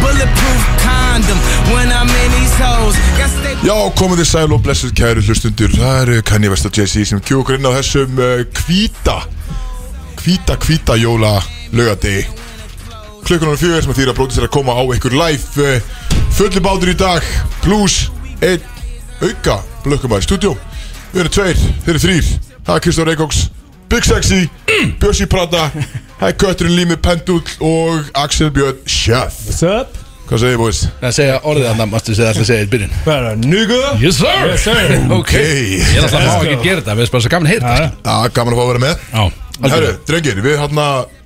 bulletproof condom when I'm in these hoes. Got stay Já, komið þið sæl og blessur kæru hlustundur Það eru Kanye West og Jay-Z sem kjókur inn á þessum uh, hvíta hvíta, hvíta jóla lögadegi Klukkan á fjögur sem að þýra brótið sér að koma á ykkur live uh, fullu bátur í dag plus einn auka blökkumæður í stúdjó Við erum tveir, þeir eru þrýr Það er Kristóf Reykjóks, Big Sexy Björsi Prata, það er Kötturinn Lími Pendull og Axel Björn Sjöf Sup Hvað segir þið búiðs? Það segja orðið að namastu sem það ætla að segja í byrjun Bara nugu Yes sir, yes, sir. Ok Hey. Ég ætla að má ekki gera þetta, við erum bara svo gaman að heyrta Já, Já, gaman að fá að vera með Já Herru, Herru drengir, við hérna, hann að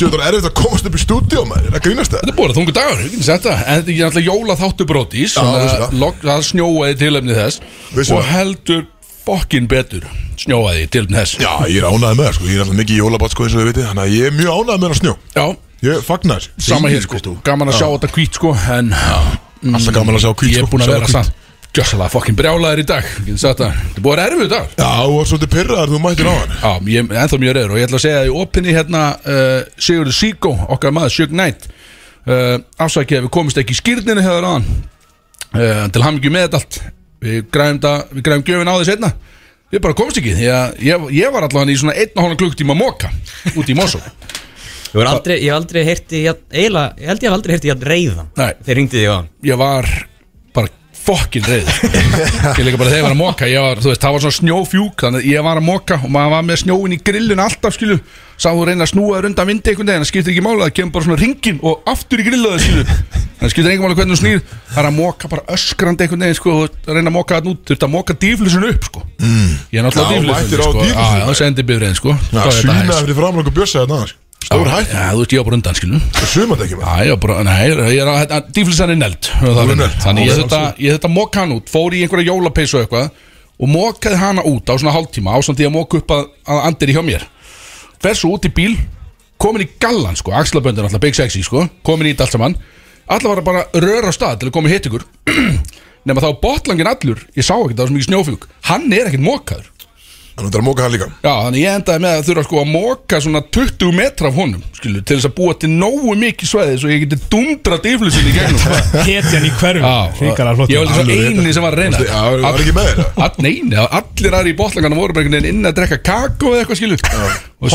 Djóður erfitt að komast upp í stúdíó maður, það grínast það Þetta er búin að þungu dagur, ég geti sett það En þetta er náttúrulega jóla þáttu brótis vissulega. Það snjóaði í tilöfni þess Vissulega. Og heldur fokkin betur Snjóaði í tilöfni þess Já, ég er ánægð með það sko, ég er alltaf mikið í jólabat sko eins og þið viti Þannig að ég er mjög ánægð með það snjó Já, Ég fagna þessu sama hér Kristó. sko Gaman að sjá þetta hvít sko En mm, Alltaf gaman að sjá hvít, sko. Ég er búin Sjá að vera hvít. sann Gjössalega fokkin brjálaðir í dag Ég geti sagt það Þetta er búin að erfið dagur Já, þú var svolítið pyrraðar, þú mættir á hann Já, ég er ennþá mjög reyður og ég ætla að segja að í opinni hérna uh, Sigurður Sýko, okkar maður, Sjögn Nætt uh, afsakið að við komist ekki í skýrninu hefur aðan uh, til hamingju með þetta allt við græfum, da, við græfum gjöfin á því setna við bara komist ekki því að ég, ég var allan í svona einn og hálf klukktíma moka út í Mosó Ég var aldrei, ég hef aldrei heyrti eiginlega, ég held ég hef aldrei heyrti jafn reyðan Nei. Þeir ringdi þig á hann ég var bara fokkin reyður ég líka bara þegar ég var að moka ég var, þú veist, það var svona snjófjúk þannig að ég var að moka og maður var með snjóin í grillun alltaf skilu sá þú reyna að snúa þér undan vindi einhvern veginn það skiptir ekki mála, það kemur bara svona ringin og aftur í grillu það skilu það skiptir engum mála hvernig þú snýr það er að moka bara öskrandi einhvern veginn sko, og reyna að moka þarna út, þurft að moka dýflusun upp sko. mm. ég er Já, náttúrulega mættir á dýflusun dýflissunni. sko. Já, já, það sendi bifriðin sko. Já, Þá er þetta svínaði hægt. fyrir framlöku bjössa þetta annars Stór hætt, Já, þú veist, ég var bara undan skilu það sumandi ekki maður Já, ég var bara, nei, ég er að, að dýflisann er neld er negld. Þannig Já, ég vel, þetta, ég þetta mokka hann út, fór í einhverja jólapeysu og eitthvað Og mokkaði hana út á svona hálftíma Ásandi ég að mokka upp að, að andir í hjá mér Fer svo út í bíl, komin í gallan sko Axlaböndin alltaf, Big Sexy sko, komin í þetta allt saman Alla var að bara röra á stað til að koma í hitt ykkur Nefna þá botlangin allur, ég sá ekkert það var svo mikið snjófjúk Hann er ekkert mokkaður Þannig að það er að móka hann líka Já, þannig ég endaði með að þurfa sko að móka svona 20 metra af honum, skilur, til þess að búa til nógu mikið svæði svo ég geti dundrat yflusin í gegnum. sko. Hetjan í hverfum Já, Ríkala flott Ég var Alveg líka rétt. eini sem var að reyna. Já, það var ekki með þér All, nein, allir aðri í botlangana voru bara einhvern veginn inn að drekka kakó eða eitthvað skilur og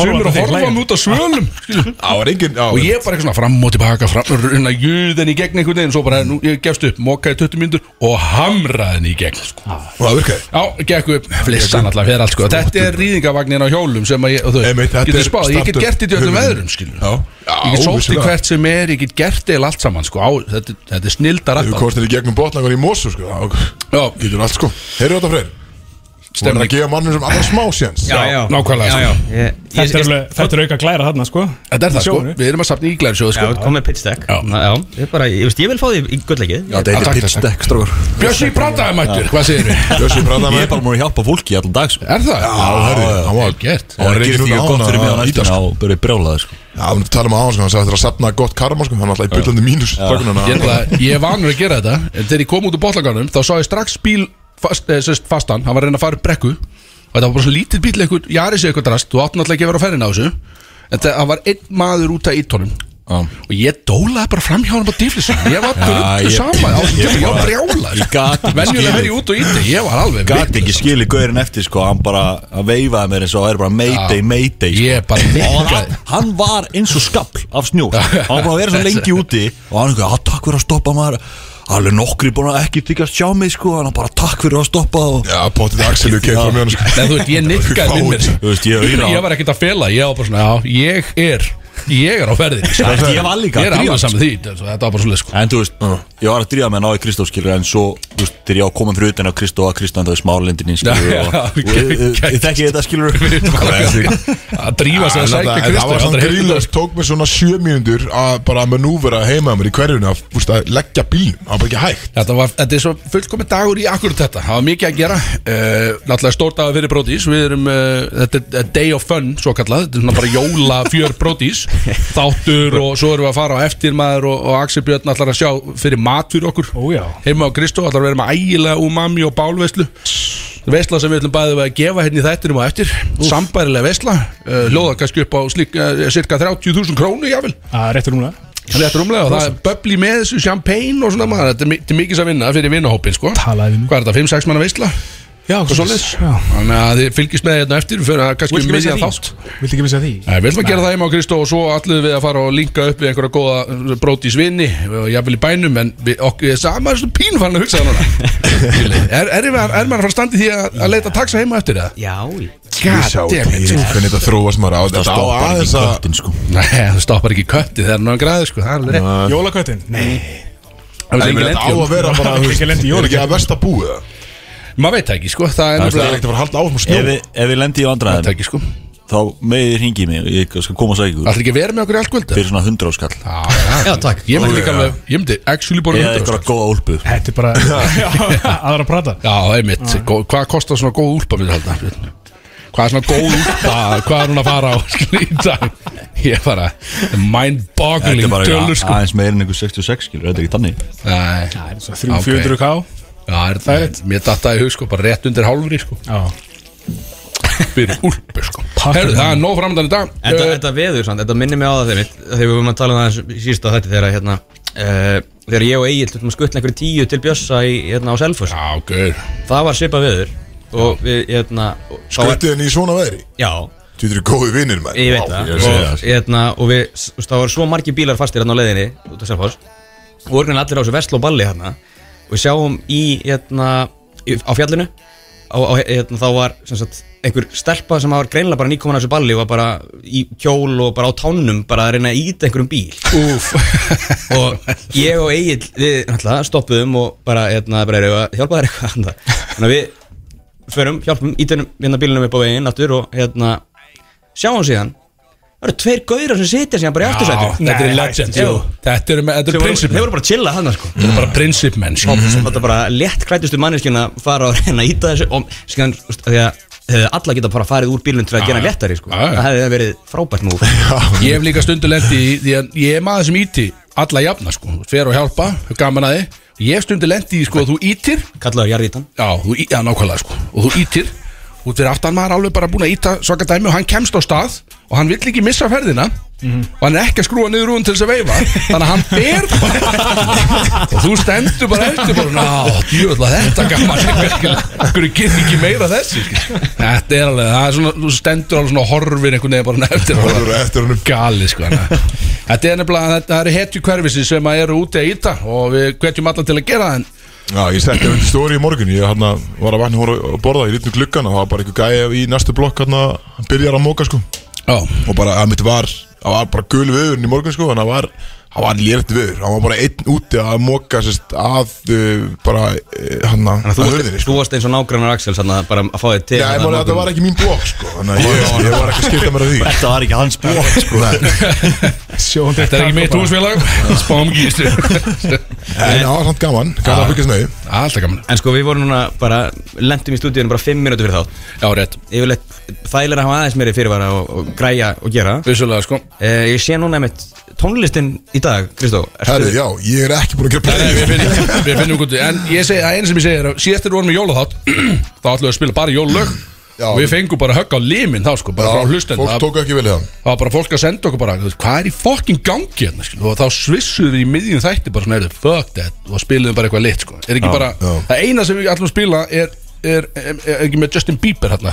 Horfa á sumir að þig horfa hlæja. mig út á svölum skilur Já, það var engin, og já, ég bara eitthvað svona fram og tilbaka fram, runna júðin í gegn einhvern veginn svo bara, nú, ég gefst upp, mokaði 20 myndur og hamraðin í gegn sko. og það virkaði Já, gekk upp, flissan alltaf fyrir allt sko Þetta er rýðingavagnin á hjólum sem að ég, og þú Einmitt, þetta getur er spáð, ég get staddur gert þetta í öllum höfuðin. veðrum skilur Já. Ég get Já, sótt í vissulega. hvert sem er, ég get gert þetta allt saman sko á, þetta, þetta er snildar Þú alltaf komst þér í gegnum botlangar í Mosu sko Já, Já, getur allt sko Heyrðu þetta freyr, þú er að stemning gefa mannum sem allra smá séns nákvæmlega, já, sko. já. Ég, ég, Þetta er ég, alveg- þetta er auka glæra þarna sko Þetta er það sko, Sjónu. við erum að safna í glæri sjóðu Já, sko þú komið pitch deck Já. Ná, já ég, bara, ég, veist, ég vil fá því í gullleikið Já, þetta Takk, er takk, pitch takk. deck, strókur Bjössi Prataði mættur, hvað segir við? Bjössi prata Ég með er bara múin að hjálpa fólki allan dag sko. Er það? Já, herri, hann var Vel gert hann var Það reynir gerir því út á gott hana fyrir mig á að íta, næstina og börja brjálaði sko. Já, við talum að hans, hann sagði þetta er að sapna gott karma sko, hann er alltaf í byllandi mínus strákurinn, Ég, hann- ætla- ég er vanur að gera þetta en Þegar ég kom út úr botlagarnum Þá sá ég strax bíl fast, eh, sest, fastan Hann var að reyna að fara upp brekku Og þetta var bara svo lítið bíl eitthvað Jari sig eitthvað drast Þú átt náttúrulega ekki að vera á ferðin á þessu En það það var einn maður út af ítónum Og ég dólaði bara fram hjá hann á dýflisum Ég var dröndu ég- sama á þessu tíma, Ég var brjálað Ég gat ekki Venjulega skilið. fer ég út og íti Ég var alveg Gat ekki vitlaus. skilið gaurin eftir sko Hann bara að veifaði mér eins og það er bara mayday, mayday sko. Ég bara Og hann, nikkaði hann var eins og skabl af snjó sko. Hann var búin að vera svo lengi úti Og hann ekki, takk fyrir að stoppa maður Alveg nokkri búin að ekki þykjast sjá mig sko Hann bara takk fyrir að stoppa og... Já, potið Axel, við kemur með hann sko Nei, þú veist, ég nikkaði minn mér Þú veist, ég Ég, auðvitað- var ekkert að fela, ég var bara svona, já, ég er, ég er á ferðinni sko. Þetta ég var líka Ég er að alveg drífa saman því, þetta var bara svolítið sko En þú veist, ég var að drífa með að ná í Kristóf skilur En svo, þú veist, þegar ég á komin fyrir utan á Kristó Að Kristó en það er smálindinni skilur Já, og- já, og- Ég ég þekki þetta skilur að drífa sig að En sækja þetta- en Kristi Það var svona grínlöst, það tók mér svona sjö mínundur að bara að manúvera heima mér í hverjunu að, þú veist, að leggja bílnum, það var bara ekki hægt Þetta var, þetta er svo fullkomin dagur í akkurat þetta Það var mikið að gera uh, Náttúrulega stór dagur fyrir brótís Við erum, uh, þetta er a day of fun Svo kallað, þetta er svona bara jóla fjör brótís Þáttur og svo erum við að fara á eftirmaður Og, og Axel Björn ætlar að sjá Fyrir mat fyrir okkur Ó, já. Heima á Kristó ætlar að vera með ægilega umami og bálveislu Veisla sem við ætlum bæðið að gefa hérna í þættinum á eftir Eh, Sambærilega veisla uh, Lóða kannski upp á slík, uh, cirka 30.000 krónu jáfnvel Það er réttur núna Það er rétt rúmlega og það er böbli með þessu champagne og svona maður Þetta er mi- til mikils að vinna fyrir vinnahópin sko Talaði við mig. Hvað er þetta, 5-6 manna veisla? Já, Hvað svo leis? Þannig að þið fylgist með hérna eftir Fyrir að kannski Viltu um ekki missa miðjan því? þátt Viltu ekki missa því? Nei, við ætlum að gera það heima á Kristó og svo allir við að fara og linka upp við einhverja góða eh, brótis vinni og jafnvel í bænum en við, okkur er sama "Ah, er svona pín farin að hugsa það núna Skilji, er, er, er, maður- er maður að fara að standa í því að, að leita taxa heima eftir það? Já, í- Við sjáum Goddammit. til hvernig þetta þróast maður á Þetta á stoppar ekki aðeins að köttin, sko. Nei, þú stoppar ekki kötti þegar hann er græði sko, það er alveg rétt. Jólaköttin? Nei Það Nei, er ég meina, lengi Þetta á að lengi vera bara Það er þú veist, ekki lendi Er í ekki jólagjöf. að versta búið það? Maður veit það ekki sko, það Það er er nefnilega ekkert að fara að halda áfram að Ef snjóa við- ef við lendi Maður í veit það vandræðum ekki sko Þá meðið þið hringið mig Ég skal koma að segja ykkur Allir ekki verið með okkur í allt kvöldu? Fyrir svona hundra áskall Já, takk. Ég myndi líka alveg, ég myndi actually borða sko. 100 Eða eitthvað áskall. góða úlpu Þetta er bara Já, aðra að prata Já, einmitt, Gó- hvað kostar svona góð úlpa við halda? Hvað er svona góð úlpa, hvað er hún að fara á skilur, í dag? Ég er bara Þetta mind-boggling er bara tölur eitthvað sko aðeins meir en einhver 66 skilur Þetta er ekki þannig Nei, Svo Ok. 300-400 ká já, er það rétt Mér dattaði í hug sko, bara rétt undir hálfri sko Já Fyrir úlpu sko Takk Herru, fyrir það er nóg framdann í dag Þetta, Eh, þetta veður samt, þetta minnir mig á það þegar mitt Þegar við vorum að tala um það í síðustu að þetta Þegar, hérna, uh, þegar ég og Egil þurftum að skuttla einhverju tíu til Bjössa í, hérna, á Selfoss Já, gaur Það var svipað veður Og við, hérna og- þá var- Göttið henni í svona veðri Já, Þú eru góði vinnir maður ég veit Vá, það ég sko. er að segja Og, hérna, og við, þú veist, það var svo margir bílar fastir hérna á leiðinni Út á Selfoss Og orðin allir á þessu vestló balli hérna Og við sjáum í, hérna, í- á fjallinu Á, á, hérna, þá var sem sagt, einhver stelpa sem var greinlega bara nýkomin að þessu balli og var bara í kjól og bara á tánum bara að reyna að íta einhverjum bíl Úf og ég og Egil við náttúrulega stoppuðum og bara, hérna, bara erum við að hjálpa þér eitthvað annað. þannig að við förum, hjálpum, ítunum hérna bílunum upp á veginn aftur og hérna sjáum síðan það eru tveir gaurar sem sitja síðan bara í Já, aftursættu Þetta er Nei, legend sko. jú. Þetta eru með- þetta þeir eru voru, þeir prinsipmenn voru Mm. bara að chilla hann sko Þetta eru bara prinsipmenn sko og þetta bara létt klætustu manneskina fara að reyna að íta þessu og síðan, þú veist, af því að hefði alla geta bara farið úr bílunum til að gera hann já. léttari sko Já, já. það hefði verið frábært múf Ég hef líka stundu lendi í því að ég er maður sem íti alla jafna sko, fer og hjálpa, hefur gaman að þið Ég hef stundu lendi í sko að þú ítir kallaður jarðítan Já, þú í, já, nákvæmlega sko og þú ítir, út fyrir aftan maður alveg bara búin að íta svaka dæmi og hann kemst á stað og hann vill ekki missa ferðina Mhm. og hann er ekki að skrúa niður rúðan til þess að veifa þannig að hann ber bara og þú stendur bara eftir bara, ná, djúvöld að þetta gaman hverju getur ekki meira af þessu skilur?" þetta er alveg, það er svona þú stendur alveg svona og horfir einhvern veginn bara eftir Horfir eftir honum. gali sko þannig að- þetta er nefnilega, þetta eru hetju hverfisi sem að eru úti að íta og við hvetjum alla til að gera það en Já, ég setti undir stóri í morgun Ég hana, var að vatna að borða Ég lítið um gluggan og það var bara einhver gæja í næstu blokk Hann byrjar að móka sko já, Og bara að mitt var Það var bara gul viðurinn í morgun sko Þannig að var Það var lérið viður Hann var bara einn úti að móka sérst að uh, bara uh, hann að Þú varst, hurðinni sko. þú varst eins og nágrannar Axel sann, bara að fá þig til Já, ég mál að þetta var ekki mín blokk sko Þannig að ég, ég var ekki að skipta mér að því Þetta var ekki hans búið sko Nei, Sjóðan Þetta er ekki mitt húsfélag Spám gístu En það var samt gaman Gaman að fylgjast með því Alltaf gaman En sko við vorum núna bara Lentum í stúdíunum bara 5 minútur fyrir þá Já, rétt Yfirleitt þægilega að hafa aðeins meiri fyrirvara og, og græja og gera Vissulega, sko eh, Ég sé núna einmitt tónlistin í dag Kristó ertu- Herri, já, ég er ekki búin að gera Nei, nei, play við finnum, við finnum gott En ég segi, að einu sem ég segi er að Síðast þegar við vorum í jólaþátt Þá ætlum við að spila bara jólulög Já. Og við fengum bara högg á limin þá, sko Bara frá hlustendur. Fólk Það tók ekki vel í það það var bara fólk að senda okkur bara þú veist, Hvað er í fokkin gangi hérna, sko Og þá svissuðum við í miðjum þætti Bara svona, heyrðu, fuck that Og spiluðum bara eitthvað lit, sko Er ekki bara já. Það eina sem við ætlum að spila er Er, er, er ekki með Justin Bieber hérna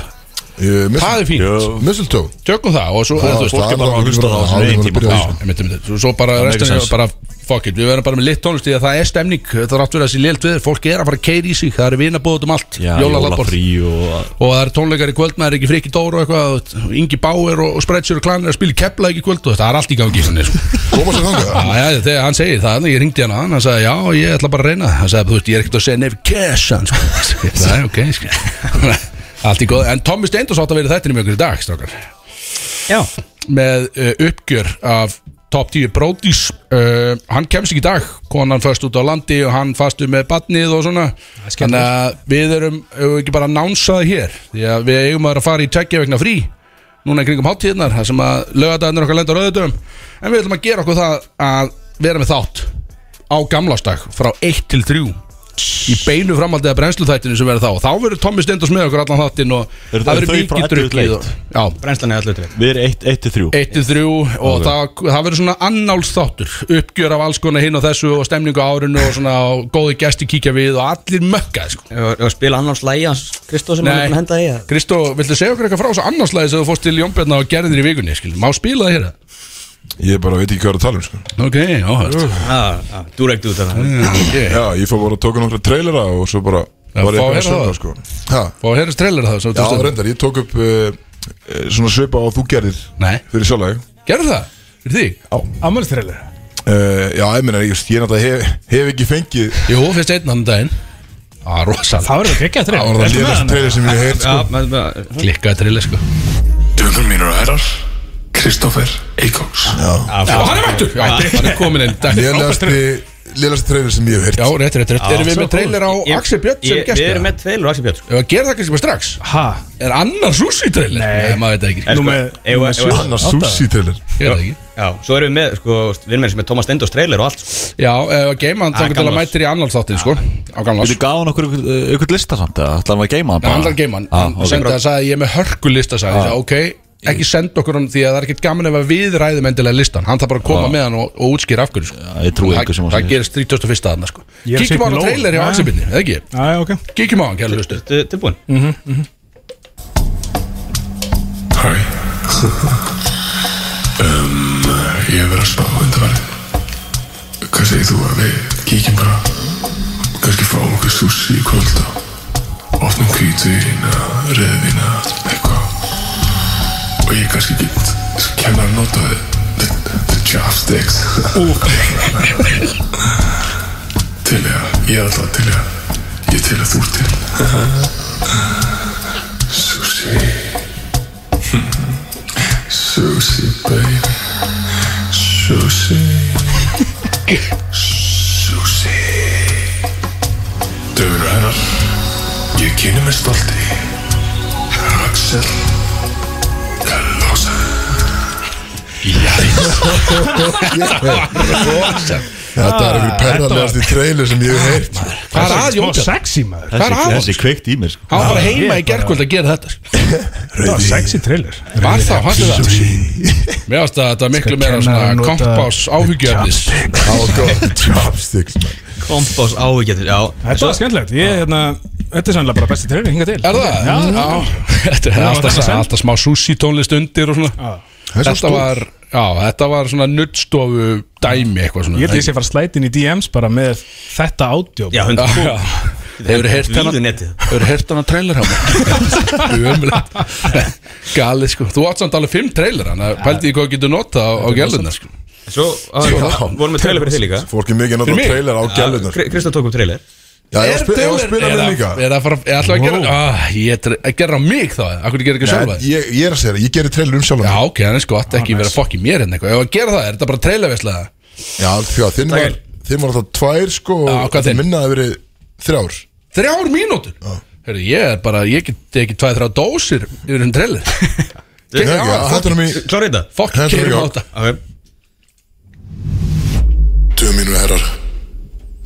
Það er fínt Mistletoe Tökum það og svo Já, þú veist, það er bara að hlusta á það, það er áður en við erum tíma. að byrja Já, þessu. einmitt, einmitt. Svo- Svo bara restan makes er bara fuck it, við verðum bara með lit tónlist því að það er stemning, það er átt verið að sé lélt við fólk er að fara að keira í sig, það er vinabóðum um allt Já, jólalabborð jólafrí og og það er tónleikar í kvöld, maður er ekki frikki dór og eitthvað, og Ingi Báer og, og Spreadsjör og Klanir að spila í kepla ekki í kvöld og þetta er allt í gangi þannig, sko. Koma sér þangað Já, já, þegar hann segir það, ég ringdi hann að hann, hann sagði, já, ég ætla bara að reyna það, hann sagði, þú veist, ég er ekkert að segja nefn cash, hann, sko, það er ok, sko, allt í góð, en Tommi Steindors átt að vera þetta með okkur í dag, strákar, Já með uh, uppgjör af top 10 brótis uh, hann kemst ekki í dag, konan fast út á landi og hann fastur með badnið og svona þannig að við erum ef við ekki bara nánsaði hér því að við eigum að vera að fara í tveggja vegna frí núna í kringum hátíðnar, það sem að lögadagannir okkar lenda á rauðutöfum en við ætlum að gera okkur það að vera með þátt á gamlásdag frá 1 til 3 í beinu framhaldið að brennslu þættinu sem verður þá og þá verður Tommi Stendors með okkur allan þáttinn og Eru- það eru verður þau frá mikið 11 til drukkið 1? Já, Brennslan er alltaf Við erum 1-3 1 til 3 og Ok. það, það verður svona annálsþáttur uppgjör af alls konar hinn og þessu og stemningu á árinu og svona og góði gesti kíkja við og allir mökka sko. Ég var að spila annars lægi hans Kristó sem hann Nei. er búinn að henda í það Kristó, viltu segja okkur eitthvað frá þessu annarslæði sem þú fórst til Jónbjörna og gerðir í vikunni skil? má spila það hérna? hér? Ég bara veit ekki hvað er að tala um sko. Ok, áhört Já, já, direkt ah, út af það okay. Já, ég fór bara að tóka nokkra trailera og svo bara Já, var ég fá eitthvað að að heyra sögna það. sko. Ha, Fá að heyra trailer það sem Já, þú tókst reyndar, ég tók upp uh, eh, svona svipa á þú gerðir Nei. fyrir sjálfæg upp. Gerðu það? Fyrir þig? Ammælstrelur uh, Já, ég meina, ég, ég náttúrulega hef, hef ekki fengið Jú, fyrst einn annan daginn Það var Ah, rosalega Það verður ekki að Það trefn var það liðast trailer sem ég hef Já, með- með- klikkað trailer sko Dögur mínur og herrar, Kristófer Eikóks. Já, hann er mættur Já, hann er komin inn Takk. Liðast Liðast trailer sem ég hef Já, hef rétt, rétt, rétt Erum við með trailer á Ég- Axel Björn sem ég- gæst Við erum með tveilur Axel Björn sko. Ef að gera það kannski bara strax Ha, Er annar sushi trailer? Nei. maður veit það ekki En sko, með- eigum við- númer sjö. eigum við- Annars sushi trailer Ég veit það ekki Já, svo erum við með, sko, vinnmenn sem er Thomas Stendos trailer og allt sko. Já, ef að geima hann Ah, Þannig til að gamlás. mættir í annar þáttin sko Á gamlás Þú gaf hann okkur einhvern- eh, einhvern lista samt eða ætlaði hann að geima hann En hann er geiman Hann Ah. ok. Ah. sendi það að sagði ég er með hörkulista sagði ég, sagði, Ok, ekki senda okkur hann Því að það er ekkert gaman ef að við ræðum endilega listan Hann þarf bara að koma með hann og, og útskýra af hverju sko. Ah. Já, ég trúi Það- ykkur sem hann Það segir. gerist 31. aðna sko Ég er Kíkjum á Signý hann Lóu. trailer hjá Já. Axelbyrni, eða ekki? aðja, ok Kíkjum á hann, kæra hlustu Ertu Tilbúin Hæ. um, ég hef verið að spá undarverð. Hvað segir þú að við kíkjum bara? og kannski fáum okkur sushi í kvöld og ofnum kvítuðin eða röðin eða eitthvað. Og ég kannski get kenna að nota the, the, the chopsticks. til ég að, ég er alltaf til ég að, ég er til að þú ert til. Sushi. Sushi, baby. Sushi. Sushi. Döfur hennar, ég kynni með stolti. Axel. Kallosa. Þetta er einhver perralegast í trailer sem ég hef heyrt sko. Hvað er að Smá Jónbjörn? sexy maður Hvað er að honum? Þessi kveikt í mér sko. Hann var bara ég heima í gerkvöld að gera þetta sko. Það var sexy trailer Var þá, hann er það Mér ást að þetta er miklu Skal kenna meira að svona nota- kompás áhyggjöfnis Það var gott Chopsticks man. Kompás ávíkjættir, já Þetta var skemmtilegt Ég, hérna Þetta er sannlega bara besti trailer hinga til Er það? Já, Já, Þetta er Já, alltaf, þetta er alltaf smá sushi tónlist undir og svona Já. Það er svo Þetta stórt. var, já, þetta var svona nuttstofu dæmi eitthvað svona Ég held að ég sé að fara slætin í DMs bara með þetta ádjó Já, hundra Hefur heyrt Víðu hennar netið. Hefur heyrt hennar trailer hjá mér Ömulegt Galið sko Þú átt samt alveg fimm trailer Þannig að pældi ég hvað þú getur nota á, á gæluna sko Svo á, vorum við trailer fyrir þig líka Fólk er mikið að nota Fyrir mig? trailer á gælunar Kri- Kristó tók upp trailer Já, ég var að spila- ég var að spila með líka Er það fara Er alltaf að gera ah, Ég er að gera á mig þá Akkur gera ekki sjálfa Nei, Ég ég er að segja það, ég gerir trailer um sjálf Já, ok, þannig sko Þetta ekki vera að fokki mér hérna eitthvað Ef að gera það Er þetta bara trailerveislega Já, því að þinn var Takk. Þinn var alltaf tvær sko Já, og hvað þinn? Minna að verið þrjár Þrjár mínútur Hörru, ég er bara Ég get ekki tvæð þrjá dósir Yfir henni trailer Nei, Já, já, Hættu hann í Klárið þetta Fokk, Þetta er keirum á ekki- þetta Ok, Döfur mínu herrar,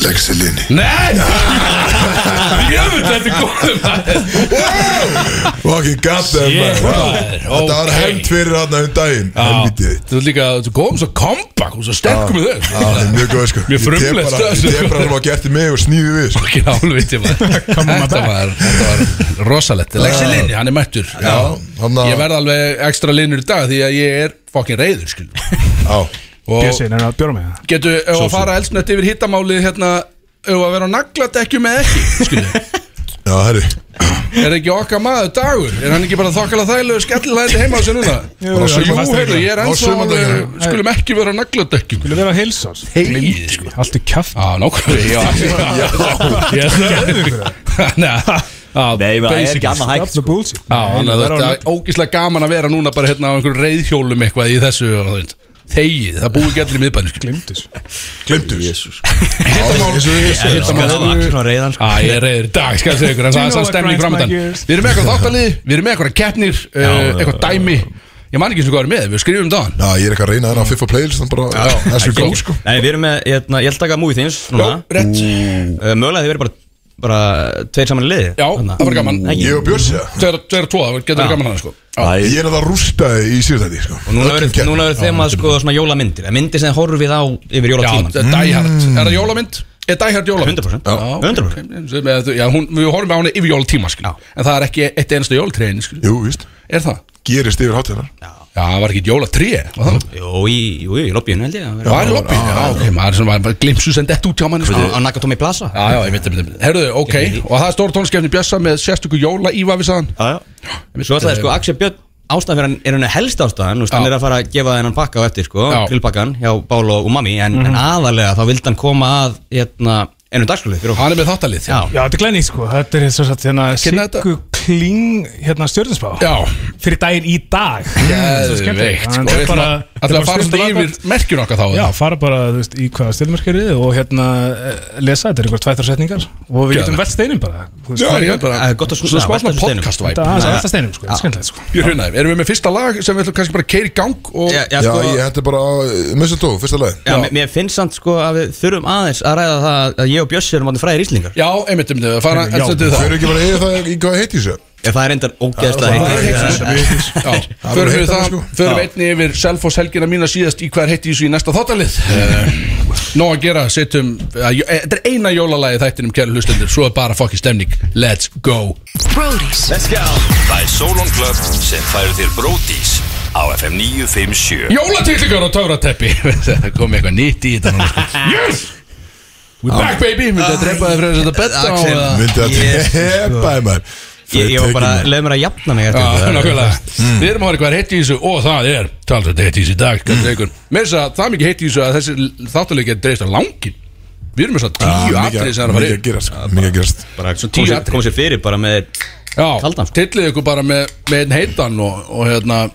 legg sér linni. Nei Jöfn, þetta er góð maður Fucking goddamn Shit, man. maður, Þetta var ok. hemmt fyrir hann um daginn Helvítið Þú ert líka Þú góðum svo kompakt Og svo sterkum við þau Það er mjög góð sko Mjög frumlegt, Ég tef bara- sko. ég tef bara sem að gert í mig og snýði við sko. Ekki álviti maður on Þetta back. var Þetta var rosalett Lexi Linni, hann er mættur Já, hann að Ég verð alveg ekstra linur í dag Því að ég er fokkin reyður skil Já, Og Bjössin er hérna að bjóra með það getu ef að fara elsnött yfir hittamáli Hérna Ef að vera á nagladekkjum eða ekki Skilju já, herri Er ekki okkar maður dagur? Er hann ekki bara þokkala þægilegu skellilæði heima á sér núna? Jú, Bara jú, svo- jú, Jú, fast heyrðu, ég er á ennþá sumardaginn. alveg- Skulum ekki vera að nagla dökkjum Skulle vera að heilsa oss Heið, sko Allt í kjaft Á, nákvæmlega Já, já Ég um snöðu Nei, það er ekki annað Stop hægt the bullshit sko. Já, þannig að þetta er ógíslega gaman að vera núna bara hérna á einhverju reyðhjólum eitthvað í þessu og það veit. Þegið, það búið ekki allir í miðbænum skil. Glimtis Glemdu þessu Jesus það var Axel svona reiðan Á, sko. ég er reyður í dag, skal ég segja ykkur, en Do you það er know sann what stemning grinds my framöndan gears? Við erum með eh, eitthvað þáttalið, við erum með eitthvað keppnir, uh, eitthvað dæmi Ég man ekki eins og hvað er með, við skrifum dagann Já, ég er eitthvað að reyna þarna að fiffa playlist Þannig bara, as we go sko Nei, við erum með, hérna, ég held taka movie þins Já, núna rétt Uh, Mögulega þið verið bara, bara tveir saman í liði Já, það var gaman Ég og Björns, já Tveir tveir og tvo, það getur verið gaman hann sko Æ, Ég er hérna að það rústaði í síðutæti sko Og núna Öllum verður- keppnum. núna verður þeim að sko svona jólamyndir eða Myndir sem horfum við á yfir Já, jólatíman þetta er Die Hard Er það jólamynd? Er Die Hard jólamynd? 100% Já, 100%. Sem eða þú- Já, hún, við horfum á henni yfir jólatíma skil En það er ekki eitt einasta jólatréin skil Jú, víst Er það? Gerist yfir hátíðanar Já, það var ekki jólatré var það? Jú, í- jú, í lobbyinu held ég að vera- Það var í lobby Já, ok, maður er svona glimsu sem dett út hjá manni sko. Á- Á Nakatomi Plaza Já, já, ég veit, ég veit, ég veit Herðu, ok Og það er stór tónskefni Bjössa með sérstöku jóla eh, íva við sagðan já, já Svo ætlaði sko Axel Björn ástæðan fyrir hann er hann helst ástæðan og hann Já. er að fara að gefa þennan pakka á eftir sko, Já. grillpakkan hjá Bál og Mami en, en aðalega þá vildi hann koma að hérna, ennum dagskrúlið fyrir okkur Hann er með þáttalið Já. Já, þetta er glænýtt sko, þetta er svo satt hérna Hvernig þetta? Siggu Kling, hérna stjórninsbá Já. Fyrir daginn í dag Geðveikt sko Við ætlum að- ætlum að fara svona yfir merkjun okkar þá hérna. Já, eða? fara bara, þú veist, í hvaða stilmerkjörið og hérna eh, lesa, þetta er einhver tvættar setningar og við getum Geðveikt. velt steinum bara þú veist, Já, það er- ég veit bara Það er gott að svona- um Svona smá velta svona þessu steinum. podcast Þetta er aðeins að væp velta steinum sko, þetta er skemmtilegt sko Ég hrunaði, erum við með fyrsta lag sem við ætlum kannski bara að keira í gang og Já, já, Já, sko, ég já, hætti bara Mistletoe, fyrsta lagi mér- Mér finnst samt sko að við þurfum aðeins að ræða það að ég og Bjössi erum áttu fræðir íslingar Já, einmitt um þau að fara Já. en þetta er Þau það. eru ekki bara að eiga það í hvað heiti þessu Ef það er endar Það ógeðslega er heitt. heitt, Já. Já, Það förum verður við heitt það, annars, sko. förum við einni yfir Selfoss helgina mína síðast í hver heitti þessu í næsta þáttalið Eh, Nó að gera, setjum eh, jó- eh, Þetta er eina jólalagi í þættinum kæru hlustendur Svo er bara fokki stemning, let's go Brody's Það er Solon Club sem færir þér Bródís á FM 957 Jólatillingar og töfrateppi Það kom eitthvað nýtt í þetta núna, sko. Yes! We back baby, myndi að drepa þið fyrir þess að betta á Axel. eða? Myndi að Yes, tepa maður Ég ég var bara, Þau tekin, leið mér að jafna mig eftir Já, þetta. nákvæmlega Við erum að horfa hvað er heitt í þessu og það er talsvægt heitt í þessu í dag mm. Mér þess að það er mikið heitt í þessu að þessi þáttuleik er dreifst á langin Við erum með svo tíu maður. Já, atrið mikið- sem er Ah, að fara Mikið að yfir gerast, sko, mikið að gerast Bara Svo koma tíu sér- atriði. koma sér fyrir bara með Já, Kaldan, sko. tillið ykkur bara með, með einn heitan og, og hérna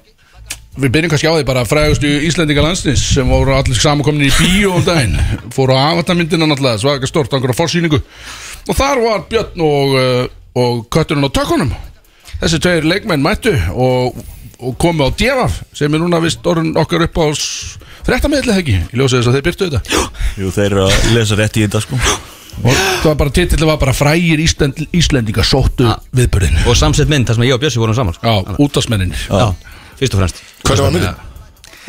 Við byrjum kannski á því bara frægustu Íslendinga landsins sem voru allir samankomni í bíó um daginn Fóru á avatarmyndina náttúrulega, svo ekki stort, einhverja forsýningu Og þar var Björn og, eh, og kötturinn á tökkunum Þessi tveir leikmenn mættu og, og komu á Djefaf sem er núna vist orðin okkar upp á fréttamiðlega ekki Ég ljósi þess að þeir byrtu þetta Jú, þeir eru að lesa rétt í þetta sko Og það var bara titillið var bara frægir Íslend, Íslendinga sóttu viðbörðin og samsett mynd þar sem ég og Bjössi vorum saman sko. Já, útastmennin Já, fyrst og fremst Hvernig var myndin?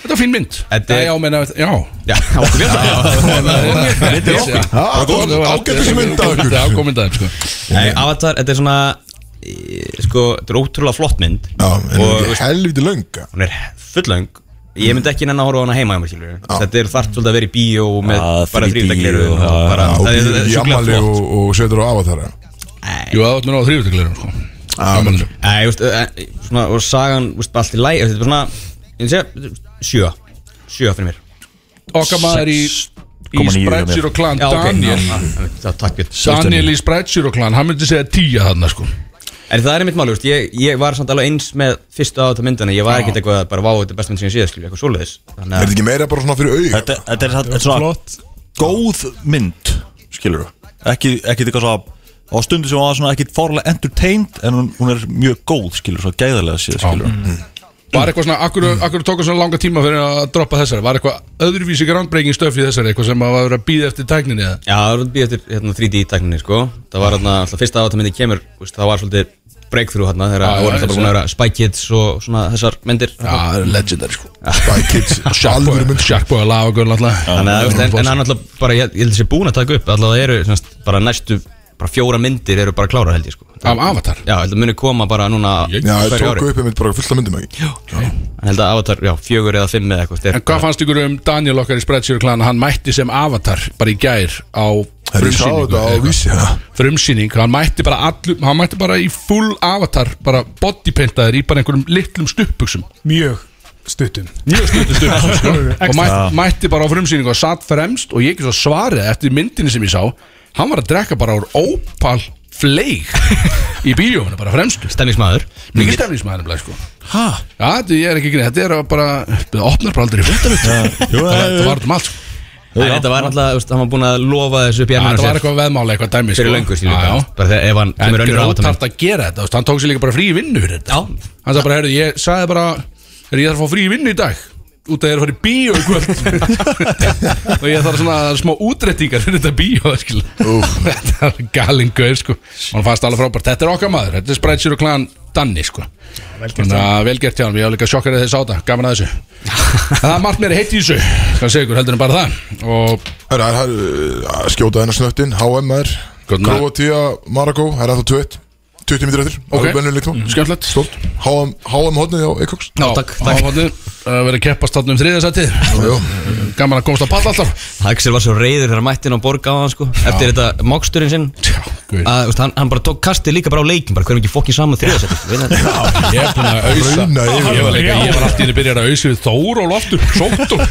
Þetta var fín mynd Þetta er- Nei, já, meina, já Já, okkur Þetta Það var ágættis mynd af ykkur. Þetta er ágómyndaðum, sko Nei, Avatar, þetta er svona e, sko, þetta er ótrúlega flott mynd Já, en hún og er ekki helviti lönga hún er fullöng ég myndi ekki nenni að horfa á hana heima hjá mér, skilurðu. Já. þetta er þart svolítið að vera í bíó og með Já, bara 3D þrývitagliru og- já, Já, Og það er- býður það er í sjúklega jammali flott og og setur á avatara Jú, það áttu mér á þrýfutugleirum, sko Ágómyndaðum Nei, þú veist, e, e, svona, og sagan þú veist, allt í læg þetta er svona ég sé, sjö sjö fyrir mér Okkar maður í Í 6,9 hjá mér. Spreadsheet og Clan Já, ok. Daniel Já, já, já, takk fyrir Daniel í Spreadsheet og Clan Hann myndi segja tíja þarna, sko En það er mitt máli, veist, ég, ég var samt alveg eins með fyrstu á þetta myndina, ég var ekkert eitthvað að bara vá þetta er besta mynd sem ég séð, skilja, eitthvað svoleiðis Er Þannig þetta ekki meira bara svona fyrir auð? Þetta, þetta er, þetta er svona Flott. góð mynd skilur þú ekki, ekki eitthvað svona á stundu sem hún var svona ekki fórlega entertained en hún, hún er mjög góð skilur svona gæðarlega séð skilur Mm. Var eitthvað svona, akkur, akkur tók svona langa tíma fyrir að droppa þessari Var eitthvað öðruvísi groundbreaking stöf í þessari Eitthvað sem að var að býða eftir tækninni eða? Já, það var að býja eftir hérna, 3D-tækninni, sko Það var hérna, alltaf fyrsta að þetta myndi kemur veist, Það var svolítið breakthrough hérna Þegar Já, það já, voru alltaf bara já. búin að vera Spy Kids og svona þessar myndir Já, það er legendary, sko Spy Kids Alvöru mynd Sharkboy og Lavagur, náttúrulega Þannig að, veist, en, en hann alltaf bara, ég, ég held að sé búin að taka upp Alltaf það eru, semst, bara næstu bara fjóra myndir eru bara klárar, held ég, sko Já, Af Avatar ég held að muni koma bara núna á Já, það hverju tóku ári upp einmitt bara fullt af myndum ekki Ég held að avatar, já, fjögur eða fimm eða eitthvað En stef hvað fannst ykkur um Daniel okkar í Spreadshirt Clan Hann mætti sem avatar bara í gær á Herri, ég sá þetta á eitthvað. vísi ha? Frumsýning, hann mætti bara allur Hann mætti bara í full avatar Bara bodypaintaður í bara einhverjum litlum stuppuksum Mjög stuttum Mjög stuttum stuppuksum sko. Og mætti, mætti bara á frumsýningu og satt fremst Og ég ekki svo svarið eftir myndinni sem ég sá Hann var að drekka bara úr ópal fleig Í bíóinu, bara fremstu Stemningsmaður Mikið stefnismæðinum blæð sko Já, þetta ég er ekki greið, þetta er bara Það opnar bara aldrei í fjöndar Þetta var um allt sko En þetta var alltaf, veist, hann var búin að lofa þessu upp í Já, ennum þetta var eitthvað veðmála, eitthvað dæmi sko. fyrir löngu skilur Já, bara, já. bara þegar ef hann En kemur þetta er önnur ótart ávatamenn að gera þetta þú veist, Hann tók sér líka bara frí í vinnu fyrir þetta Já. Hann sagði bara, herru, ég sagði bara er ég þarf að fá frí í vinnu í dag út að ég er að fara í bíó í kvöld og ég þarf svona smá útrettingar fyrir þetta bíó skil. þetta er galin gauð sko. hann fannst alveg frábært, þetta er okkar maður þetta er Spreadshirt og klan Danni sko. Þannig að vel gert hjá hann, ég var líka sjokkar að þið sá þetta, gaman að þessu það er margt meira heitt í þessu hvað segir ykkur, heldur en bara það og Það er að skjóta hennar snöttin HM er Góðan dag. Kroatia, Maragó, það er að það 21 20 mínútur eftir, Ok. Mm. alveg bennileg tón skemmtilegt Stolt, HM, HM hodnið á Eikoks Já, takk, takk. Áfandi, uh, verið að keppast þarna um þriðasætið Gaman að komast að palla alltaf Axel var svo reyður þegar mættin á borg á hann sko Eftir þetta moksturinn sinn Já, guð. að, þú veist, hann, hann bara tók kastið líka bara á leikin bara, Hvernig ekki fokkin saman þriðasett Ég er búin að auðsa Rauna yfir. Ég var líka, ég var alltaf inn að byrja að auðsa við Þór og loftur, sótt og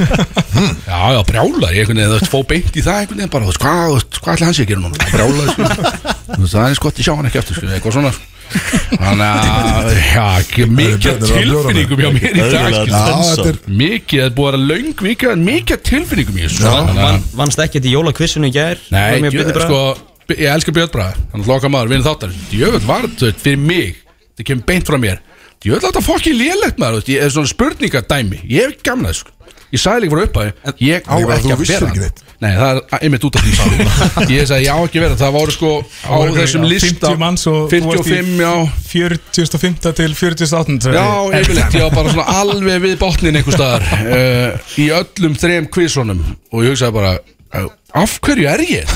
Já, já, brjála, ég einhvern veginn, þú veist, fó beint í það einhvern veginn bara, þú veist, hvað, þú veist, hvað ætla hans ég að gera núna Brjála, sko Þú veist, það er eins gott, ég sjá hann ekki eftir, sko, eitthvað svona sko. Þannig að, já, ekki mikið af tilfinningum hjá mér í dag, Já, þetta sko er Mikið, það er búið að vera löng vika, en mikið af tilfinningum í þessu sko. Þannig að- Vannst ekki þetta í jólakvissinu í gær Nei, Var ég, mér Bjarni Braga? sko, ég elska Björn Braga Hann er loka maður, vinn þáttar Djöfull var þetta þú veist, fyrir mig Það kemur beint frá mér Djöfull þetta fokkin lélegt maður þú veist, Ég er svona spurningadæmi Ég hef ekki gaman að þessu sko. Ég sagði líka frá upphæði Ég á Nei, bara, þú ekki að vissir vera ekki neitt. Nei, það er einmitt út af því sko. Ég sagði ég á ekki að vera Það voru sko á voru einhverjir, þessum já, lista 50 manns og þú varst í- 55, já 40.5 til 40.8 Já, yfirleitt, ég var bara svona alveg við botnin einhver staðar uh, í öllum þrem kvísónum og ég hugsaði bara uh, af hverju er ég?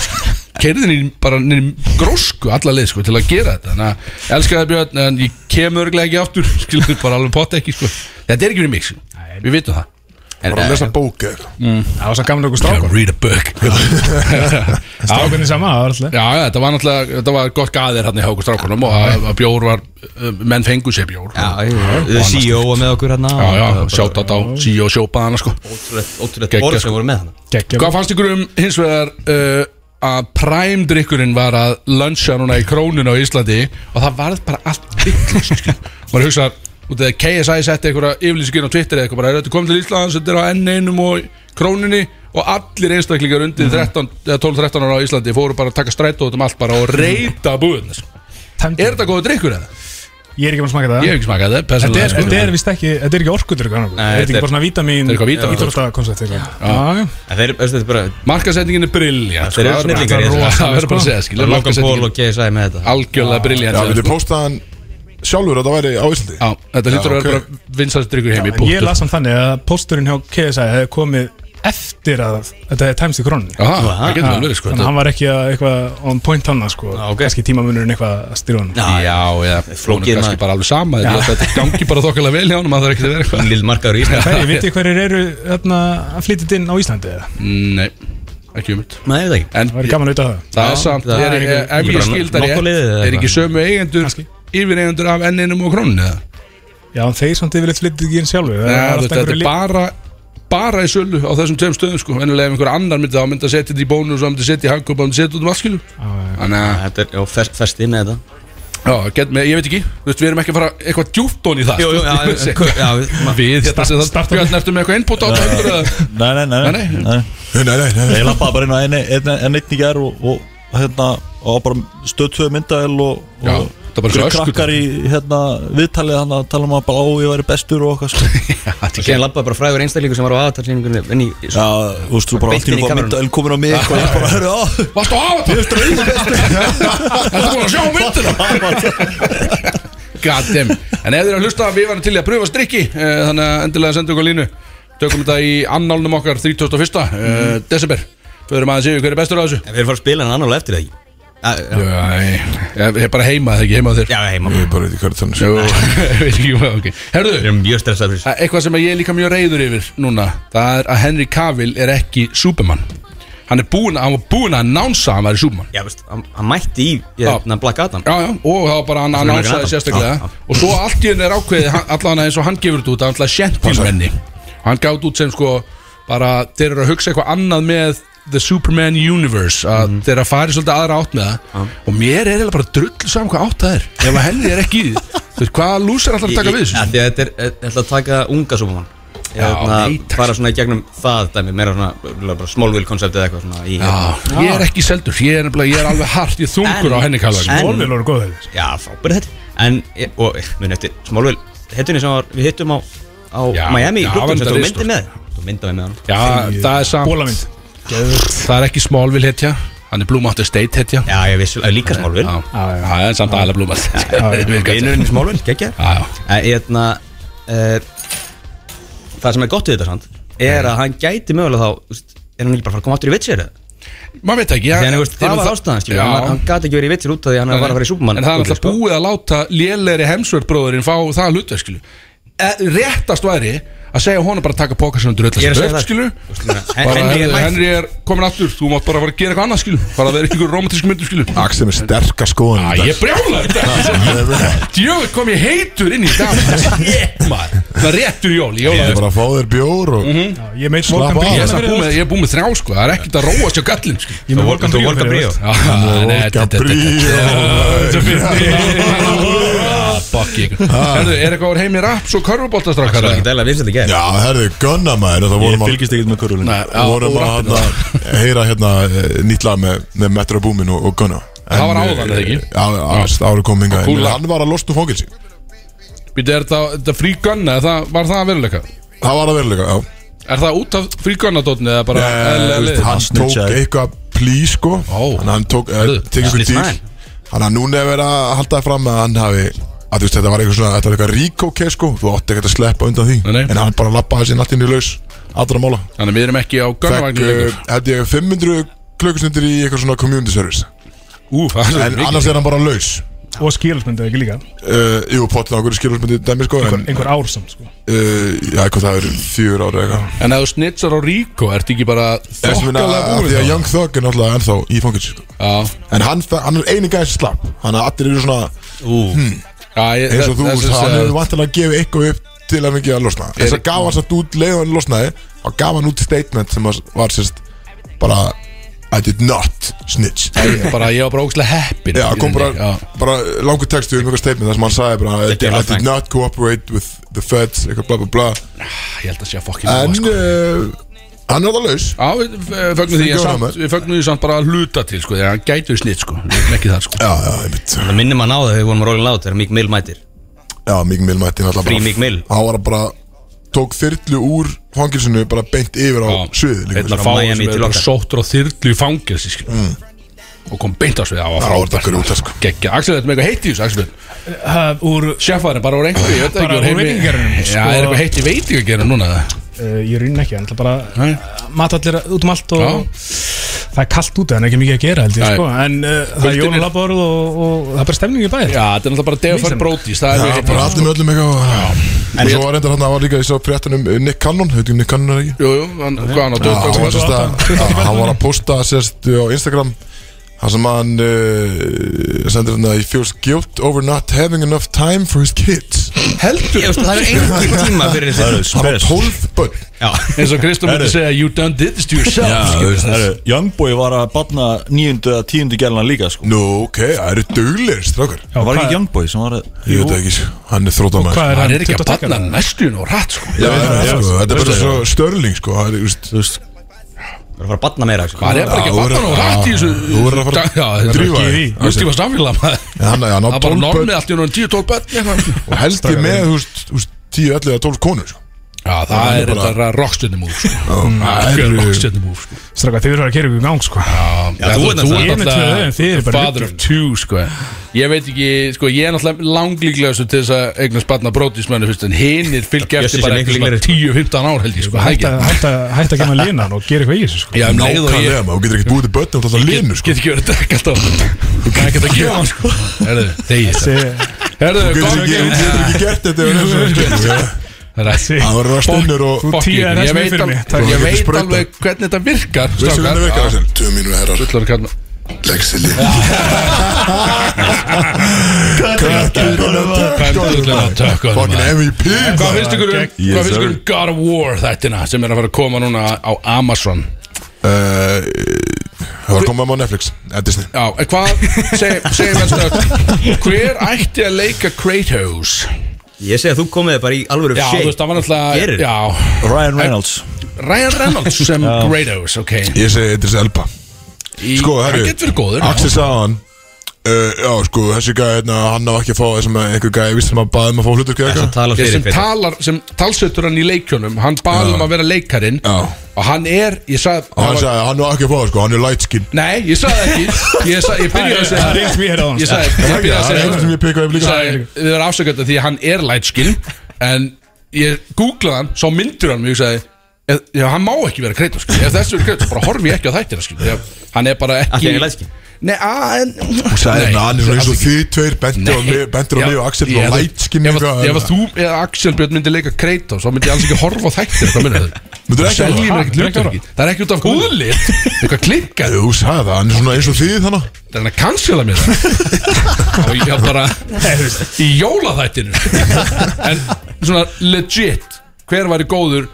Kerðin í bara nýr grósku alla leið sko, til að gera þetta Þannig að elskaði Björn en ég kem örglega ekki aftur skilur bara alveg pott ekki sko. Þetta er ekki fyrir mig, sko. við vitum það bara að lesa bók eða eitthvað. Það var svo gaman okkur Gotta strákur Read a book Já, Strákunni sama, það var alltaf Já, já, þetta var náttúrulega, þetta var gott gaðir hérna hjá okkur strákunum og að, að bjór var, uh, menn fengu sér bjór Já, ég- The CEO var með okkur hérna Já, já, sjátt á CEO sjópaðana sko Ótrúlega Geggjað, orð sko. sem voru með hann geggjum Hvað fannst ykkur um hins vegar uh, að præmdrykkurinn var að luncha núna í krónun á Íslandi og það varð bara allt viklust maður hugsa út af því að KSI setti einhverja yfirlýsingin á Twitter eða eitthvað bara er þetta komið til Íslands, þetta er á N1 og í krónunni og allir einstaklingar undir 13 eða 12-13 ára á Íslandi fóru bara að taka strætó út um allt bara og reyta búðun er Tæmdur. þetta góður drykkur eða? Ég er ekki búin að smaka það Ég hef ekki smakað Þetta þetta persónulega, er, sko. þetta er vist ekki, þetta er ekki orkudur Þetta Nei, er þetta ekki er- bara svona vítamin Þetta er eitthvað vítamín. Íþróttakoncept eitthvað. En þeir, veistu, þetta er bara markasetningin er briljant Þeir eru snillingar í þessu. það verður bara að segja skilur, Logan Paul markasetningin og GSI með þetta Já, algjörlega við briljant erum póstaðan sjálfur að það væri á Íslandi Já, þetta lítur að ok. vera bara vinsast dryggur heimi En ég las hann þannig að pósturinn hjá KSI hefði komið eftir að þetta hefði tæmst í krónunni Aha, það getur Já, vel verið sko Þannig að hann var ekki að eitthvað on point hann sko, Já, ok. kannski tímamunurinn eitthvað að styrja hann Já, já, flókið flókið er kannski maður. bara alveg sama Ég held að Þetta gangi bara þokkalega vel hjá hann maður þarf ekki að vera eitthvað Lill markaður í Ísland Hverju, vitið þið hverjir eru hérna, að flytja inn á Íslandi eða? Nei, ekki um Nei, ég veit ekki En Það væri gaman að vita það það Já, er samt það er, er er, einhver- Ef bara ég skildar nokkuð liðið ég eða Er ekki sömu eigendur Kannski. Yfir eigendur af enninum og króninu eða? Já, en þeir samt yfirleitt flytja ekki inn sjálfur það Nei, er alltaf þetta einhverju er lið- bara bara í sölu á þessum tveim stöðum sko Venjulega ef einhver annar myndi þá myndi að setja þetta í bónus og myndi að setja í hagkaup og myndi að setja út um allskilu Þannig að Þetta er, já, fest, festið með þetta Já, get með, ég veit ekki, þú veist, við erum ekki að fara eitthvað djúpt ón í það sko. Ég veit ekki. já, já Við, hérna sem það, starta Björn, ertu með eitthvað innbútt á þetta heldur eða? Nei, nei, nei, Nei, nei. nei. nei. Nei, nei, nei, nei, nei. Ég lappaði bara inn á enn ein, ein, einn í gær og, og hérna og bara stöðtöðu myndaðil og, Já, og það er bara svo einhverjir krakkar í hérna viðtalið hann að tala um að bara á ég væri bestur og okkar sko. Sér labbaði bara fræður einstaklingur sem var á aðtalsýningunni En í, Já, þú veist, þú bara allt Beint í inn í nú bara kamerun. myndaðil komin á mig og ég bara, herru, á Varstu á þetta? Þetta er búin að sjá myndina God damn En ef þið eru að hlusta, við varum til í að pröfa strikki eh, Þannig að endilega senda okkur línu Tökum þetta í annálnum okkar 31. Mm. eh, desember Förum aðeins yfir, hver er bestur á þessu? En við erum fara að spila hann annála eftir það ekki Já, já, Jæ, Ég er bara heima, það ekki heima á þér já, heima Ég bara veit ekki hvað þetta Jú, er ég veit ekki hvað, ok Við Herðu, erum mjög stressað fyrir það er eitthvað sem ég er líka mjög reyður yfir núna Það er að Henry Cavill er ekki Superman Hann er búin, hann var búin að nánsa að hann væri Superman Já, veist, hann hann mætti í, hérna, Black Adam Já, já, og það var bara hann er ekki annánsaði annað. sérstaklega Já, Og svo allt í henni er ákveðið, hann- allan eins og hann gefur þetta út Það er alltaf gentlemanni Hann gátt út sem sko, bara þeir eru að hugsa eitthvað annað með The Superman Universe Að Mhm. þeir eru að fara í svolítið aðra átt með það Og mér er eiginlega bara drull saman hvað átt það er Ef að henni er ekki í því Þú veist, hvaða lúsar alltaf að taka við Ég- þessu? af því að Þetta er, ég ætla að taka unga Superman Ég Já, ætla að nei, takk. fara svona í gegnum það dæmi Meira svona, örugglega bara small wheel concept eða eitthvað svona í, Já, ég er ekki seldur, ég er, nefnilega- ég er alveg hart, ég er þungur En- á henni kallar en- Volvel voru góð þeir e, Já, frábæri þetta En, ég- og, mun eftir, smálvel Hittunni sem var, við hittum á á Já, Miami í já, sko. klubun var Þú þetta myndir með Þú myndir með hann Já, það er samt Bólamynd Það er ekki Smallville hetja Hann er Blue Mountain State hetja Já, ég vissi, það er líka smálvin Já, það er samt aðalega Blue Mountain State Virkar þetta. Vinurinn í smálvin, geggja Já, já. Eðna, e, Það sem er gott við þetta samt Er að hann gæti mögulega þá þú veist, Er hann ekki bara að fara að koma áttur í vitsir Maður veit ekki já, Þegar Hérna, veist, það eru var það- ástæðan skilur, Já. hann, var- hann gati ekki verið í vitsir út af því að hann var að fara í Superman En það er útlegð, alltaf sko. búið að láta lélegri Hemsworth bróðurinn fá það hlutverk skilu e, Réttast væri að segja honum bara að taka póka sinna dröðla Ég er að segja upp það. skilu Úrslitina. Hen- Bara, Henry er Henry, mætt. Henry er komin aftur, þú mátt bara fara að gera eitthvað annað skilu Bara að vera ykkur romantísku myndu skilu Æ, Axel með sterka skoðan ég brjála þetta Djöfull kom ég heitur inn í dag Ég maður Það er réttur í jól, í Ég er jóla bara að fá þér bjór og Ég meit Slappa af. Morgan Ég er Bríó samt fyrir búið það. með- ég er búið með þrjá sko, það er ekkert að róast hjá gallin sko. Ég með Volkan Bríó fyrir það. Já, nei, Volga þetta- þetta- bríó Bokki ykkur Ah, Herðu, er eitthvað úr heimi raps og körfuboltastrakkar? Það er ekki dæla vinsætt í gerð Já, herðu, gunna maður Það Ég vorum að fylgist ekkert með körfulinn Við vorum að hana, heyra hérna eh, nýtt lag með, með Metro Boomin og, og Gunna en, eh, Það var áðan, eða ekki? ekki? Áður kom hingað Kúla. en Hann var að losna úr fókilsi Býtu, er það, þetta frí gunna, er það, var það að veruleika? Það var að veruleika, já Er það út af frí gunnadótni eða bara Eh, eðlilega veist, liðið? Hann tók Hann snitchaði. eitthvað plý sko Ó. Þannig að hann tók, Hörðu, tekið snitch eitthvað man. dýr Þannig að núna er verið að halda það fram að hann hafi að þú veist þetta var eitthvað svona, þetta var eitthvað ríkó okay, sko, þú átti ekkert að sleppa undan því Nei, nei. en hann bara lappaði sér nattinu laus allra mála Þannig að við erum ekki á Fekk, gunnavagnum uh, lengur held ég 500 klukkustundir í eitthvað svona community service Ú, það er en mikið. annars er hann bara laus Og skilsmyndu ekki líka uh, Jú, pottin á hverju skilurmyndi dæmi sko en, Einhver ár samt sko uh, Já, eitthvað það eru fjör ára eitthvað En ef þú snitsar á Ríko, ertu ekki bara Þess að minna þokkalega að því að búin þá? Young Thug er náttúrulega ennþá í fangins sko. Já, En hann, fe- hann er eini gæðis slapp Þannig að allir eru svona já, ég- eins og þú það- veist, það- hann það- hefur vantilega gefið eitthvað upp til að mikið að losna þess að gaf hann satt út, leið hann losnaði þá gaf hann út statement sem að- var sérst bara I did not snitch ég- bara, ég var bara ógæslega heppin Já, í kom bara, rauninni, já. bara langur textu um eitthvað statement þar sem hann sagði bara I did, I did not cooperate with the feds eitthvað bla bla bla Ég sko. held að sé að fokkin en uh, hann er það laus Já, við eh, fögnum því en Fylgjum samt, honum. við fögnum því samt bara að hluta til sko, þegar hann gætur snitt sko, við erum ekki það sko Já, já, einmitt Það minnir maður á það þegar við vorum að róla lát Þegar Mík Mill mætir Já, Mík Mill mætti náttúrulega Frí bara- Meek Mill. Hann var bara, tók þyrlu úr fangilsinu bara beint yfir á sviði líka. sko. Mm. Einn að hérna Frá fá Miami sem til er bara okkar. sóttur á þyrlu í fangelsi sko og kom beint á svið á að Já, þetta er grúta, sko. Gekkja, Axel, þetta með eitthvað heitt í þessu, Axel Það Úr Sjefaðurinn bara úr einhverju, ég veit Bara ekki úr veitingageiranum, Já, sko. er eitthvað heitt í veitingagerinu núna það? Uh, ég rinn ekki, en það bara Nei. uh, mata allir út um allt og Já. það er kallt úti, þannig ekki mikið að gera held ég Nei. sko, en uh, það er Kvöldin er- jólalaborð og, og það er bara stemning í bæði Já, þetta er náttúrulega bara Deva Fær Vísin. Brodís, það er Já, mjög bara heitt allir með öllum eitthvað Og svo var reyndar hann að var líka, ég sá fréttan um Nick Cannon, hefðu ekki Nick Cannon er ekki? Jú, jú, hann, hvað hann á Já, hann var, döðdags sérst, að, að, hann var að posta sérst eh, á Instagram Það sem hann uh, sendir hann að He feels guilt over not having enough time for his kids Heldur veist, Það er engin tíma fyrir Það þessu Hann eru var spes 12 bönn Já eins og Kristó myndi Herru. segja You done did this to yourself Já, þú skilur. veist, það eru Youngboy var að batna níundu eða tíundu gælna líka sko Nú, ok, það eru duglir, strákar Já, Það var hvað- ekki Youngboy sem var að Ég veit það ekki, sko. hann er sko. þrótamæður Hvað Hann er ekki að 22 ára? banna næstun og rætt sko Já, já, já, já, sko, já, þetta er bara já. svo störling sko, það er, þú veist, Þú veist, Það er að fara að batna meira sko. Hann er bara Já, ekki að þú banna verður- og rætt í þessu já, þú verður að fara að Já, þetta er drífa ekki þig. Þú veist ekki hvað samfélag maður hann hann á Það er bara 12 normið börn allt í unum 10-12 börn og held ég með, þú veist, þú veist, 10, 11 eða 12 konur sko. Já, það er bara rockstjörnumúf sko. Það er rockstjörnumúf sko. Stráka, þið verður að gera ykkur í gang sko Já, þú ert Ég er með tvö náttúrulega augun, þið eru the bara father of ruglir. two sko. Ég veit ekki, sko, ég er náttúrulega langlíklega til þess að eignast barna brótismennu fyrst en hinnir fylgja Bjössi eftir sé bara miklu eftir svona líklegri, sko. 10-15 ár held ég sko, Hætt hægja að- hætt að hætt að gema línan og gera eitthvað í þessu sko Já, um leið og ég Nákvæmlega, maður þú getur ekkert búið til börn og alltaf linu Get sko. get ekki verið að drekka alltaf Það er ekkert að gefa hann sko Herðu, þegið Þessi, Herðu, Þú getur ekki, þú getur ekki gert þetta ef það er svona, sko. Þessi Það verður að stinnur og Þú Fokk tíu er ykkur, ég þess með veit fyrir al- mig Þú Takk. getur ég veit sprautað. alveg hvernig þetta virkar Veistu strákar. hvernig það virkar Já. þessin? Tvö mínu herrar, Fullar kallar leggsili Kötturinn á Kötturinn á tökkunum, tökkunum Fucking maður. MVP Hvað maður. finnst ykkur um, Yes, hvað finnst sir. ykkur um God of War þættina sem er að fara að koma núna á Amazon Eh, Það var komað á Netflix eh, Disney Já, en hvað, segjum seg, við þetta Hver ætti að leika Kratos? Ég segi að þú komið bara í alvöru Já, shape. þú veist, það var náttúrulega Gerir. Já, Ryan Reynolds Ryan Reynolds sem Kratos, ok Ég segi Idris Elba Í, Sko, Hann herri, getur verið góður Axel sagði hann Uh, já, sko, þessi gæði, hérna, hann á ekki að fá þessum einhver gæði, ég vissi sem að baði um að fá hlutur Það sem tala Ég fyrir sem fyrir talar, sem talsettur hann í leikjónum Hann bað um að vera leikarinn Já. Og hann er, ég sagði Og hann var- sagði, hann á ekki að fá það, sko, hann er light skin Nei, ég sagði ekki Ég, sa, ég byrjaði að segja Það er eins sem ég heyrði á hann. Ég sagði, Það ég er ekki, það byrjaði að er segja eina sem ég pekaði um Ég líka sagði, við erum afsökjönda því að hann er lightskin En ég googlaði hann, svo myndur hann mig Ég sagði, ef- já, hann má ekki vera kreita skil. Ef þessu er kreita, bara horfi ég ekki á þættina skil. Þegar Hann er bara Af því ekki hann er lightskin? Nei, að en Hún sagði, Nei, hérna, hann er svona eins og alls ekki. þið tveir, Bendur og mig- Bendur og mig og Axel og light skin hérna. Ef að- eitthvað, ef að þú eða Axel Björn myndi leika Kratos þá myndi ég alls ekki horfa á þættir Það myndir Myndirðu það ekki Seljið horfa? mér ekkert Ha, hlutverki. Það er ekki út af húðlið Eitthvað klikkað Þú sagði það, hann er svona eins og þið þannig Það er hann að cancela mér það Og ég haf bara Í jólaþættinu En svona legit Hver væri góður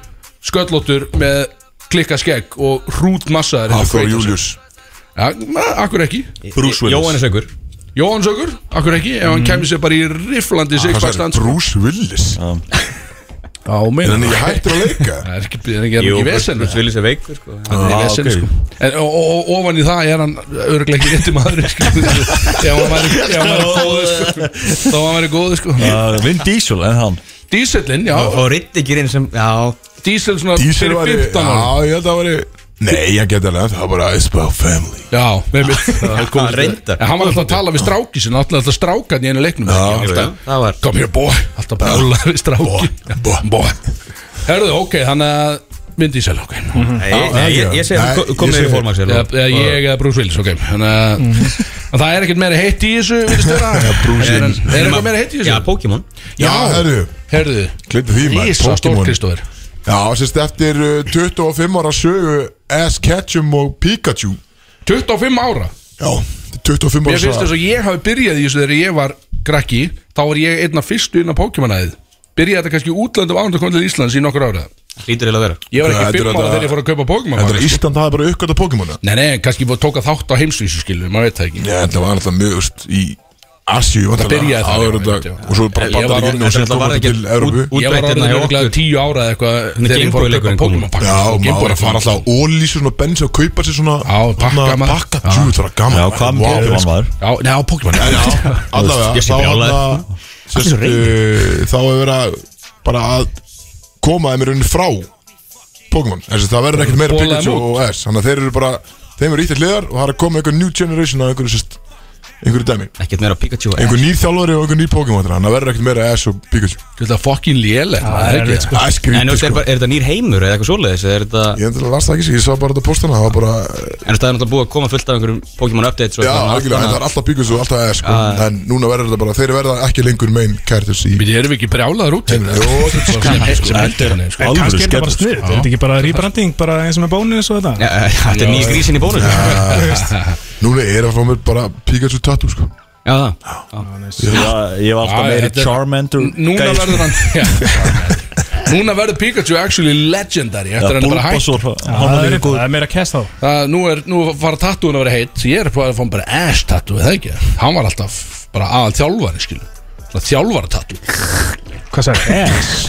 sköllóttur Með klikka skegg og hrút massaðar eins og Hafþór Kratos? Július ja, na, Akkur ekki Bruce Willis Jóhannes aukur Jóhannsökur, akkur ekki Ef hann kemur sér bara í riflandi Hann sagði, Sixpackstans Bruce Willis Já, meina En ég hættur að leika Það er ekki, það er ekki, það er ekki vesen Bruce Willis er veikur sko Það er í vesen, sko. En, og, og, og ofan í það er hann örglega ekki rétti maður sko. Ef hann væri ef hann væri góður sko. Þá hann væri góður sko. Uh, Vin Diesel, en hann Díselin, já, Og Riddickirinn sem Já Diesel svona Diesel var fyrir 15 ára Já, ég held að það væri Nei, ég geti alveg Það var bara It's about family Já, með mér Það reyndar. Hann var alltaf að tala við stráki sinna Alltaf að strákan í einu leiknum Já, Alltaf, Það var Kom hér boy Alltaf bara alltaf við stráki Boy. Boy Herðu, ok, þannig að Vin Diesel, ok Nei, nei, ég, ég segi Nei, að ég komið segi- í formaksel Eða eða ég eða Bruce Willis, ok Þannig að en það er ekkert meira heitt í þessu Vilist vera Mm. Bruce Er- Willis. Er eitthvað meira heitt í Já, þessu? Pokémon Já, herru Herðu Gleymdu því, maður, Ísa stór Pokémon. Kristóður Já, sérst eftir uh, 25 ára sögu Ass Ketchum og Pikachu 25 ára Já, 25 ára Mér finnst þess að ég hafi byrjað í þessu þegar ég var krakki Þá var ég einn af fyrstu inn á Pokémonæðið Byrjaði þetta kannski í útlöndum ánum að koma til Íslands í nokkur ára Lítur eða að vera Ég var ekki Þetta er fimm ára þetta- þegar ég fór að kaupa Pokémon Þetta er maður, sko. Ísland, það er bara uppgötta Pokémona Nei, nei, kannski búið að tóka þátt á heimsvísu skilur, maður veit það ekki Já, þetta var alltaf mjög úst, í Asju Það byrjaði það, já, það einmitt, já. Og svo bara Ég var bandar orðin- ekki Og sér þetta var koma þetta ekki til Európu út- Ég var Útbreitt hérna orðin hjá örgulega okkur. tíu ára eða eitthvað Þegar ég fór að kaupa Gameboy-leikurinn Pokémon pakka Já, og maður Gameboy var að fara alltaf á ólísun og bensin og kaupa sér svona Já, pakka, svona maður. Pakka, Já. tjú, það var gaman Já, hvað Vá, með hann sko. var Já, nei, á Pokémon En já, allavega Ég sé þá brjálaður. þarna, sérst, uh, Þá hefur verið að bara að koma þeim í rauninni frá Pokémon Þessi, Það verður ekkert meira Bóla þeim Pikachu út. og S Þannig að þeir eru bara, þeim eru ítt að hliðar og það er að koma einhver new generation af einhverju sérst einhverju dæmi, Ekkert meira Pikachu einhver nýr þjálfari og einhver nýr Pokémon þannig að það verður ekkert meira S og Pikachu Þetta er fokkin léleg Það er ekki sko. Það er En skrítið veist, er, sko bara- er þetta nýr heimur eða eitthvað svoleiðis eða er þetta, Ég endur að lasta það ekki sér, ég sá bara þetta postana það var bara, En veist, það er náttúrulega búið að koma fullt af einhverjum Pokémon updates og já, eitthvað algjörlega, en annað. það er alltaf Pikachu og alltaf S sko, en núna verður þetta bara, þeir verða ekki lengur main characters í Við erum við ekki brjálaður út Jó, þetta er Sem- sem heldur hann, sko. En Alvöru kannski er þetta bara skellur, snið Er þetta ekki bara rebranding, bara eins og með bónus og þetta? Já, já, Þetta er nýr grísin í bónus Já, Núna er að fá mér bara Pikachu tattoo sko það Ég var- ég var alltaf Já, meiri þetta er- Charmander Núna gæi, sko. verður hann já, Núna verður Pikachu actually legendary Eftir Já, hann er bara hægt Bulbasaur, hann Það er er- líka góð það er meira kæst þá Það, nú, er, nú fara tattúin að vera heitt Ég er bara að fá bara ass tattoo Það ekki Hann var alltaf bara aðal þjálfari skilu Svona þjálfara tattoo Hvað sagði? Ass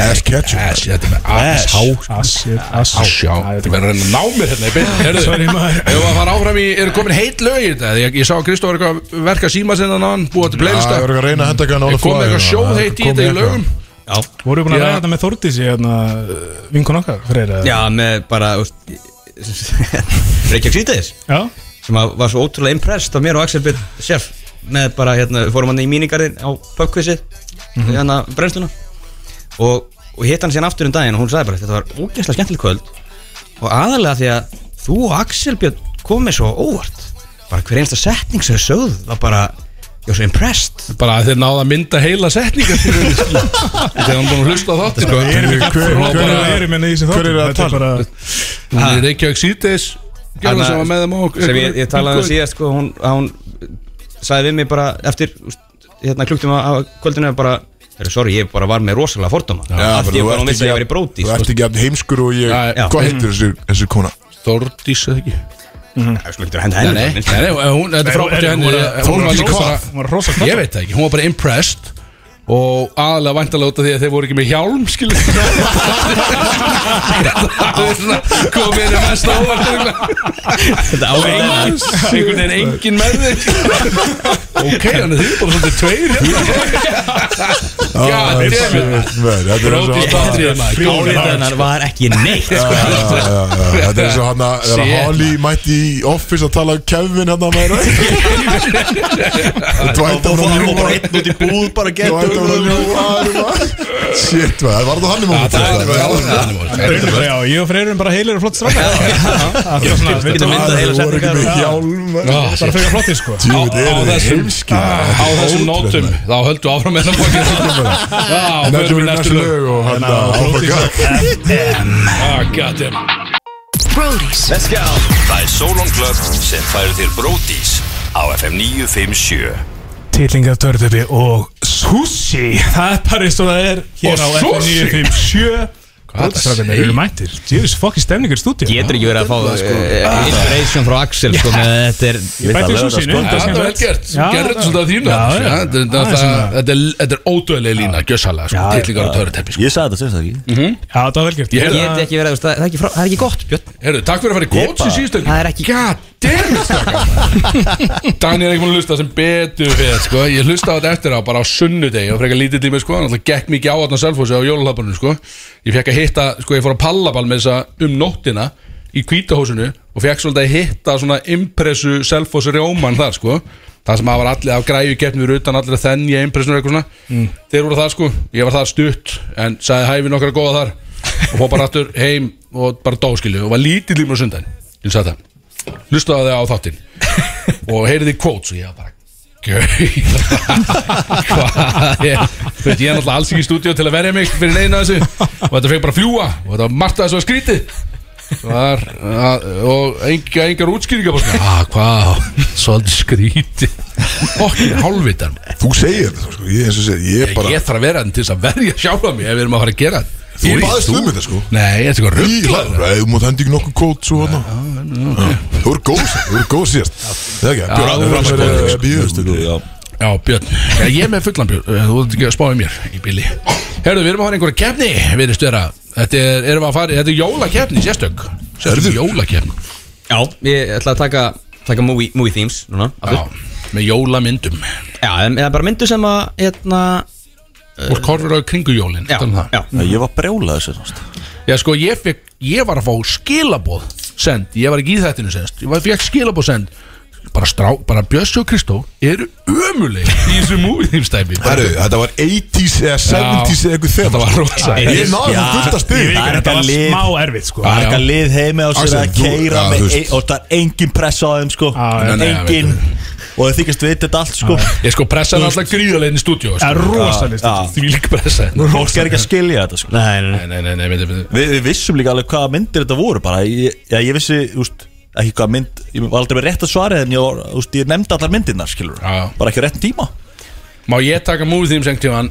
Ass Ketchum Ass, þetta er með ass Há Ass shit, Ass Á, já, þú verður að reyna að ná mér hérna í byrni Herðu, Sorry, maður. ef að fara áfram í, eru komin heitt lög í þetta Ég, ég sá að Kristó var eitthvað að verka síma sinna hann Búið til Já, playlista ég var Ég ekki að reyna að henda ekki hann ála kom með eitthvað sjóð heitt í þetta í lögum Voru við búin að Já. ræða þetta með Þórdís í hérna, vinkun okkar, Freyra? Já, með bara þú veist, Reykjavík síðdeis Já, sem að var svo ótrúlega impressed af mér og Axel Bitt Sjef með bara hérna, við fórum hann í míningarinn á pubquizið hérna brennsluna og, og hitt hann síðan aftur um daginn og hún sagði bara þetta var ógeðslega skemmtileg kvöld og aðalega því að þú og Axel Bitt komið svo á óvart bara hver einsta setning sem þau sögð var bara, ég var svo impressed Bara að þeir náða að mynda heila setningar Þegar hann búin að hlusta á þáttin hvað er það erum hérna í þessu þáttum? hver er að Þetta er bara, Hún er Reykjavík síðdeis Gerðan Hanna- sem var með þeim á sem ég, ég talaði um síðast sko, hún, að hún sagði við mig bara eftir úst, hérna klukktum að kvöldinu bara, "Heyrðu, sorry, ég bara var með rosalega fordóma af því ég bara hún vissi að ég var í bróti sko. Þú ert ekki eftir heimskur og ég Já, já. Hvað heitir þessi, þessi kona? Þórdís eða ekki Það er sko ekki að henda Nei, henni nei, nei, nei, hún- þetta er frábært hjá henni Hún var Þórdís líka hvað? bara Hún var rosa Ég veit það ekki, hún var bara impressed Og aðalega væntalega út af því að þeir voru ekki með hjálm skilur Það er svona komið inn að mesta óvart Þetta örugglega. á Og einhvern veginn engin með þig Ok, þannig þið er bara svolítið tveir Ah, God damn it shit, man, Þetta er eins og Bróti hann að- stóttrið maður Gólið hennar var ekki neitt sko. Já, já, já, já. Þetta er eins og hann að þegar Shit. Holly mætti í office að tala um Kevin hann að maður Dvæta Og hún að það var ljúa bara einn út í búð bara Dvæta getur hún að ljúa hann, maður. Shit, maður, það var það hann í móment Það er bara Já, ég og Freyr erum bara heilir og flott strákar Það er svona, við Getur erum myndað heila Það voru ekki setningar með og- hjálm maður. bara fyrir flottir sko Jú, Á- þetta á eru þið þessum- heimski Á þessum nótum Þá höldu áfram með það bókið Já, Þetta förum voru við næstu næstu lög lög Hérna, og hann að Oh my god Ah, God damn Brody's Það er Solon Club sem færir þér Bródís á FM 957 Tilling af törðubi og sushi Það er bara eins og það er hér á Og sushi? 957 Hvað það Strákarnir segir? eru mættir Jöfis fokki stemningur í stúdíu Getur ekki verið að fá eh, inspiration frá Axel sko, með að Þetta er Bættu í sushinu Já, það er Þetta er vel skemmtilegt. gert, Já, gerður þetta svolítið að þínu Já, já. annars, ja, þetta- þetta- Aðeins það- svona. Þetta er- þetta er ódöðlega lína, gjössalega, sko, tillingar og töruteppi sko. Ég sagði þetta semst ekki Já, það var vel gert Ég Ég- held Getur ekki verið að það er ekki frá- það er ekki gott Björn Herru, takk fyrir að fara í Ég kóts í bara- síðustöku Það er ekki- God damn it, strákar Dani er ekki múin að hlusta sem betur við, sko Ég hlusta á þetta eftir á, bara á sunnudegi og frekar lítið tími, sko Þannig gekk mikið á þarna selfhósi á jólalabarnu, sko Ég fekk að hitta, sko, ég fór á pallaball með þessa um nóttina í kvítahósinu og fekk svolítið að hitta svona impressu selfhósi rjóman þar, sko Það sem að var allir af græju getnum við utan allir að þennja impressunur eitthvað svona Þeir voru það sko, ég var það stutt en sagði hæfi nokkra góða þar og fór bara aftur heim og bara dóskilu og var lítið líma sundan ég sagði það, lustaði það á þáttinn og heyriði quotes og ég var bara Gauð Hvað er Þú veit, ég er náttúrulega alls ekki í stúdíu til að verja mig fyrir neina þessu og þetta fekk bara að fljúa og þetta var margt að þessu að skrítið Var, að, og enga, engar útskýringar bara svona, ah, hvað, svolítið skríti okkur hálfvitar maður. Þú segir þetta, sko, ég eins og segir, ég ég, bara ég þarf að vera þann til þess að verja sjálfa mig ef við erum að fara að gera þetta Þú baðist um þetta, sko. nei, þetta er eitthvað Ílar, rugglar þú mátt hendi ekki nokkuð kót svo hann Þú eru góð, sko. þú eru góð síðast Það er ekki, þú Björn, sko. það eru er alveg góð, að bíðast Já. já, Björn, já, ég er með fullan Björn Eh, þú ert ekki að spáði mér í bíli herru, við erum að fara í einhverja kefni við erum störa þetta er, erum að fara, þetta er jólakefni, sérstök sérstök jólakefni Já, ég ætla að taka, taka movie, movie themes núna já, aftur. með jólamyndum Já, en það er bara myndu sem að hérna, fólk horfir á kringujólin já, já, Ég var brjólað semst um Já sko ég fekk, ég var að fá skilaboð send, ég var ekki í þættinu senst ég var, fekk skilaboð send bara, strá, bara Bjössi og Kristó eru ömuleg í þessu múið þýmstæmi Herru, þetta var 80s eða 70s eða eitthvað þetta þegar var rosa Ég náði Já, það fullt að ég stið veit ekki, er Þetta var lið. Ah. smá erfið sko Það er eitthvað já. lið heimi á sér Axel, að þú- keira já, með þú veist. og það er engin pressa á þeim sko Já, já. Nei, nei, Engin og þau þykist veit þetta allt sko ég sko pressa hann alltaf gríðarlegin í stúdíu Það er sko. rosalist Já. því líka pressa hérna. Fólk er ekki að skilja þetta sko Nei, nei, nei nei, nei, nei, nei, nei, nei. Við, við vissum líka alveg hvaða myndir þetta voru bara Ég, já, ég vissi, úst, ekki hvaða mynd Ég var aldrei með rétt að svara En ég, var, úst, ég nefndi allar myndirnar, skilur Já. Bara ekki á réttin tíma má ég taka múið þýms engt tíman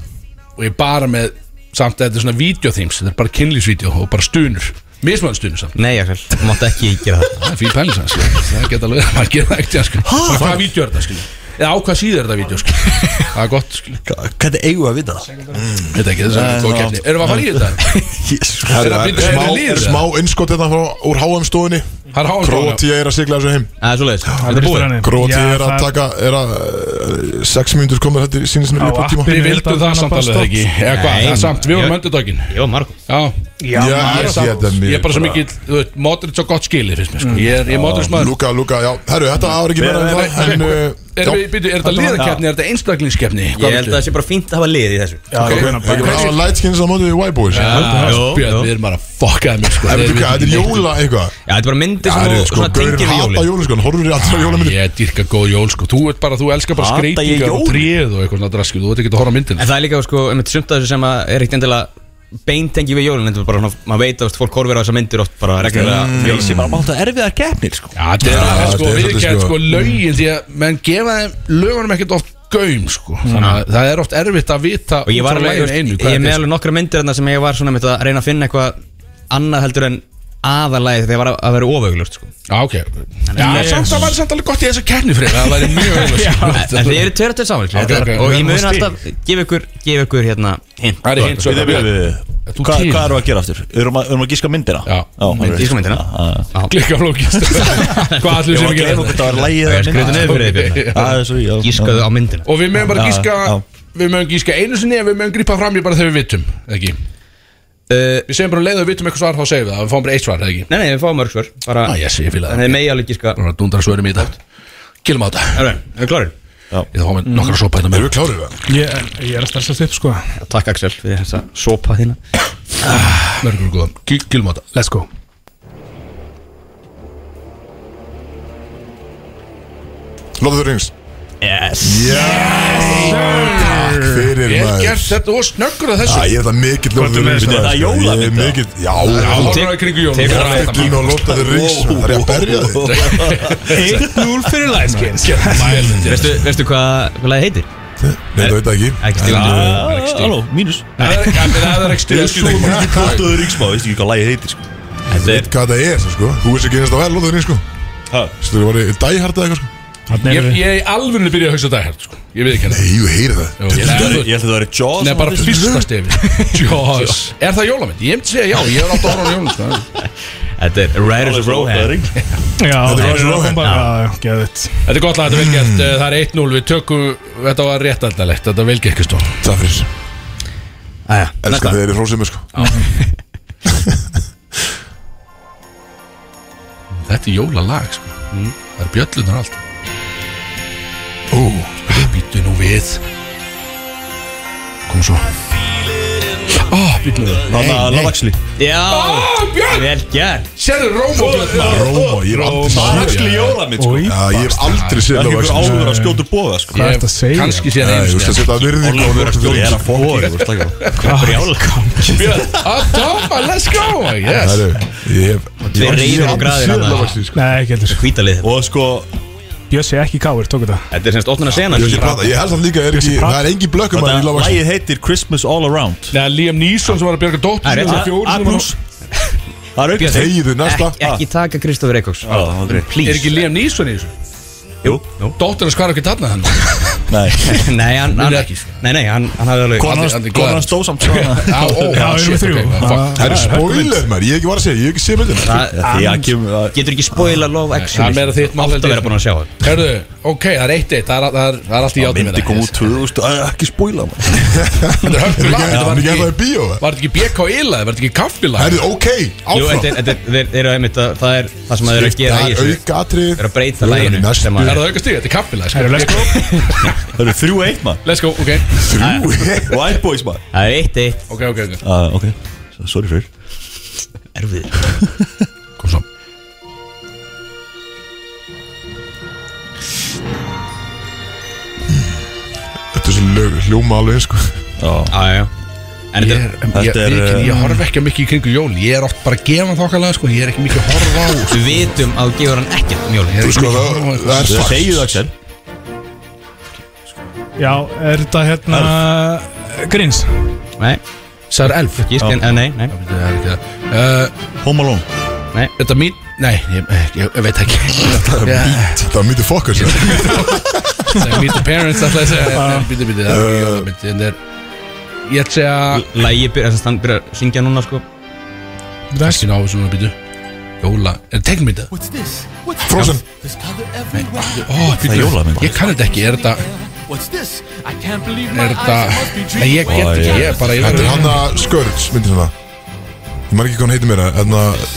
og ég bara með samt að þetta er svona videothýms þetta er bara kynlýsvídeó og bara stunur mismann stunur samt nei, Axel, þú mátt ekki gera það það er fyrir pælis hans það geta alveg maður gera það ekkert sko. Bara hvaða vídeo er þetta skilur eða á hvað síður er þetta vídeo sko. það er gott skilur Hva- Hvernig eigum við að vita það? Þetta ekki, þetta er góð keppni Erum við að fara í þetta? Jésus Er það bíddu, er það Smá, liður, smá innskot þetta frá úr HM stofunni Það er háan Króti Krótía er að sigla þessu heim Það er svoleiðis, þetta er búið Krótía Já, er að það- taka, er að 6 mínútur komið þetta sínist mér Á upp á tíma appinu. Við vildum það samt alveg ekki Eða hvað, Nei, það er samt, við vorum ég- öndudaginn Jó, Marko Já, Já, ég sé þetta mér ég er bara svo mikill Þú veit, Modric og gott skilið finnst mér sko. Ég er, ég er Modric maður Luka, Luka, já, herru, þetta áður ekki meira en það En, uh, Erum við, já, byrju, er þetta liðakeppni, er þetta einstaklingskeppni? Ég held að það sé bara fínt að hafa lið í þessu Já, ok, ekki bara hafa lightskins á mótið í White Boys Björn, við erum bara að fuckaða mig sko En Þeir veitu hvað, þetta er vita ekki jóla eitthvað þetta er bara myndir Já, sem herru, þú sko, svona gaurinn tengir við hata jólin jólaskon Horfur þér alltaf neitt. jólamyndir Ég dyrka góð jól sko Þú ert bara, þú elskar bara Hata ég skreitingar og jólin? tréð og eitthvað svona drasku Þú veit ekki að horfa á myndina En það er líka, sko, um þetta sumt að þessu sem að er ekkert endilega beintengi við jólin Þetta er bara, svona- maður veit að fólk horfir á þessar myndir oft bara reglulega Ég sé bara mátt að erfiða keppnir sko Já, þetta Já, er ja, þetta er sko, svolítið, viðkjænt sko. sko lögin því að menn gefa þeim lögunum ekkert oft gaum sko þannig að það er oft erfitt að vita Og ég var út frá alveg, laginu ég einu ég hvað er þetta með er alveg nokkra myndir þarna sem ég var svona mitt að reyna að finna eitthvað annað heldur en aðalæði þegar það var að- að vera ofauglust sko. Já, ok Já, Yes. samt að væri samt alveg gott í þessa kerni fyrir Það væri mjög sko. öfnus En þið eru tverja til saman Ok, ok, okay, Og við ég erum mun á stig. alltaf gefa ykkur, gef ykkur hérna hint Það er hint svo Við, við, við, við. Þú Hva, til. hvað erum við að gera aftur? Erum við að gíska myndina? Já. alveg. Gíska myndina. Já, já. Klikka flókist Hvað allir Ég sem var að ekki gleyma hvort það var lægið Ég skriði niður fyrir þig Björn. Það er svo já, Gískaðu á myndina Og við mögum bara Já, gíska já. Við mögum gíska einu sinni En við mögum grípa fram í bara þegar við vitum eða Ekki Uh, Við segjum bara um leið og við vitum eitthvað svar Þá segjum við það Við fáum bara eitt svar eða ekki Nei, nei, við fáum mörg svör Bara, Ah, yes, ég fíla það. Þannig að megi alveg gíska Bara dundar svörum í þetta Kilum á þetta Alright, Erum við klárir? Mm. Ég þá fáum nokkra sopa þetta Erum með við klárið það? Ég, ég er að stressa upp sko Takk Axel fyrir þessa sopa þína Mörgur góðum Kilum á þetta Let's go Lóta þú rings Yes Takk fyrir Ég er maður gert þetta og snöggur Æ, að þessu ég er það mikill Lóta þú rings sko. þetta? Það er jólamynd, Ég er mikill, já Já, Ég horfum við í kringu Jón Tekur Bara er alveg þetta. ekki að Lóta þú rings Það er ég að berja þig Mælandi. Veistu, veistu hvað, hvað lagið heitir? Nei, það veit það ekki Ekki stígandi Halló, mínus Það er- það er ekki Ég stuð skil ekki hvað Kvartuður ríksmá, veistu ekki hvað lægið heitir sko. Þetta er Hvað það er, sko Þú veist ekki einasta vel, Lóta þú rings, sko Ha? Þú veist, það var dæhard eða eitthvað, sko Þannig Ég er ég er alveg byrjað að hugsa þetta hér sko. Ég veit ekki henni Nei, jú, heyri það Jú, ég- Ég held að það væri Jaws Nei, bara fyrsta stefi Jós Er það jólamynd? Ég myndi segja já, ég er átt að horfa á jólamynd sko. Þetta er Riders of Rohan Rohan Já, Þetta er Royal Open. bara Já, já, geðvitt Þetta er gott lag, þetta er vel gert Eh, Það er 1-0, við tökum Þetta var réttaldalegt, þetta er vel gert Kristó Takk fyrir Æja, Elskar þeir eru hrósið mér, sko Þetta er jólalag sko. Það er bjöllunar allt Ó, býttu nú við Kom svo Ó, býttu nú við Hanna Lavaxli Já, Ó, Björn, vel gert sérðu Róma Björn Róma, ég er aldrei séð Lavaxli jólamið sko Új, Já, ég er aldrei séð Það er ekki Lóta þú áhugur rings að skjóta bóða sko hvað er þetta að segja? Kanski séð Nei, þú einu veist að sinni. setja virðing á Lóta þú Ég er rings að fokka Björn, að topa, let's go Yes Herru, ég hef Við reyðum á græðir Séð hana Lóta Nei, ekki heldur Hvítalið Og sko Bjössi ekki káir, tók þetta Þetta er semst opnuna senan Ég plata, ég held það líka er ekki, það er engin blökkum að Lilla Vaxi Lægið heitir Christmas All Around Nei, Liam Neeson sem var að björga dóttur Það er sinni, rétt. fjórum A sem var plus Það er aukast Þegiðu næsta Ekki, ekki taka Kristofur Eikóks Er Please ekki Liam Neeson í þessu? Jú Dóttir hans hvar ekki þarna hann Nei Nei, hann, hann er ekki, sko. Nei, nei, hann, hann hafði alveg Konan- Andri- Andri Konan hans stóð samt svona Já, Ah. ó, Já, við erum shit, þrjú. ok, fuck. Það er spoiler maður, ég hef ekki var að segja, ég hef ekki séð myndina Það Því að kemur að- getur ekki spoila Love Actually Það er meira þitt mál Átt sko. að vera búin að sjá það Hörðu, ok, það er eitt eitt Það er, það er, það er allt í játtum Myndi kom út 2000 Æ, Ekki spoila maður. Þetta er höfðu lag Ég Þetta hef var ekki ekki það í bíó það. Var þetta ekki BK Ila, var þetta ekki kaffi lag Herru, ok, Jú, áfram þetta er- þetta er- þeir þeir eru einmitt að Það er það sem þeir eru að gera í þessu auka atrið Þeir eru að breyta læginu Næstu sem Er að- það auka stíð, þetta er kaffi lag Herru, let's go Það eru þrjú eitt maður Let's go, ok þrjú White boys maður Það er eitt eitt Ok, ok, ok Ah, Ok So- Sorry fyrir Erfið Kom svo Þetta er svo lög, hljóma alveg eins, sko Æja En Ég, þetta er- ég, Þetta er, ég, ég, uh, ég horf ekki mikið í kringu jól Ég er oft bara að gefa þokkalega sko. Ég er ekki mikið að horfa á Við vitum að þú gefur hann ekkert um Ég jólin er Þú ekki sko, mikið að það horfa á- það er Það fakt segið Axel Já, er þetta hérna Gríns? Nei, Það er elf gísk en, en eh, nei, nei, Það er ekki það Eh, Home Alone nei Þetta mín, nei, ég, ég, ég veit ekki Þetta er mín Þetta var sko. mítið fokkast Like meet the parents alltaf að segja Bíti, bíti, það er jólamynd En er Ég ætla að segja Lægi byrja, þess að hann byrja að syngja núna sko Þessi ná svona bíti Jóla Er það teknmynd það? Frozen Ó, bíti Það er jólamynd. Ég kann þetta ekki Er þetta Er þetta Nei, ég get ekki Ég er bara Ég Þetta er verður hann að Skörds, myndin hérna Ég maður ekki hvað hann heitir meira Þannig að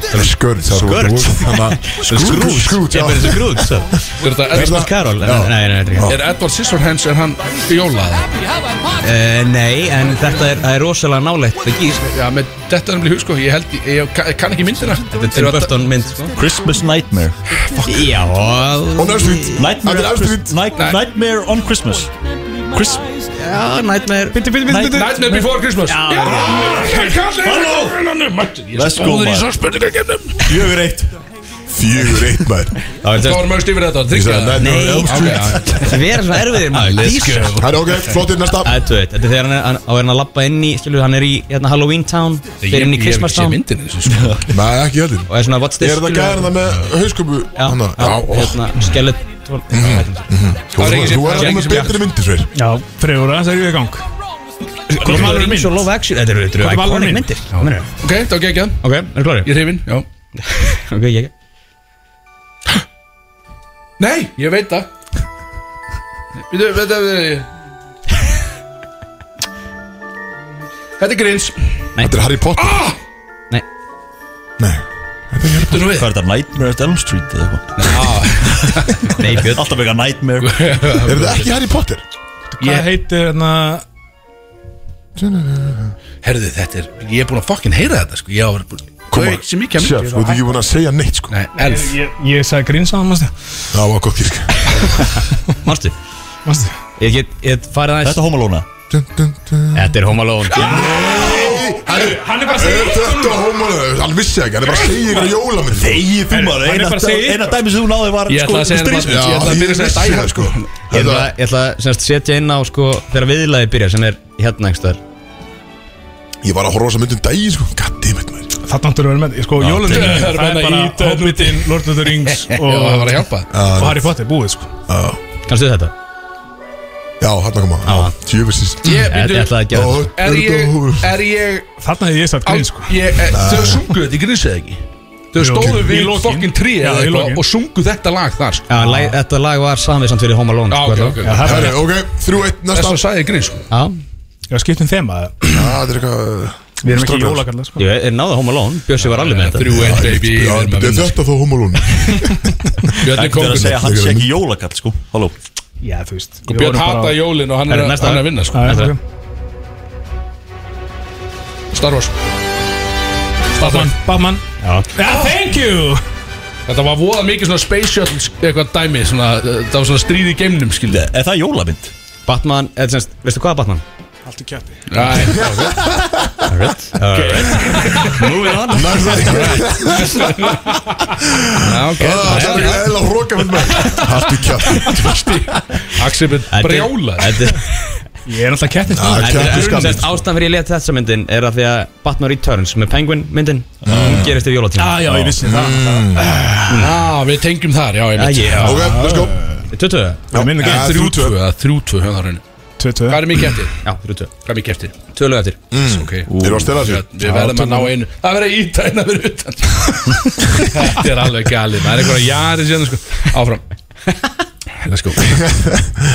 Það er Skörds Skörds Þannig að Skrúts Skrúts, já Hérna- Þessu grút Er Er þetta það Karol? Nei, Já. nei, nei, þetta er ekki hann. Er Edward Scissorhands Er hann Jóla það? Eh, Nei, en þetta er, það er rosalega nálægt sko. Það gísk Já, með þetta er nefnilega hug sko Ég held Ég, ég kann- kann ekki myndina Þetta er Tim Burton mynd sko Christmas Nightmare Já Og Nörstvítt Þetta Nightmare, er on Nörstvítt Christ- Night- Nightmare on Christmas Chris Já, Nightmare Bittu, bittu, bittu, bittu. Nightmare Before Christmas Já, ég kann Halló. ekki Let's Let's go, Góður í maður. svo spurninga Fjögur eitt Fjögur eitt maður Þá erum við stífur þetta Ég sagði, Tryggja Nightmare on Nei. Elm Ok, Street já, Þið vera svona erfiðir já, maður let's go Það er ok, flottir næsta Það er tveit, þetta er þegar hann er, hann, á er hann að lappa inn í, skilur, hann er í hérna, Halloween Town Þeir eru inn í Ég hef Christmas ekki sé Town myndin þessu sko Nei, ekki heldur Og er svona, what's this, Er þetta gæðan það með hausköpu? Já, hana? já, ó, hérna, skellet Þú Það er ekki þú er að sem- koma með ekki sem- betri myndir sveir Já, Freyr, það er í gang Hvað alvöru mynd? Svo love action, þetta eru- Hvað þetta eru er alvöru iconic mynd? myndir Hvað meinarðu? Ok, þá gekk ég Ok, er Ég klári? er hrifin, já Ok, ég Nei, ég veit það Býtu, veit það Þetta er grins Þetta er Harry Potter Nei, Nei Þetta er nú við Hvað er þetta, Nightmare at Elm Street eða eitthvað? nei, Björn Alltaf eitthvað Nightmare Er þetta ekki Harry Potter? Hvað heitir hérna Herðu, þetta er Ég er búin að fucking heyra þetta, sko Ég var búin Koma, Gau, sem mikið að Sjef, mikið þú ert ekki búin að segja neitt sko Nei, elf Ég, ég sagði grínsaðan, mannstu Það var gott kirk Manstu? Mannstu Ég get, ég get farið aðeins Þetta er homalóna Þetta er Home Alone Hann er bara að segja Þetta er homalóna Hann vissi ekki, hann er bara að segja ykkur jólamynd sko. Þegi þú maður, maður, eina- eina dæmi sem þú náði var sko, Ég ætla að segja þetta Já, Ég ætla að ég byrja að vissi segja það dæma sko Ég ætla, Þetta ég ætla að semst, setja inn á sko þegar viðlaði byrja sem er hérna einhverstaðar Ég var að horfa á þessa myndum dægi sko Goddammit maður Það náttúrulega verið með, sko, jólundin það er Það er bara bara Eden. Hobbitin, Lord of the Rings Já, og, það var að hjálpa og Harry Potter búið, sko Kannstu þetta? Já, hérna hann kom Já. að Tjöfisins Ég, Ég ég býtu ætla að gera þetta Er ég Er ég Þarna hefði ég sagt á- grín, sko ég- eh, Þau sungu þetta í grins eða ekki Þau Jú, stóðu í við lokin. fucking trí Já, í lokin. Og sungu þetta lag þar, sko Já, en lag, þetta lag var samið samt fyrir Home Já, Alone sko, ok, þetta. ok Það Herri, er, ok, þrjú eitt næsta Þess að sagði ég grins, sko Já, ég var skipt um þema Já, Þetta er eitthvað Við erum ekki Strögglar. jólakallar, sko ég er náða Home Alone Bjössi var alveg með þetta Þrjú, Já, einn, ég- baby já, við erum að er vinna, sko. Þetta þá homalóna Björn er Ekki verið að kóngurinn. segja að hann sé ekki jólakall sko Halló Já, þú veist Og Björn hata jólin og hann er, Herru, næsta. hann er að vinna sko. jólun Star Wars Star Trek. Batman Já, thank you Þetta var voða mikið svona space shuttle sk- eitthvað dæmi svona, uh, Það var svona stríð í geimnum skildi Er það jólamynd? Batman, eða semst, veistu hvað er Batman? Allt í kjöti Næsta Það er eða hróka með mér Haltu kjátt Axel Ah, er brjála Þetta er- Ég er alltaf kjöti Það er þetta kjátt í er skammi semst, ástæðan fyrir ég leti þessa myndin er að því að Batman Returns með Penguin myndin hún gerist yfir jólatíma Já, ég vissi það Já, ah. við tengjum þar, já, ég Já, mitt ég- Mm. Ok, let's go Tutu? Það minna Já, ekki þrjú, tvö. Þrjútvö, þrjútvö höfðar henni Tvötu Hvað er mikið eftir? Já, þrjútu Hvað er mikið eftir? Mm. Tölu eftir Ok Þeir eru að stela sér Við verðum að ná einu Það verður að íta einu að vera utan Þetta er alveg galið Það er eitthvað jari síðan sko Áfram Let's go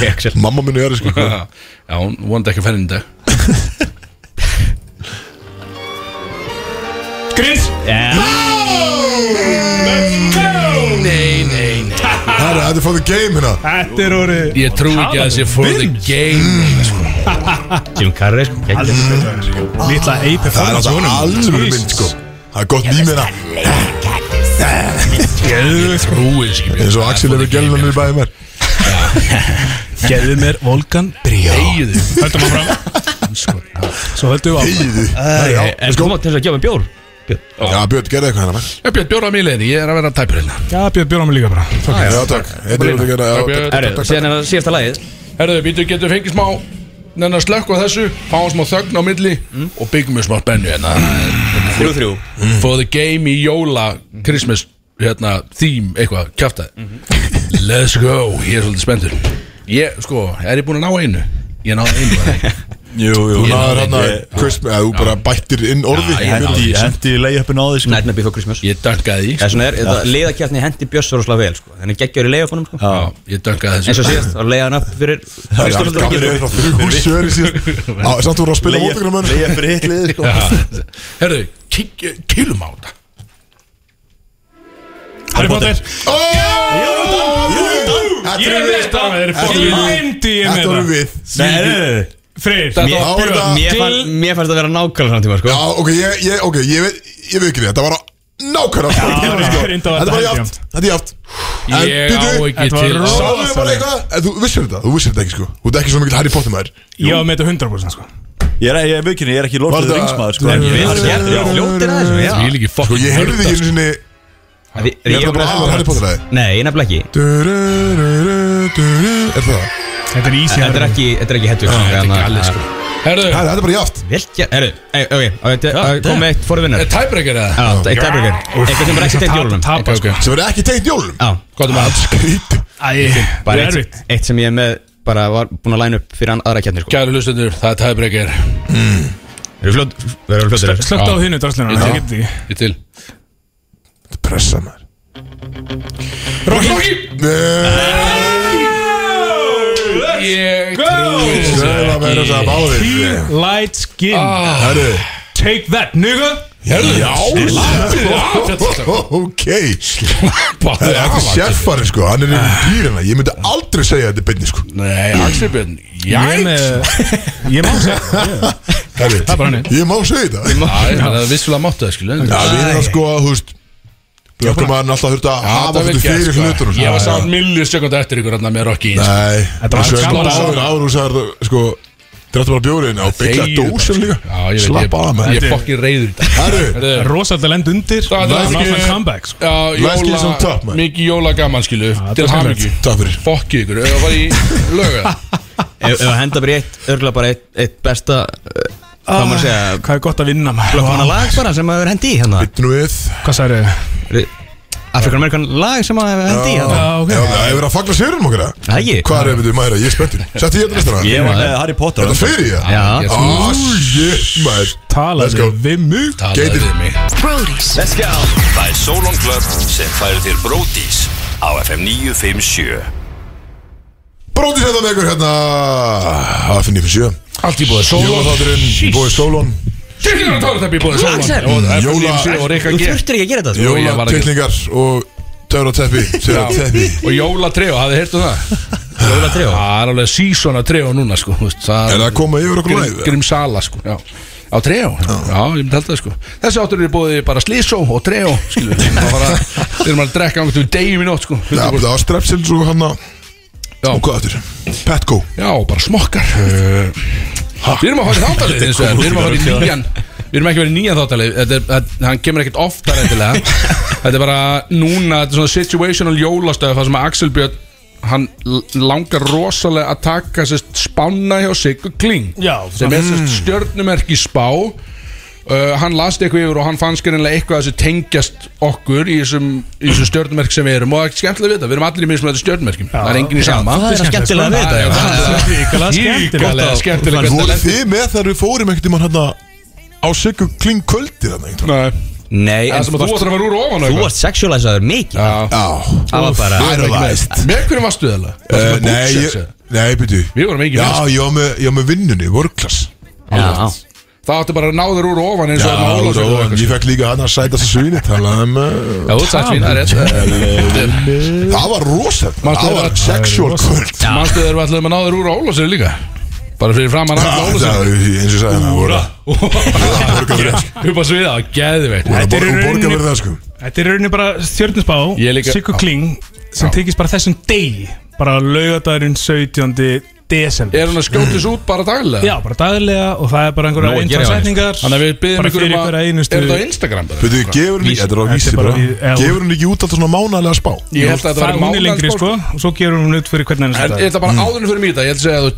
Axel Mamma minni er sko Já, hún vonandi ekki að fenni í dag Grins Nei, nei, nei Herra, þetta er for the game hérna Þetta er orðið Ég trú ekki að það sé for the game sko. Jim Carrey sko gegn. Lítla eipi Það er alltaf alveg mynd sko Það er gott nýmið hérna Trúið sér ekki eins og Axel hefur gælna mér bæði mér Geðu mér Volkan Bríó Eigiðu Höldum að fram Svo höldum við á Íði Já, Eh, En þú mátt þess að gefa mig bjór já, Björn, gerði eitthvað hérna menn Björn, bjóra mig í leiðinni, ég er að vera tæpur hérna Já, bjóð bjóð á mig líka bara Fuck it. Já, takk Þetta er þetta gerða Já, Björn. takk, Herru, takk, síðan er það síðasta lagið Herðu, býtu, getur fengið smá Nenna slökk á þessu, fáum smá þögn á milli Og byggjum við smá spennu hérna Þrjú þrjú For the game í jóla Christmas, hérna, theme, eitthvað Kjaftaði Let's go, ég er svolítið spenntur Ég, sko, er ég búin að ná einu? Ég náði einu var það ekki? Jú, jú Þú náður hérna Christmas eða Þú bara bættir inn orði Já, ég- Hendi, hendi leiðjöppin á því sko Nightmare Before Christmas Ég dönkaði í Það er svona er, þetta leiðakjarni hendi Björns Rósla vel sko Þannig geggjör í leiðakonum sko Já, ég dönkaði eins þessu og síðast, þá leiða hann upp fyrir Það er allt gaman Kristófaldar yfir það Þrjú húsjöri síðan Á, Samt voru að spila mótingra Leiðjöppin mönn leiðjöppin hitt liði sko Herðu, ki- kýlum á þetta Harry Potter Þetta eru við Það er fucking Mindy ég Þetta með eru það við Nei, nei, nei, nei. Freyr Á, Þetta var er björn þetta- Mér fann- mér fannst að vera nákvæmlega samt tíma sko Já, ok, ég, ég, ok, ég veit, ég veit ekki þetta var nákvæmlega sko. Þetta Já, var sko. ég reyndi að Þetta var vera játt, handjafnt. þetta er játt Ég á ekki þetta var til rosa- Sáðu við bara eitthvað, en þú vissir þetta, þú vissir þetta ekki sko Þú ert ekki svona mikil Harry Potter maður Ég var með þetta 100% sko Ég er, ég er vikinni, ég er ekki lort Var við þetta- ringsmaður sko Nei, ég En ég veit er ekki. ekki Fljóttir að þessu, já Ég vil ekki Sko fokkin ég heyrði ekki einu sinni Því- því Er ég það var bara með- aðal Harry Potter lagi? Nei, nefnilega ekki Er það það? Þetta er ísi Þetta er ekki, þetta er ekki hettur Þetta er ekki allir sko Herðu, Herra, Þetta er bara jaft Vel, já, herru, ei, ok, á ég að koma með eitt forvinnar er tiebreaker eða? Já, eitt tæbryggur Eitthvað sem bara ekki tengt jólunum Ok, Tapa ok, sko sem verður ekki tengt jólum Já, hvað er maður? Skrítið Æ, það bara er eitt, erfitt eitt sem ég er með bara var búin að læna upp fyrir an- aðra kjarnir sko Kæru hlustendur, það er tiebreaker Við erum fljótt, við erum fljótt Slögt á hinu hérna, draslunar, það getur ekki Ég til Pressa maður Rocky Ég trúi Sjöla verður þess að báðir Light skin, Herru take that, nigga Herðu, slappið af þetta Ok Báðu Herra, Þetta er sérfari sko Hann er yfir dýrina Ég myndi aldrei segja þetta er beinni sko Nei, Axel Björn Ég er með, Jæks ég má segja Herru er bara hannig. Ég má segja þetta Það er vissulega máttu það skilu Já, við erum það sko að, þú veist Blökkum að hann alltaf þurft að hafa þetta fyrir hlutunum Ég var sko. saman milju sekund eftir ykkur hérna með Rocky sko. Nei, Þetta var þessu er gamla bara dagur. áður áður og sagði það, sko Drættu bara bjóriðin á byggla Þegiðu bara, dósum sko. líka Já, ég veit, Slapp ég- að menn Ég er fokkin reyður í dag Herru, Herðu, Rosalega lend undir, Það það er er ekki- náttúrulega comeback sko Já, Læskið jóla, sem topp, maður. mikið jóla gaman skilu þetta Til er hamingju takk fyrir Fokkið ykkur, ef það var í löga Ef ef að henda bara í eitt, örgulega bara eitt, eitt besta eh, Hvað Ah. maður segja, Hvað er gott að vinna maður blokkamanna lag bara sem maður hefur hendi í hérna Nú við Hvað sagði þau? Afrikan-amerikan lag sem maður hefur Ah. hendi í hérna Já, ok Já, það hefur að fagla sérum okkar eða? Það ekki? Hvað er þetta, maður? Ég er spenntur hérna Sett ég þetta listana Ég var Nei, Harry Potter Þetta fyrir ég Já. Á, Ég sko- shit, maður Let's Talaðu go. við mig Talaðu Geitir. við mig. Brody's. Let's go Það er Solon Club sem færir þér Bródís á FM 957 Bróti setja með ykkur hérna Það finn ég fyrir sjö Allt í bóði Solon Jólaþátturinn Bóði Solon Tyrkina tóratepp um í bóði Axel. Solon Og Jóla- FNC og Rikka Þú G þurftir ekki að gera þetta sko. Jú, ég var að gera- Jólatillingar og Töfra teppi Töfra teppi Og jóla treo, hafði hirtu það? Jóla treo? Það er alveg sísona treo núna sko þú veist, Er það að koma yfir okkur Grim, live? grim Sala sko Já, á Treo Já, ég myndi held það sko Þessi áttur eru búið bara Slísó og Treo Skilu Það var að Við erum að drekka ángt um degjum í nótt sko Já, það var strepsils og hann að Já. Og hvað aftur? Petco Já, bara smokkar Eh, Við erum að fara í þáttalið eins og það Við erum að fara í nýjan Við erum ekki að vera í nýjan þáttalið Þetta er, að, Hann kemur ekkert oftar endilega Þetta er bara núna Þetta er svona situational jólastöð Það sem að Axel Björn Hann l- langar rosalega að taka sérst spanna hjá Siggu Kling Já, sem er sérst stjörnumerki spá Uh, hann last eitthvað yfir og hann fannst skerinlega eitthvað að þessu tengjast okkur í þessum, í þessum stjörnumerk sem við erum og það er ekki skemmtilega við þetta, við erum allir í mismunandi stjörnumerkjum það er engin í sama Það er að skemmtilega við Já, þetta það er Ríkulega skemmtilega Ígóðlega skemmtilega Voru þið með þegar við fórum einhvern tímann hérna Á Siggu Kling kvöldi þarna einhvern Nei, Nei, en það sem að þú þú varst- ætlar að fara úr ofan þú varst sexualisaður mikið Já, tímann Það Já Idolized Eh, Nei, ég, nei, með hverjum varstu það alveg? var bara byrju Við vorum engin Já, mest. ég var með, ég var með vinnunni, work class Já, Það átti bara að ná þér úr ofan eins Já, og að og mála róan, ég fekk líka hann að sæta sér svíni Talaði um uh, Já, þú sagt fín, það er rétt Það var rosalega, það Manstu þegar- var sexual kvöld Manstu þegar við ætlaðum að ná þér úr Ólásir líka Bara fyrir framan Já, að það Ólásir er eins og sagði hérna, hann Úra Upp á sviða, geðveikt Þetta er í Borga rauninni- verið það sko Þetta er í rauninni bara stjörnusbá Ég líka- Siggu Já. Kling sem Já. tekist bara þessum degi bara laugadagurinn 17. desember Er hann að skjótis út bara daglega? Já, bara daglega og það er bara einhverja Nóg að eintra gera, setningar Þannig að við byrjum bara ykkur fyrir um að hverja Er einustu þetta á Instagram? bara? Byrju, gefur hann Þetta er á Þetta er vísi bara bara í- eða- Gefur hann ekki út alltaf svona mánalega spá Ég held að þetta Það er væri hún er mánaðarspá, lengri sko. sko og svo gerum hún út fyrir hvernig En einustu er þetta bara áðurinn fyrir mýta? Ég held að segja að þú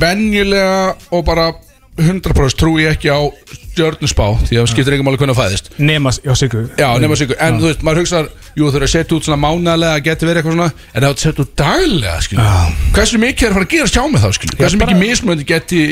venjulega og bara 100% trúi ég ekki á stjörnusbá því að það skiptir ekki máli hvernig að fæðist dag nema já Siggu Já, nema sigur, en þú veist, maður hugsaðar Jú, þú eru að setja út svona mánalega, geti verið eitthvað svona En það setja út daglega, skilju Hversu mikið er að fara að gera sjá með þá, skilju Hversu mikið mismöndi geti,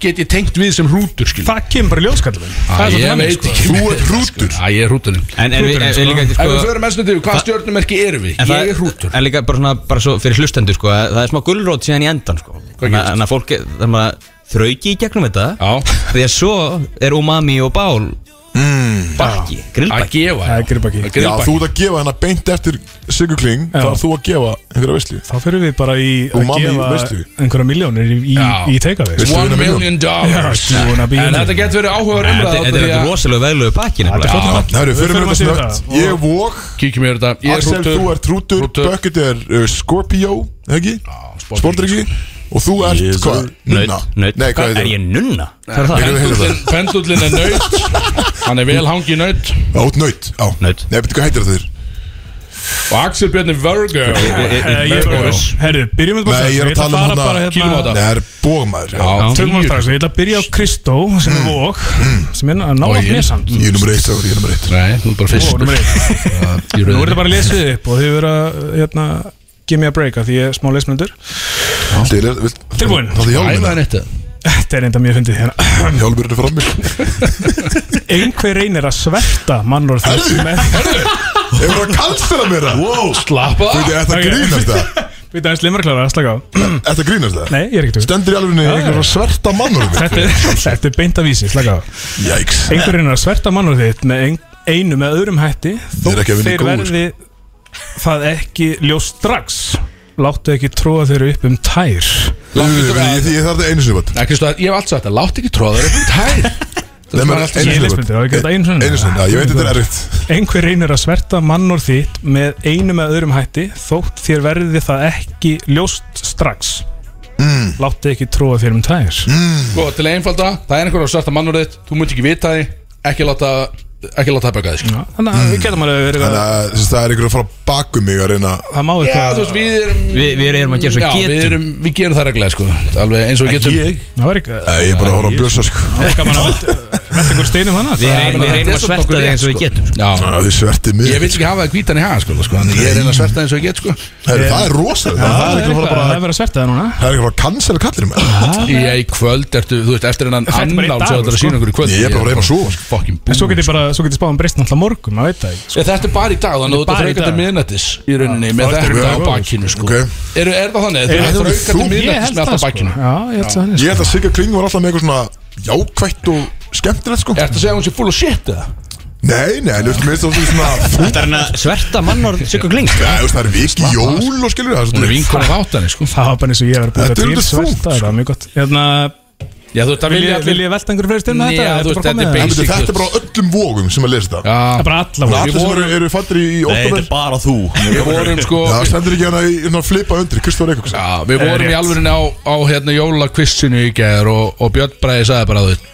geti tengt við sem hrútur, skilju það kemur bara ljóskallum Æ, ég veit ekki Þú ert hrútur Æ, ég er hrúturinn en en við en líka Ef við sko förum mestnum til, hvað stjörnumerki erum við? En það- Ég er hrútur En líka bara svona, bara svo fyrir hlustendur sko að Það er smá gullrót síðan í endan sko Þannig að- gerist? þannig að fólk, er- þannig að þrauki í gegnum þetta Já, Því að svo er umami og bál Mm. Bakki, að grillbakki gefa það er gripaki Að Já, grillbakki. þú ert að gefa hennar beint eftir Sigur Kling Já. Það er þú að gefa einhverja veislu þá fyrir við bara í að Umami, veistu? gefa einhverja miljónir í, í, Já. í teikafið Veistu? One Stöðuna million dollars Já, sko. stöðuna bílum. En þetta getur verið áhugaður Þetta umræða þetta er eitthvað rosalega veðlögu bakki nefnilega flott. Já, herru, fyrir mér Við förum þetta að segja snögt það. Ég vóg Kíkjum yfir þetta Ég er Axel, hrútur þú ert Rútur, Hrútur. Bucket er uh, Scorpio, ekki? Sportryggi. Sportryggi Og þú ert Ég er hvað? Nunna? Naut, Nei, hvað hvað er heitir ég nunna? Það er það. Byrjum við að heyra Pendullinn- Pendullinn er naut Hann er vel hangi naut það? Átt naut, já Naut. Nei, betur hvað heitir það þér? Og Axel Björni Virgo Eh, ég- Herru, byrjum við bara Nei, strax. ég er að ætla tala um fara hana- bara hérna- Kílómetra. Nei, það er bómaður Já, Tökum tíu. við strax, ég ætla að byrja á Kristó sem er vók, sem er að ná að Vogin. mér samt Mm. Ég er nummer eitt, strákur, ég er nummer eitt Nei, þú er bara fyrst Ó, númer eitt Nú er þetta bara að lesa upp og þið verður að hérna, give me a break af því ég er smá lesmundur Tilbúin. Tilbúin Það er Æfa hjálmur það neitt Þetta er enda mjög fyndið hérna Hjálmur er frammi Hefur Einhver reynir að sverta mannorð þess með það kallstæla mér það? Wow Slappa Þú veit, er þetta Ok. grínast það? Við erum slimur að klára, slaka á Er þetta grínast það? Nei, ég er ekkert Stendur í alvegni einhverjum sverta mannur Þetta er, þetta er beint af vísi, slaka á Jæks Einhver reynir að sverta mannorð þitt með ein, einu með öðrum hætti Þeir eru ekki að vinna í þeir góðu, verði það ekki ljóst strax Láttu ekki trúa þeir upp um tær Ég ég þarf þetta einu sinni bara Nei, Kristof, ég hef allt sagt þetta Látt ekki tróða upp um tær Nei, var menn, allt- einu Ég sinni les bara. myndina, á ég að gera þetta einu sinni? Einu sinni, já, ég veit þetta er erfitt Einhver reynir að sverta mannorð þitt með einu með öðrum hætti þótt þér verði það ekki ljóst strax mm. Láttu ekki trúa þér um tægir mm. Sko, til að einfalda Það er einhver að svarta mannur þitt Þú munt ekki vita því Ekki láta Ekki láta það baka þig sko. Þannig að við getum alveg verið að Þannig að sem sagt, það er einhver að fara bakum mig að reyna það má Já, þú eitthvað veist, við erum Við, við erum að gera svo Já, getum við erum Við gerum það reglega, sko Alveg eins og við getum Ég Það var eitthvað Nei, ég er bara að horfa að blösa sko Það var gaman að velta einhver steinum hana Við Ég reynum, meina, við þetta er samt nokkuð reynum að sverta þig eins og rétt, sko. við getum sko. Já Það er svertið mig Ég vil ekki hafa það hvítan í haga, sko, sko Þannig ég er einn að sverta eins og ég get, sko Herru, það er rosalega Það Það er er einhver að fara eitthvað það bara er verið að sverta það núna Það er einhver að fara að cancela kallinu mér Ég í kvöld, ertu, þú veist, eftir hennan Þetta er bara í dag, annál Svo þetta er að sko. sína okkur í kvöld Ég er bara að reyna að sofa, sko. Fucking En svo búinn, getur bara, svo getur spáðum breyst náttúrulega um morgun, maður veit það ekki Sko, Já, þetta er bara í dag, þannig að þú ert að Bara í þrauka dag. til miðnættis í rauninni þá með ertu þetta á raukaður. bakinu sko. Ok. Eru, Er það þannig? Þú Er ert að það þrauka þú? til miðnættis með alltaf sko bakinu Já, ég held það Ég held að Sigga Kling var alltaf með eitthvað svona jákvætt og skemmtilegt sko Ertu að segja að hún sé full of shit eða? Nei, nei, þú veist, mér finnst það svolítið svona fútt Þetta er hann að sverta mannorð Sigga Kling Nei, þú veist, það er viki jól og skilur það er Hún er svolítið- vinkona þáttan sko. Það var bara eins og ég hef Þetta verið er búin að alveg til þungt, sverta, það var mjög gott Hérna, Já, þú veist, það vil vil ég- ég vil ég velta einhver fyrir steinum Nei, þetta? þú Ertu veist, bara þetta er komið, eða? Nei, basic betur, Þetta er bara á öllum vogum sem að lesa þetta Það er Já, bara alla Allir voru sem eru, eru fattir í Nei, þetta oktober er bara þú við vorum sko Já, stendur ekki hana í hérna flipa undir Kristofur Eikóks Já, við vorum í rétt. alvörinu á, á hérna jólakvissinu í gæðar og, og Björn Bræði sagði bara að þau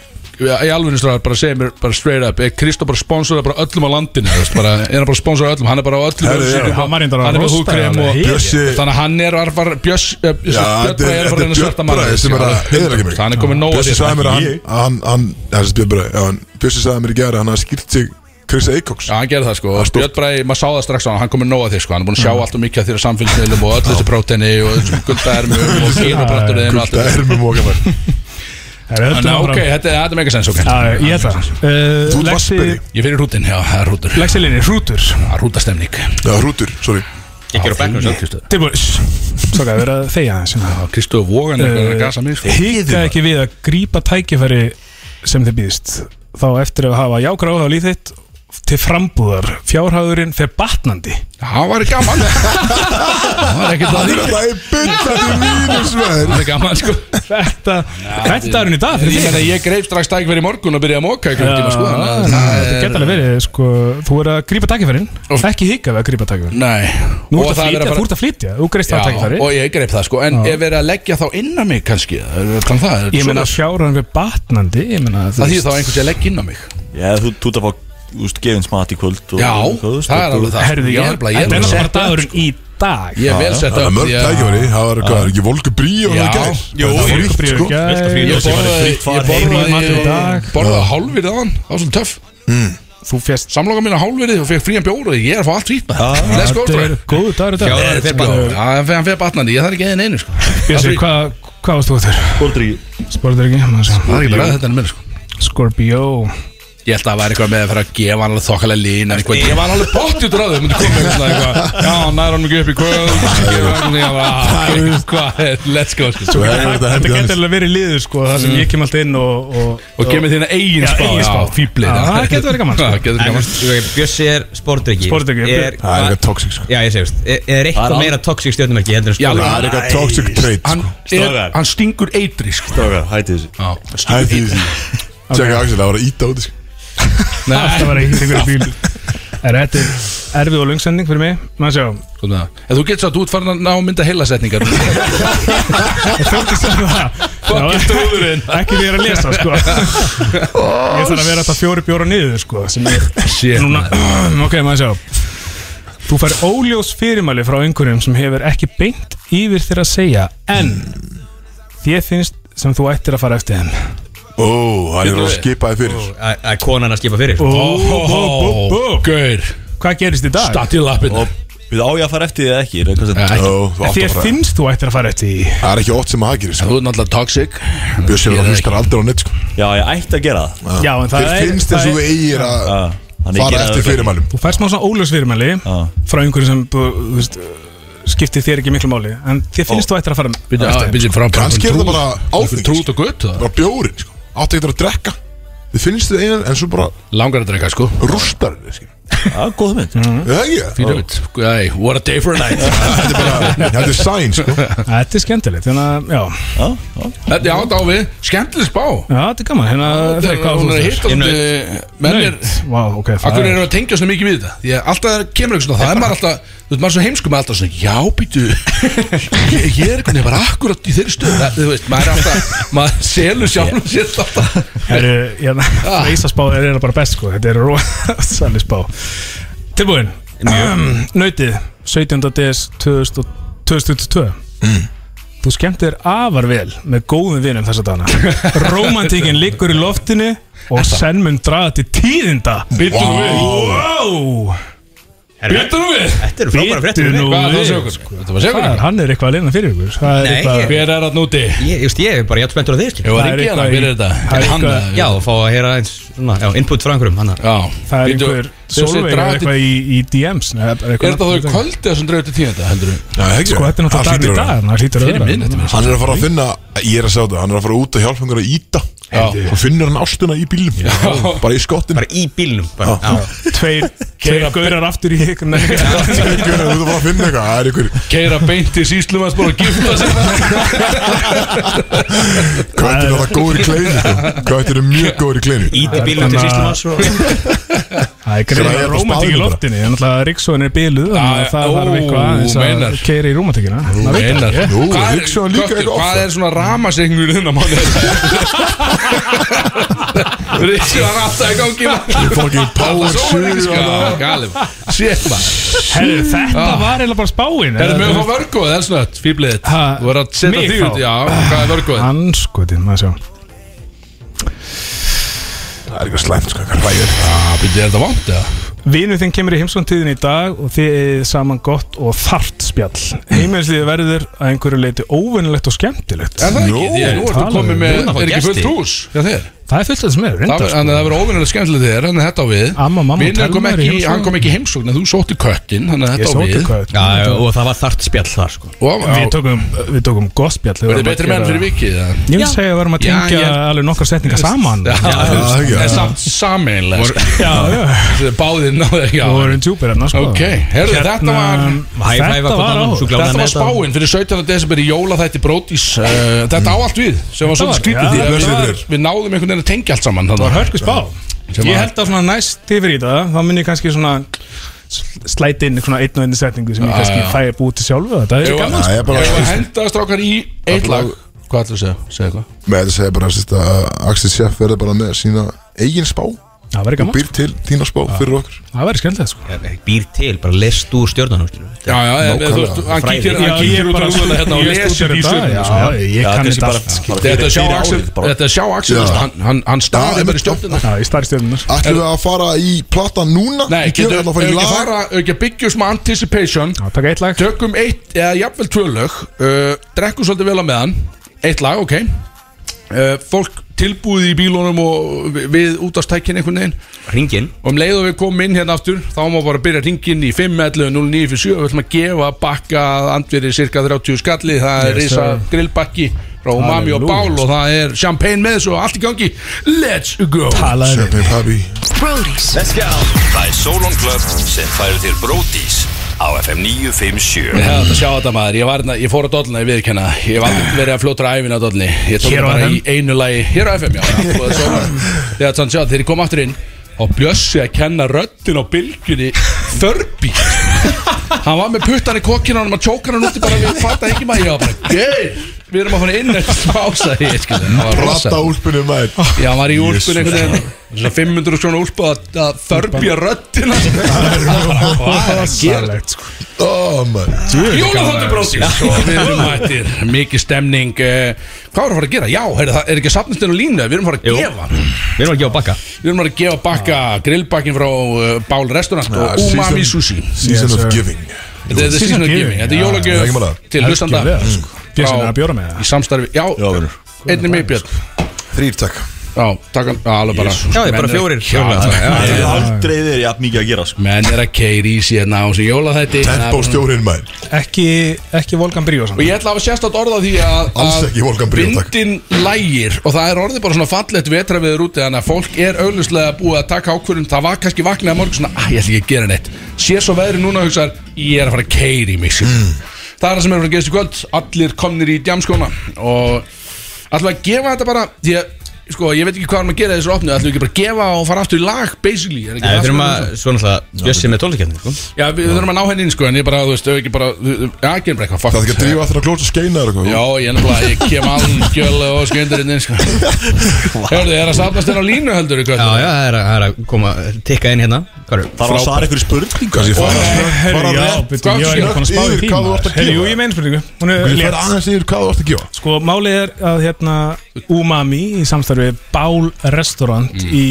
í alvörinu stráðar bara segir mér bara straight up er Kristó bara sponsorað bara öllum á landinu þú veist, bara, er hann bara sponsorað öllum, hann er bara á öllum Herðu, vörusökum já, og- hann var reyndar að hann er með rosta húkrem alveg og heitt. Bjössi Þannig að hann er að var Björns eh, Björns- Já, Björn þetta Bræði er- er að þetta fara er inn að svarta Björn mann Bræði sem er að heiðra ekki mig. Hann er komið nóg Bjössi sagði mér að hann, Já, að hann, hann, hann þessi Björn Bræði, já, hann- Bjössi sagði mér í gæra hann hafði skýrt sig Krista Eikóks hann gerði það sko er stórt. Björn Bræði, maður sá það strax á hann, hann komið nóg að þig sko Hann er búin að sjá allt og mikið að þér samfélsniðlum og öll þessi próteni og guldaðermi og kýrubrætturinn og allt Það þetta er með móka mér Það er Þannig að ok, þetta er- þetta er mega sens ok Já, ég held það Eh, Þú ert Lexi- Vassberi. Ég fyrir rútin, já, það er rútur Lexilinni, hrútur Það er Rútastemning Já, Hrútur, sorry Ekki á bekknum svo Tilbúin Svo gæði verið að þegja aðeins hérna. Kristof Vogan er Eh, eitthvað að gasa mig sko Hika ekki við að grípa tækifæri sem þið býðst Þá eftir að hafa jákra áhuga á líf þitt Til frambúðar Fjárhagurinn fer batnandi Það var gaman Það var ekkert að því Það er byndandi mínus Það með var gaman sko Þetta Þetta er dagurinn í dag Ég fyrir meina þig Ah, ég greif strax dækverð í morgun og byrjaði að móka einhvern tíma sko þannig að það Þetta er- geta alveg verið sko, Þú er að grípa tækifærin Ekki hika við að grípa tækifærin Nei Nú ert Og að það er flytja, þú verið að fara- ert að flytja Þú greist það Já, tækifæri og ég greip það sko En Já. ef verið að leggja þá innan mig kannski Það er þannig um það er Ég meina svoleiðis. fjárhagurinn fer batnandi Ég meina þú Það veist- þýðir þá einhvers að leggja innan mig Já, þú þú ert að fá úst, gefins mat í kvöld og, Já, og, og, það er alveg það sko. Herðu, Ég er ég, nefnilega- ég er þetta er náttúrulega vel sett upp, dagurinn í dag Ég er vel sett Það er upp mörg því að- tækifæri, það var hvað, er ekki volgu brí og Já. það gæl Jú, það var Frítt, frítt, frítt, sko gæl. Ég sé bara borðaði- frítt far ég heim í matinn í dag. borðaði- borðaði hálfvirði aðan Það var svona töff Þú fjast samloka mín á hálfverði og fekk frían bjór og ég er að fá allt fít maður Let's go Þetta for er it góðu dagur í dag Já, þetta er bara- Já, hann fer- hann fer batnandi, ég þarf ekki eðin einu sko. Bjössi, hvað hva varst þú þér? Bóldri Sporður ekki? maður Það sjá. er ekki bara að þetta er mér sko. Scorpio Ég held að það væri eitthvað með að fara að gefa hann alveg þokkalega lín en eitthvað, ég var alveg bótt út ráðu myndi koma eitthvað, svona eitthvað já, hann nær hann ekki upp í kvöld gefa hann eitthvað, ég bara, ah, hvað er- let's go sko. Svo er þetta Þetta hefði getur hans alveg verið liður sko Það sem ég kem alltaf inn og Og, og kemur þína eigin Já, spá eigin spá. fíblið Já, það getur verið gaman, sko. Já, getur verið En gaman. þú veist, Bjössi er sportdrykki Sportdrykki, Er- Það er eitthvað toxic sko Já, ég segist Er er eitthvað meira toxic stjórnumerki heldur en sko Já, Það sportdrykki? er eitthvað toxic trait hann, sko er, Strákar. hann stingur eitri sko. Stráka, hætti þessi Já. Hætti því Tjekka Axel, það var að íta út sko Alltaf var ekki þegar bíl Er þetta er erfið og lungsending fyrir mig? Maður sjá Hvað með það? sko, En þú getur svo að þú ert farin að ná mynda heilasetningar Fucking trúðurinn Ekki því ég er að lesa sko Ég þarf að vera alltaf fjóri bjóra niður sko Sem er Shit, Núna, ok, maður sjá Þú fær óljós fyrirmæli frá einhverjum sem hefur ekki beint yfir þér að segja en þér finnst sem þú ættir að fara eftir þeim Ó, hann er að skipa þið fyrir Það er konan að skipa fyrir Bú, bú, bú, bú. Oh. Gaur Hvað gerist í dag? Statt í lappin Og við á ég að fara eftir því eða ekki Er eitthvað sem- Nei. Ó, þú átt að Þér fara finnst þú ættir að fara eftir því Það er ekki ótt sem að hagir Þú er náttúrulega toxic Bjössi Ég verður er að hlustar aldrei á neitt sko Já, ég ætti að gera það Já, en það Þér er- finnst það þess er- að þú eigir að Já, þannig fara ég geri það eftir örugglega. fyrirmælum Þú fær smá svona óljós fyrirmæli frá einhverjum sem þú, þú veist, skiptir þér ekki miklu máli en þér finnst þú ættir að fara Býttu, eftir að- þeim. býttu, frá- Kannski er það trú- bara áfengi, sko. Trút og gutt það. Bara bjórin sko Átt ekki að drekka Þið finnst þið eigin en svo bara Langar að drekka sko rústar þið sko Já, góð mynd Hmm? Það er ekki Fýra veit Æ, What a day for a night Þetta er bara Þetta er sæn sko Þetta er skemmtilegt, þannig að, já, Já, já. Þetta er átt á við Skemmtileg spá já, þetta er gaman, hérna, Þetta er hvað hún er hitt og menn er Vá, ok, Akkur eru að tengja svona mikið við þetta Því að alltaf kemur eitthvað svona Það er maður alltaf Þú veist maður er svo heimsku með alltaf svona Já býtu Ég, ég er einhvern veginn bara akkurat í þeirri stöð Það- Þú veist maður er alltaf Maður selur sjálfum sér alltaf Herru, hérna, Ah. reysaspá er hérna bara best sko Þetta er rosalega spá Tilbúin um, Nautið, 17. des 2000 2022 Mm. Þú skemmt þér afar vel með góðum vinum þessa dana Rómantíkin liggur í loftinu og senn mun draga til tíðinda Býtu nú við Wow Býtu nú við Þetta eru frábæra fréttir Bíddu nú. Hvað er það að segja okkur? sko? Þetta var að segja Hvað er, okkur hann er eitthvað að lina fyrir ykkur Það er Nei, eitthvað Hver er það núti? Ég, ég, veist, ég er bara jætt spenntur á sko. þig skilur. Jú, Það er það er ekki eitthvað hana, í- hver er þetta? það er Er hann eh, eitthvað- eða- Já, og fá að heyra eins svona, já, input frá einhverjum hann að- Já Það er Bíddu, einhver þessi Solveig er draga til- eitthvað í, í DMs nei, bara Er eitthvað- það þá í kvöldi sem drefur til tíðenda, heldur við? Já, ekki Sko, þetta er Það náttúrulega hlýtur að vera. dagur í dag Það hlýtur að Fyrir vera. minnætti mér Hann er að fara að finna Ég er að segja þetta Hann er að fara út að hjálpa einhverja að íta Já. Og finnur hann ástuna í bílum Bara í skottin Bara í bílnum bara. Já. Já. tveir, tveir gaurar aftur í ykkur nei. Þú ert bara að finna eitthvað Það er einhver Keira beint til síslumans bara að gifta sig Köttur er það góður í kleinu sko. Köttur er mjög góður í kleinu Íti bílnum Þannig til að- sýstumans og það er greið Sem er rómantík í bara. loftinu en alltaf ríksóin er byluð þannig Já, að það ó, þarf eitthvað aðeins meinar. að keira í rómantíkina Þú meinar Jú, Hvað er- hugsaðu líka Köttur, eitthvað Hvað oftar. er svona ramasengur í þunna mánu? Ríksu var alltaf í gangi maður. Fucking power Svo er ekki sugar sko Galið Sétt maður Herru, þetta Ah. var eiginlega bara spáin Er það með að Eða- fá vörgóð? Það er svona fýbliðið Ha, Þú verður að setja mig þig þá? út Já, hvað er vörgóð? anskotin, maður sjá Það er eitthvað slæmt sko Hvað ræðir Það byrja þetta vant eða? Vinu þinn kemur í heimsóntíðin í dag og þið er saman gott og þart spjall heimilislið verður að einhverju leiti óvinnilegt og skemmtilegt Er það ekki? Jú, Því að Nú ertu talaðu komið við. með að fá Er ekki gesti. fullt hús? Já þér það er fullt af þessum með, Það- reyndar Þannig að það verður óvinnilega skemmtileg þér Þannig að þetta á við Amma, mamma, Vinur kom Telma eru í ekki heimsókn. Hann kom ekki í heimsókn En þú sótti köttin Þannig að Ég þetta á sótti við hvað- Já, já, og það var þart spjall þar sko Og Við tókum, við tókum gott spjall við vorum Verður að betri menn gera- fyrir vikið eða? Ég vil segja að við varum að Já, tengja ég- alveg nokkar setningar saman Já, þú veist, það er ekki, En já. samt sameinlega Já, já, Báðir náðu ekki á og henni. erum djúpir hérna sko um, Ok, herðu, þetta var High five Þetta hvort var annan, á svo Þetta glá- Glánaði var með þetta. spáin fyrir 17. desember í jólaþætti Brótis uh, Þetta á allt við sem var Þetta svolítið var- skrítið já, því að blessið við- fyrir. Við náðum einhvern veginn að tengja allt saman Það var þarna. hörku spá Sem Ég að- held að svona næst yfir í það þá mun ég kannski svona slæti inn svona einn og einn setningu sem ég kannski já. fæ búið til sjálfu þetta er Jú, gaman Það er sko. Ég bara var að henda strákar í eitt lag Hvað ætlum að segja? Segja eitthvað? Með þetta segja bara sérst, að Axel Sjeff verður bara með sína eigin spá og það verður gaman, býr til þína spá fyrir okkur það verður skemmtilegt sko Býr til, bara lest úr stjórnanum skilur Já, já, en Nákvæmlega. þú veist, hann kíkir Já, hann ég kíkir út á rúðuna hérna og ég lest út lesir fyrir í þetta, sko. stjórnina já, ég Já, kann kannski þetta bara- allt sko. bara Þetta er fyrir- sjá fyrir Axel, árið, bara- þetta er sjá Axel Já. hann- hann- Hann Já, starir bara í einmitt. stjórnina Já, ég starf stjórnunar Ætlum við að fara í platan núna? Nei, Ég getur gerum við þetta að fara í ekki að lag fara ekki að byggja sem anticipation Já, taka eitt lag Tökum eitt, eða jafnvel tvö lög uh, Drekkum svolítið vel á meðan Eitt lag, ok uh, Fólk tilbúið í bílunum og vi- við útastækin einhvern veginn Ringin Og um leið og við komum inn hérna aftur Þá má bara byrja ringin í 5.11.09.47 Við ætlum að gefa bakka andverið cirka 30 skalli Það er Yes, sir. risa grillbakki frá Umami og Bál Hallelujah. Og það er champagne með þessu og allt í gangi Let's go Talaðu við. Sjöfnir Pabbi Brody's. Það er Solon Club sem færir þér Brótis á FM 957 Já, þetta sjá þetta maður, ég, var, hérna- ég fór að dollna, ég viðkenna Ég var aldrei verið að fljóta æfina að dollni Ég tók Hér á bara FM? í einu lagi Hér á FM, já já, og svo var- Þegar þannig sjá, þegar ég kom aftur inn Og bjössi að kenna röddin á bylgjunni Þörbi Hann var með puttan í kokkinu Hann var tjókan hann úti bara Við fatta ekki maður, ég var bara Geir við erum að fara inn eftir pása í, skilur, það var rosa. Prata úlpunni maður Já, hann var í Jesus. úlpunni einhvern veginn Svona 500 svona úlpu að, að þörbja röddina Rosalegt sko Ó maður Jólafóttu bróðsins Og við erum mættir Mikið stemning eh, Hvað erum við að fara að gera? Já, heyrðu, það er ekki safnistinn og línu Við erum að fara að gefa hann. Við erum að gefa bakka Við erum að fara að gefa bakka Grillbakkin frá eh, Bál Restaurant Ja, Og Umami Ah, season- Sushi Season Yes, of sir. Giving Þetta er Season season of giving, giving Þetta já, er það er ekki málað. jólagjöf til hlustanda Elskar við það, sko. Fékkstu frá- henni að bjóra með það? Í samstarfi Já, vinur einnig mig Björn Þrýr takk Já, takk hann Alveg bara Já, ég er Menn bara eru- fjórir Já, já, já, Það já. er aldrei þeir jafn mikið að gera sko. Menn er að keiri í síðan á sem jólahætti Tempo stjórinn maður Ekki, ekki Volkan Bríos Og ég ætla að hafa sérstætt orða því að Alls ekki Volkan Bríó, takk. Vindin lægir Og það er orðið bara svona fallegt vetra við úti Þannig að fólk er auglustlega búið að taka ákvörðum Það var kannski vaknaði morgun svona ah, Ég ætla ekki að gera neitt Sér svo veðri núna og hugsaðar Ég er að fara að keiri í mig sko. Mm. Það er það sem er að fara að gerast í kvöld Allir komnir í djamskóna Og ætlum við að gefa þetta bara Því að Sko, ég veit ekki hvað er maður að gera í þessu opnu ætlum við ekki bara að gefa og fara aftur í lag, basically Er ekki Nei, það við sem þurfum er að, svo náttúrulega, Bjössi með tónlistkjarni, sko Já, við við þurfum að ná henni inn sko En ég bara, þú veist, ef ekki bara Já, gerum bara eitthvað fuck Það er ekki að it. drífa aftur að klósa skeina eða eitthvað Já, ég nefnilega, ég kem algjörlega og skundurinn inn sko Hörðu, er að safnast þér á línu heldur í kvöld? Já, já, það er að, það er að koma, tikka inn hérna Hvað er Það var að svara ykkur spurning Kanski fara Herri, Bara já, rétt betur, ég er ekki búin að spá í yfir hvað þú ert að tíma Herri, gefa. jú, ég meina spurningu Hún er Kanski fara létt aðeins yfir hvað þú ert að gefa Sko, málið er að hérna Umami í samstarfi Bál Restaurant Mm. í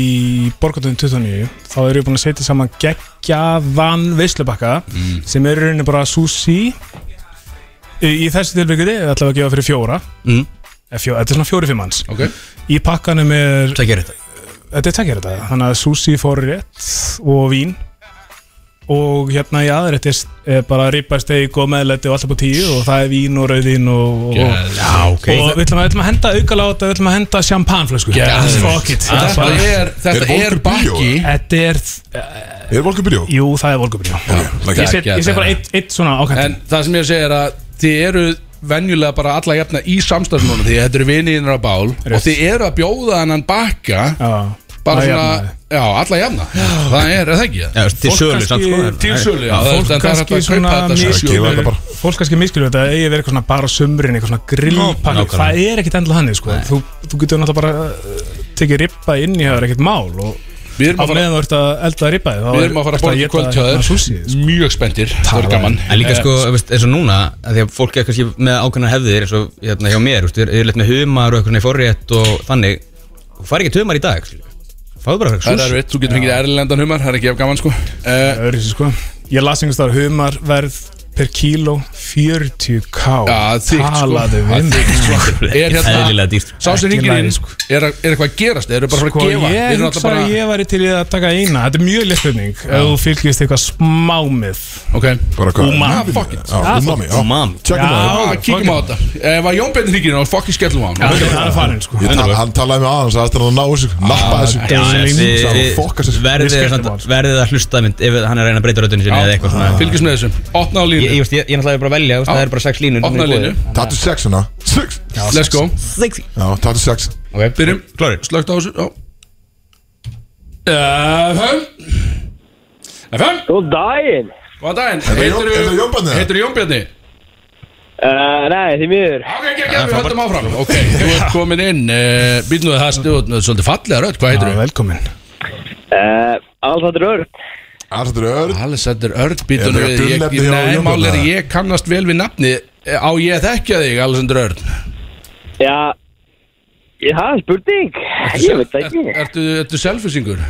Borgatöðin 29 þá eru við búin að setja saman geggjaðan veislubakka Mm. sem eru rauninni bara sushi í í þessu tilbyggði ætlaðu að gefa fyrir fjóra Mm. Eða fjó, Þetta er svona fjóri fimm manns Ok, Í pakkanum er, það að gera þetta? þetta er tekjara þetta þannig að sushi fór rétt og vín og hérna í aðrætt er, er bara ripparsteik og meðlætti og alltaf á tíu og það er vín og rauðvín og, og, og já, ok og við ætlum að, við ætlum að henda aukala á þetta við ætlum að henda sjampanflösku Yes. fuck it Þetta er Þetta bara- er, Er þetta er Volker bíó, bakki þetta er Er volkum byrjó? jú það er volgubríó Like ég that. set, ég set bara eitt, eitt svona ákvæmt En það sem ég segi er að þið eru venjulega bara alla jafna í samstafsmónu Því að þetta eru viniðinir á bál Og þið eru að bjóða hennan bakka Bara svona, já, alla jafna Það er, er það ekki Já, til sölu, samt sko en- Til sölu, já, fólk það er það er hægt kannski að svona kaupa þetta mis- sjálfur. Gefa þetta bara fólk kannski miskilur þetta eigi verið eitthvað svona bara á sumrin eitthvað svona grillpakki nákvæmlega. það er ekkit endilega hannig sko þú, þú getur náttúrulega bara uh, tekið rippa inn í það er ekkit mál og Við erum á að fara meðan þú ert að elda rippa þig, þá Við erum að fara að ertu borða í éta kvöld hjá hérna sushi, þér sko. Mjög spendir, það er gaman En líka Eh, sko, þú veist, eins og núna að Því að fólk er kannski með ákveðnar hefðir eins og hérna hjá mér, þú veist, er leitt með humar og eitthvað svona í forrétt og þannig Þú fær ekki humar í dag, skilju Fáðu bara Það er sús erfitt, þú getur fengið erlendan humar, það er ekki ef gaman sko uh, öðruvísi sko Ég las einhvers þar humarverð per kíló 40k Já, þykkt sko Talaðu Það er við mig. þykkt, sko. Er hérna, Eðlilega dýrt sko. sá sem ringir inn Ekki læri, er, er eitthvað að gerast, eru bara Sko að gefa ég hugsa Eru náttúrulega bara, að ég væri til í að taka eina Þetta er mjög lesbyrning Ef þú fylgist eitthvað smámið ok Bara hvað? Ah, Umami fuck it. Já, Umami já. Umami. Tjekkum á það Já, Ah, kíkjum á fuck þetta Ef að Jón Beinir ringir inn, þá fucking skellum á hann Það er farin sko Ég tala- Hann talaði með aðeins að hann að ná þessu Nappa þessu Já, já, þið- Sá, þið- fokka sér. verðið Við skellum á samt- hann, sko. Verðið að hlusta mynd ef hann er að reyna að breyta röddunni sinni eða eitthvað svona Fylgjast með þessu, opna á Ég, ég, línu veist, ég, ég náttúrulega er bara að velja, þú veist, Já. það er bara sex línur Opna á línu, Tattu sex hana Sex let's go Já, tattu sex Ok, Byrjum, Klárir. slögt á þessu já. Eh, FM FM, Góð daginn góðan daginn það Jón- er það Jón Bjarni, eða? Heitir Jón Bjarni? uh, Nei, því miður Ok, ok, ok, við höldum áfram Ok, þú ert komin inn uh, Býtnuðu það stjóð, svolítið fallega rödd, hvað heitir þú? Velkomin uh, Alþáttur Örn Alls þetta er öðru Alexander Örn Er býtunum þetta við ég, dulnefni ég, hjá Nei, Jón mál er Bjarna? ég kannast vel við nafni Á ég að þekkja þig, Alexander Örn Já Já, það er spurning Ég veit það Er- ekki Ertu, ertu selfisingur?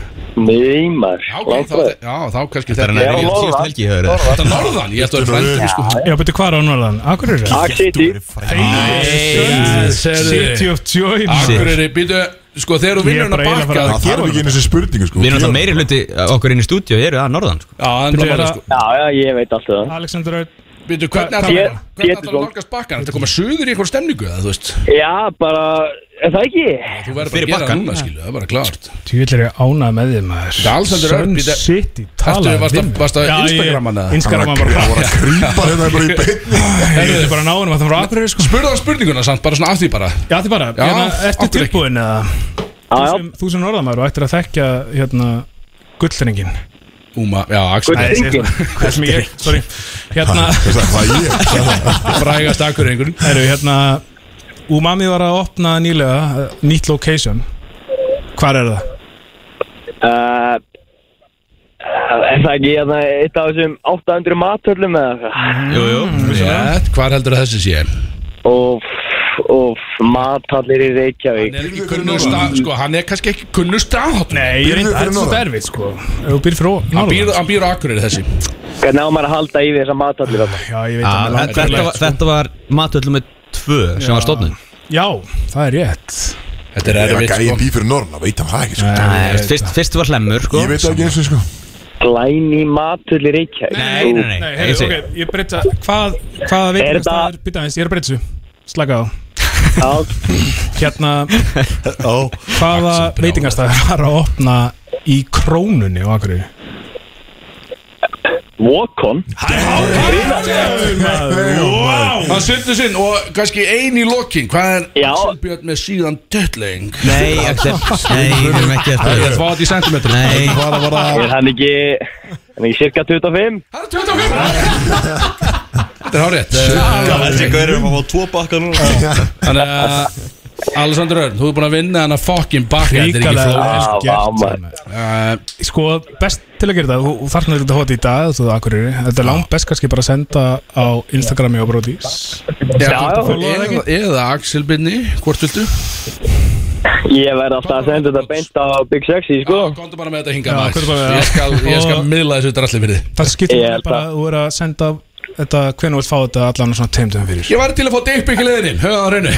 Nei, maður Já, ok, þá, Langfræði. já, þá kannski Þetta er hann þetta að Já, reyna Lóa. síðast helgi í höfður Þetta er norðan, ég ættu að vera frændi sko. Já, betur hvað er á norðan? Akkur er það? Dark City City Serðu, of Joy maður. Akureyri, býtu Sko, þegar þú Ég er vinnur bara eiginlega hann að bakka bara- Það þarf ekki einu sem spurningu sko Við erum alltaf meiri hluti okkur inn í stúdíu, ég eru að norðan sko. Já, en Bíddu, er blá það- Já, já, ég veit allt um það Alexander Örn Býtu, hvernig Hvað- ætlar Ég- hvernig ætlar að Pétursson. nálgast bakkan? Þetta koma söður í eitthvað stemningu, það, þú veist Já, bara Er það ekki? Þú verður bara að gera það núna, skilu, það er bara klart Tvíl er ég ánað með þið maður Þetta er Alexander Örn, Sun býta- City Ertu, talaðu varst við að- mig. varst að Já, ég- Instagramma hann eða? Instagramma hann bara Það voru að grípa hérna bara í beinni Ég vildi bara ná hann Það var akkur er sko Spurðu það spurninguna samt, bara svona af því bara Já, þið bara Já, hérna, Ertu okkur ekki. tilbúin eða? Já, Þú já sem- Þú sem norðamæður og ættir að þekkja hérna gullringin Úma, já, Axel Gull- Hringinn. það sem ég, sorry hérna, Það er ég Frægast akkur einhvern eru hérna Umami var að opna nýlega eh, nýtt location Hvar er það? uh, Er það ekki hérna eitt af þessum 800 mathöllum eða eitthvað? Jú, jú Rétt, hvar heldur að þessi sé? Og, og mathallir í Reykjavík Ekki kunnur stað, sko, hann er kannski ekki kunnur stað Nei, ég reyndi, það er svo derfið sko Ef þú býr fyrir Hann býr, Norðurland hann býr á Akureyri þessi Hvernig á maður að halda í þessar mathallir þarna? Já, ég veit að Ah, mig langar þetta, leitt, var, þetta var matöldum með tvö sem var stofnun sko. Já, það er rétt Þetta Er er það erfitt, gæði sko býr fyrir norðan, það veit hann það ekki, sko Nei, veist, fyrst, fyrst var hlemmur sko. Ég veit það ekki eins og, sko Glæni mathöll í Reykjavík Nei, nei, nei, Nei, ég heyrðu, segi- ok, ég breyta Hvað, hvað veitum þetta- það er Býta eins, ég er að breyta þessu Slaka á Já, Hérna, Ó, hvaða veitingastæður var að opna í krónunni á Akureyri? Walk-on Hann sundur sinn og kannski ein í lokin Hvað er Já. Axel Björn með síðan dötling? Nei, ekki Nei, við erum ekki að Það var þetta í sentimetri Nei, Er hann ekki, hann ekki cirka 25? Þetta er hárrétt Eh, þessi gaurið maður fá tvo bakka núna sko. Þannig að Alessandr Örn, þú er búin að vinna hann að fucking bakka Þetta er ekki Ríkalega flókið. vel Vá, vá, gert flóð Sko, best til að gera þetta Þú þarfnar þetta hótt í dag þú, Akureyri Þetta er langt best kannski bara að senda á Instagrami og Brodís Eða, eða Axel Binni, hvort viltu? Ég verð alltaf að senda þetta beint á Big Sexy, sko Komdu bara með þetta hingað Já, maður. komdu bara með Ég skal, ég skal Og- miðla þessu dralli fyrir þið Það skiptir Ég yeah, held bara að- að þú er að senda þetta hvernig þú vilt fá þetta allan á svona teimtum fyrir Ég var til að fá dipp ekki leðininn, höfða það á hreinu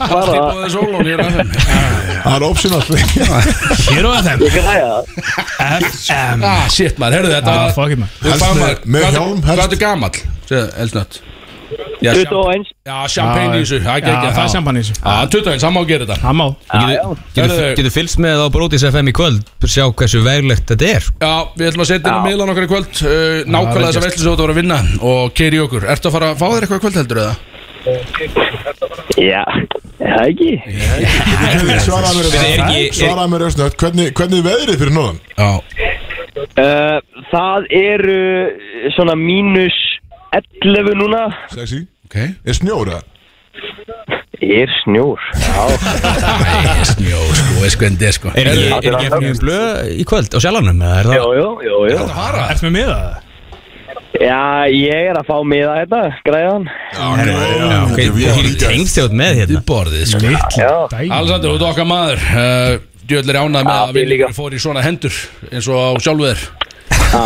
Bara það, Tippaðu sólón, ég er aðeins Það er optional Hér og FM ég græða það FM Ah, shit maður, herðu þetta Ah, var- fuck it, man. Þú Helst fá með- maður- með hvað- hjálm, Hvað helst. ertu gamall? Elsnött 21 Já, champagne í þessu, það er Já, ekki það er champagne í þessu. Já, 21, hann má gera þetta Það má getur Herðu. getu fylgst með á Brótis FM í kvöld Sjá hversu veglegt þetta er Já, við ætlum að setja inn á miðlan okkar í kvöld uh, Nákvæmlega þess að veitlu sem þú ert að vera að vinna Og keiri okkur, ertu að fara að fá þér eitthvað í kvöld heldur eða? Já, er það ekki Svaraði mér Við erum þetta ekki- Svaraði mér ösnögt Hvernig, hvernig er veðrið fyrir norðan? Já, uh, Það eru eh, svona mínus 11 núna Sexy ok Er snjór það? Er snjór Já, Æ, snjó, sko, ég skvendi, sko Er ekki- er ekki Þetta er efnið blöð í kvöld á sjálfanum? eða er jú, það- jú, jú, jú Ertu með miða? Já, ég er að fá miða hérna, þetta, græðan Já, ok, Ég er tengstjóð með hérna Þið borðið, sko Já, Alessandur, þú ert okkar maður uh, Djöðl er ánað með Já, að við líka. við fór í svona hendur eins og á sjálfu þér já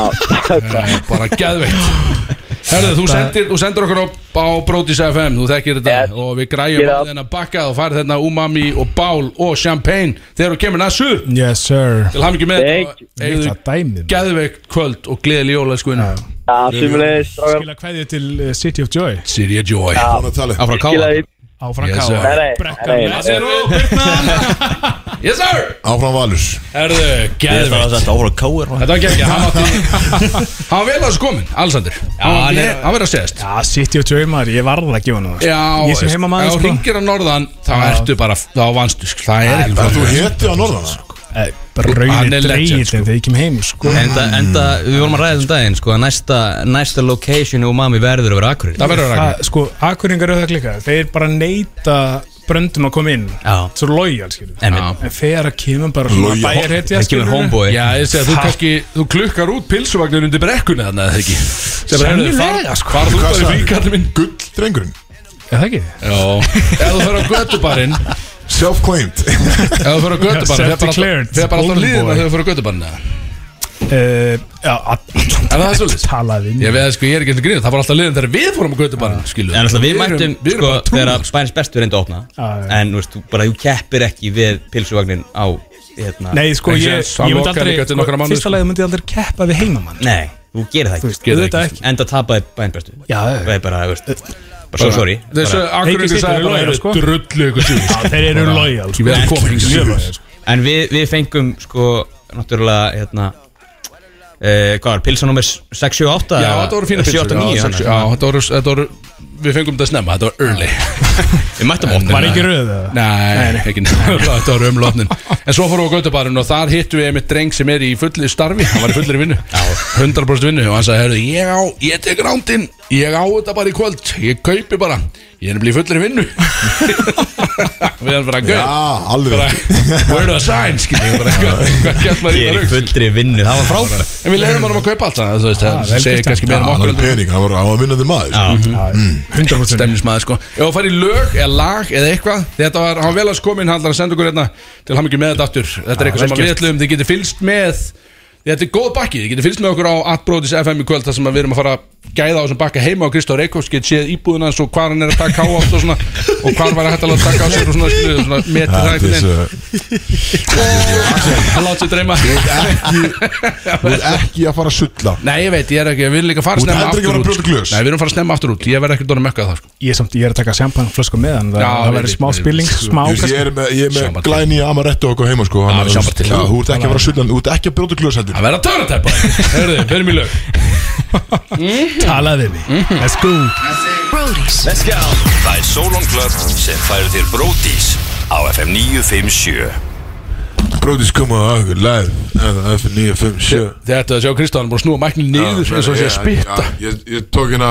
Það er bara geðveikt Herðu, þú sendir, þú sendir okkur á, á Brodís FM, þú þekkir þetta Yes. og við græjum Get á up. þennan bakka og farið þennan umami og bál og champagne þegar þú kemur næssu Yes sir til hafingi með þetta Thank og eigðu Það dæmið maður. geðveikt kvöld og gleðil jóla skoðinu Sumulegis, strákar Skila kveðið til eh, City of Joy Sirja Joy Hvað er talið? Áfram káa Skilaði á Frank Yes, yes, sir. Nei, nei, nei, nei. Yes sir! Áfram Valur Herðu, Ég þarf geðveikt að senda áfram káir Þetta var geðveikt, hann átti Hann var vel að þessu komin, Alessandur hann Hann er- var- hann verið að segja Já, City of Joy maður, ég varð að gefa hann það Já, Ég sem heima maður ef þú sko ringir að norðan þá ertu bara, þá vannstu sko, það er ekki Er þú hetið á norðan? Eh, Hann er Rauðir legend, dreigir sko. þegar ég kem heim sko Enda, enda, við vorum að ræða um daginn sko, að næsta, næsta location í umami verður að vera akkurir Það verður að rækja Það, sko, akkuringar eru það klika Þeir bara neita bröndum að koma inn Já. Svo lojal, skilur En Já. við, En þegar að kemur bara svona Loyal. bæjarhetja það kemur skilurðu. homeboy Já, ég segi að þú Ha? kannski, þú klukkar út pilsuvagnir undir brekkunni þannig að það ekki Sem bara, heyrðu, far- Sennilega, sko. Far þú Hvað bara í sagði? fríkallin minn Gull drengurinn Er það ekki? Já, ef þú fyrir á göttubarinn Ef Self-claimed þú fyrir á göttubarinn Self-declared Þegar bara alltaf golden líðin boy. að þau fyrir á göttubarinn eða? Uh, já, að- Er það svolítið? Talaði inn Ég veið, sko, ég er ekki alltaf grín Það var alltaf liðin þegar við fórum á göttubarinn, skilu En alltaf við mættum sko, þegar að bæns bestu reyndi að opna Já, já. En þú veist, þú bara þú keppir ekki við pilsuvagnin á hérna. Nei, sko, Ekki ég, séns, hann ég myndi lokar aldrei líka til nokkra sko, mánuði, Fyrsta sko. lagi myndi ég aldrei keppa við heimamann Nei, þú gerir það ekki sko. gerir það Auðvitað ekki, ekki Enda tapaði bæns bestu Já, já. Það er bara, þú veist, bara svo sorry Þessu bara, Engin akkuringu situr sagði í bara, lojal, sko. heyrðu, drullu ykkur Já, síðust Þeir eru lojal sko. Við erum komin í Mjög síðust lojal, sko. En við, við fengum sko, náttúrulega hérna, uh, Hvað var, pilsa nummer 678 Já, þetta voru fína pilsur 789 Já, hérna. þannig. sex- já, þetta voru, þetta voru við fengum þetta snemma, þetta var early Við mættum opnun. Var ekki röð, eða? Nei, ekki Þetta var umlotnin En svo fórum við á Gautabarinn og þar hittum við einmitt dreng sem er í fulli starfi Hann var í fullir vinnu 100% vinnu og hann sagði, herru, ég á, ég tek rándinn Ég á þetta bara í kvöld, ég kaupi bara Ég er nefnilega í fullir vinnu Við erum bara að gauð Já, alveg Where do I sign, skiljum bara Hvað hvað gert maður í Ég er í rugl? fullri vinnu, það var frábært En við leiðum hann um að kaupa allt það, þú veist, það vel segir gert. kannski meira Hann um var okkur með pening, hann var, hann var vinnandi maður sko. stemnismæði sko Ef það fær í lög eða lag eða eitthvað Þetta var, hann vel að skomin, hann ætlar að senda okkur hérna Til hann með þetta aftur Þetta er eitthvað sem að við ætlum, þið getur fylgst með Þetta er góð bakki, þið getur fylgst með okkur á Atbrotis FM í kvöld þar sem að við erum að fara að gæða á þessum bakka heima á Kristóf Reykjavík Get séð íbúðuna hans og hvar hann er að taka á átt og svona Og hvar var að hægt að láta taka á sér og svona, svona, svona Metið Það það er einhvern þess veginn að Hann látt sér dreyma Þú er ekki að fara að sulla Nei, ég veit, ég er ekki, ég vil líka fara Þú ert snemma heldur ekki að fara aftur að út brjóta glös. Nei, við erum að fara snemma aftur út, ég verð ekki dónum mökkað það sko Ég, er samt, ég er að taka sjampanflösku með hann Það, Já, það ég verður veit, smá ég veit. spilling Smá Ég veist, Ég er með, ég er Sjáum með að til. glæni amaretto okkur heima sko hann við er- sjáum bara til. Já, Þú ert ekki að fara að sulla Þú ert ekki að brjóta glösa heldur Það verður að törna teppa Hörðu, verum í lög talaði við mig Mhm. Let's go Brody's. Það er Solon Club sem færir þér Bródís á FM 957 Bróðis koma á okkur live F9, 5, 7 Þetta að sjá Kristján búin að snúa mæknin niður eins og sé að spytta Ég ég tók hérna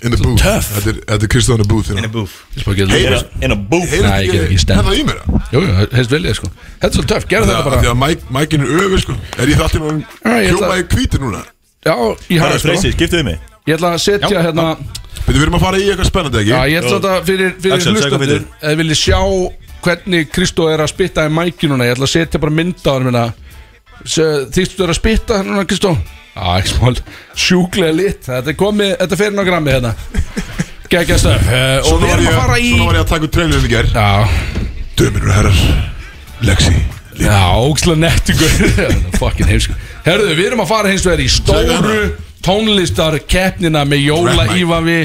in the booth töff. Þetta er- þetta er Kristján in the booth hérna. Jú, Heyrist- In a booth heyrist Nei, ég get ekki ekki- stend. hérna í mér það? jú, heist vel ég sko Þetta er svolítið töff, gerðu Það þetta er því bara að Mike- Mikein er öfur sko Er ég það til að Já, ég ætla- hljóma í hvíti núna? Já, ég Það hafa er sko freysið, skiptið við mig Ég ætla að setja hérna Við erum að fara í eitthvað spennandi Já, ekki? ég ætla þetta fyrir, fyrir Axel, segðu hvað hlustandur fyrir. Ef þið viljið sjá hvernig Kristó er að spytta í mækinuna Ég ætla að setja bara mynda á hann minna Þýstu þú er að spytta hérna Kristó Já, ekki smál Sjúklega lit Þetta er komið, þetta er fyrir ná grammi hérna Gækja stöf Og Svona við var erum ég- að fara í Svona var ég að taka út trailerinn í ger Já, Döminur og herrar Lexi Já, ógslag nettingur Fucking heimsku Herðu, við erum að fara hins vegar í stóru tónlistar keppnina með Jóla Red mic. Ívavi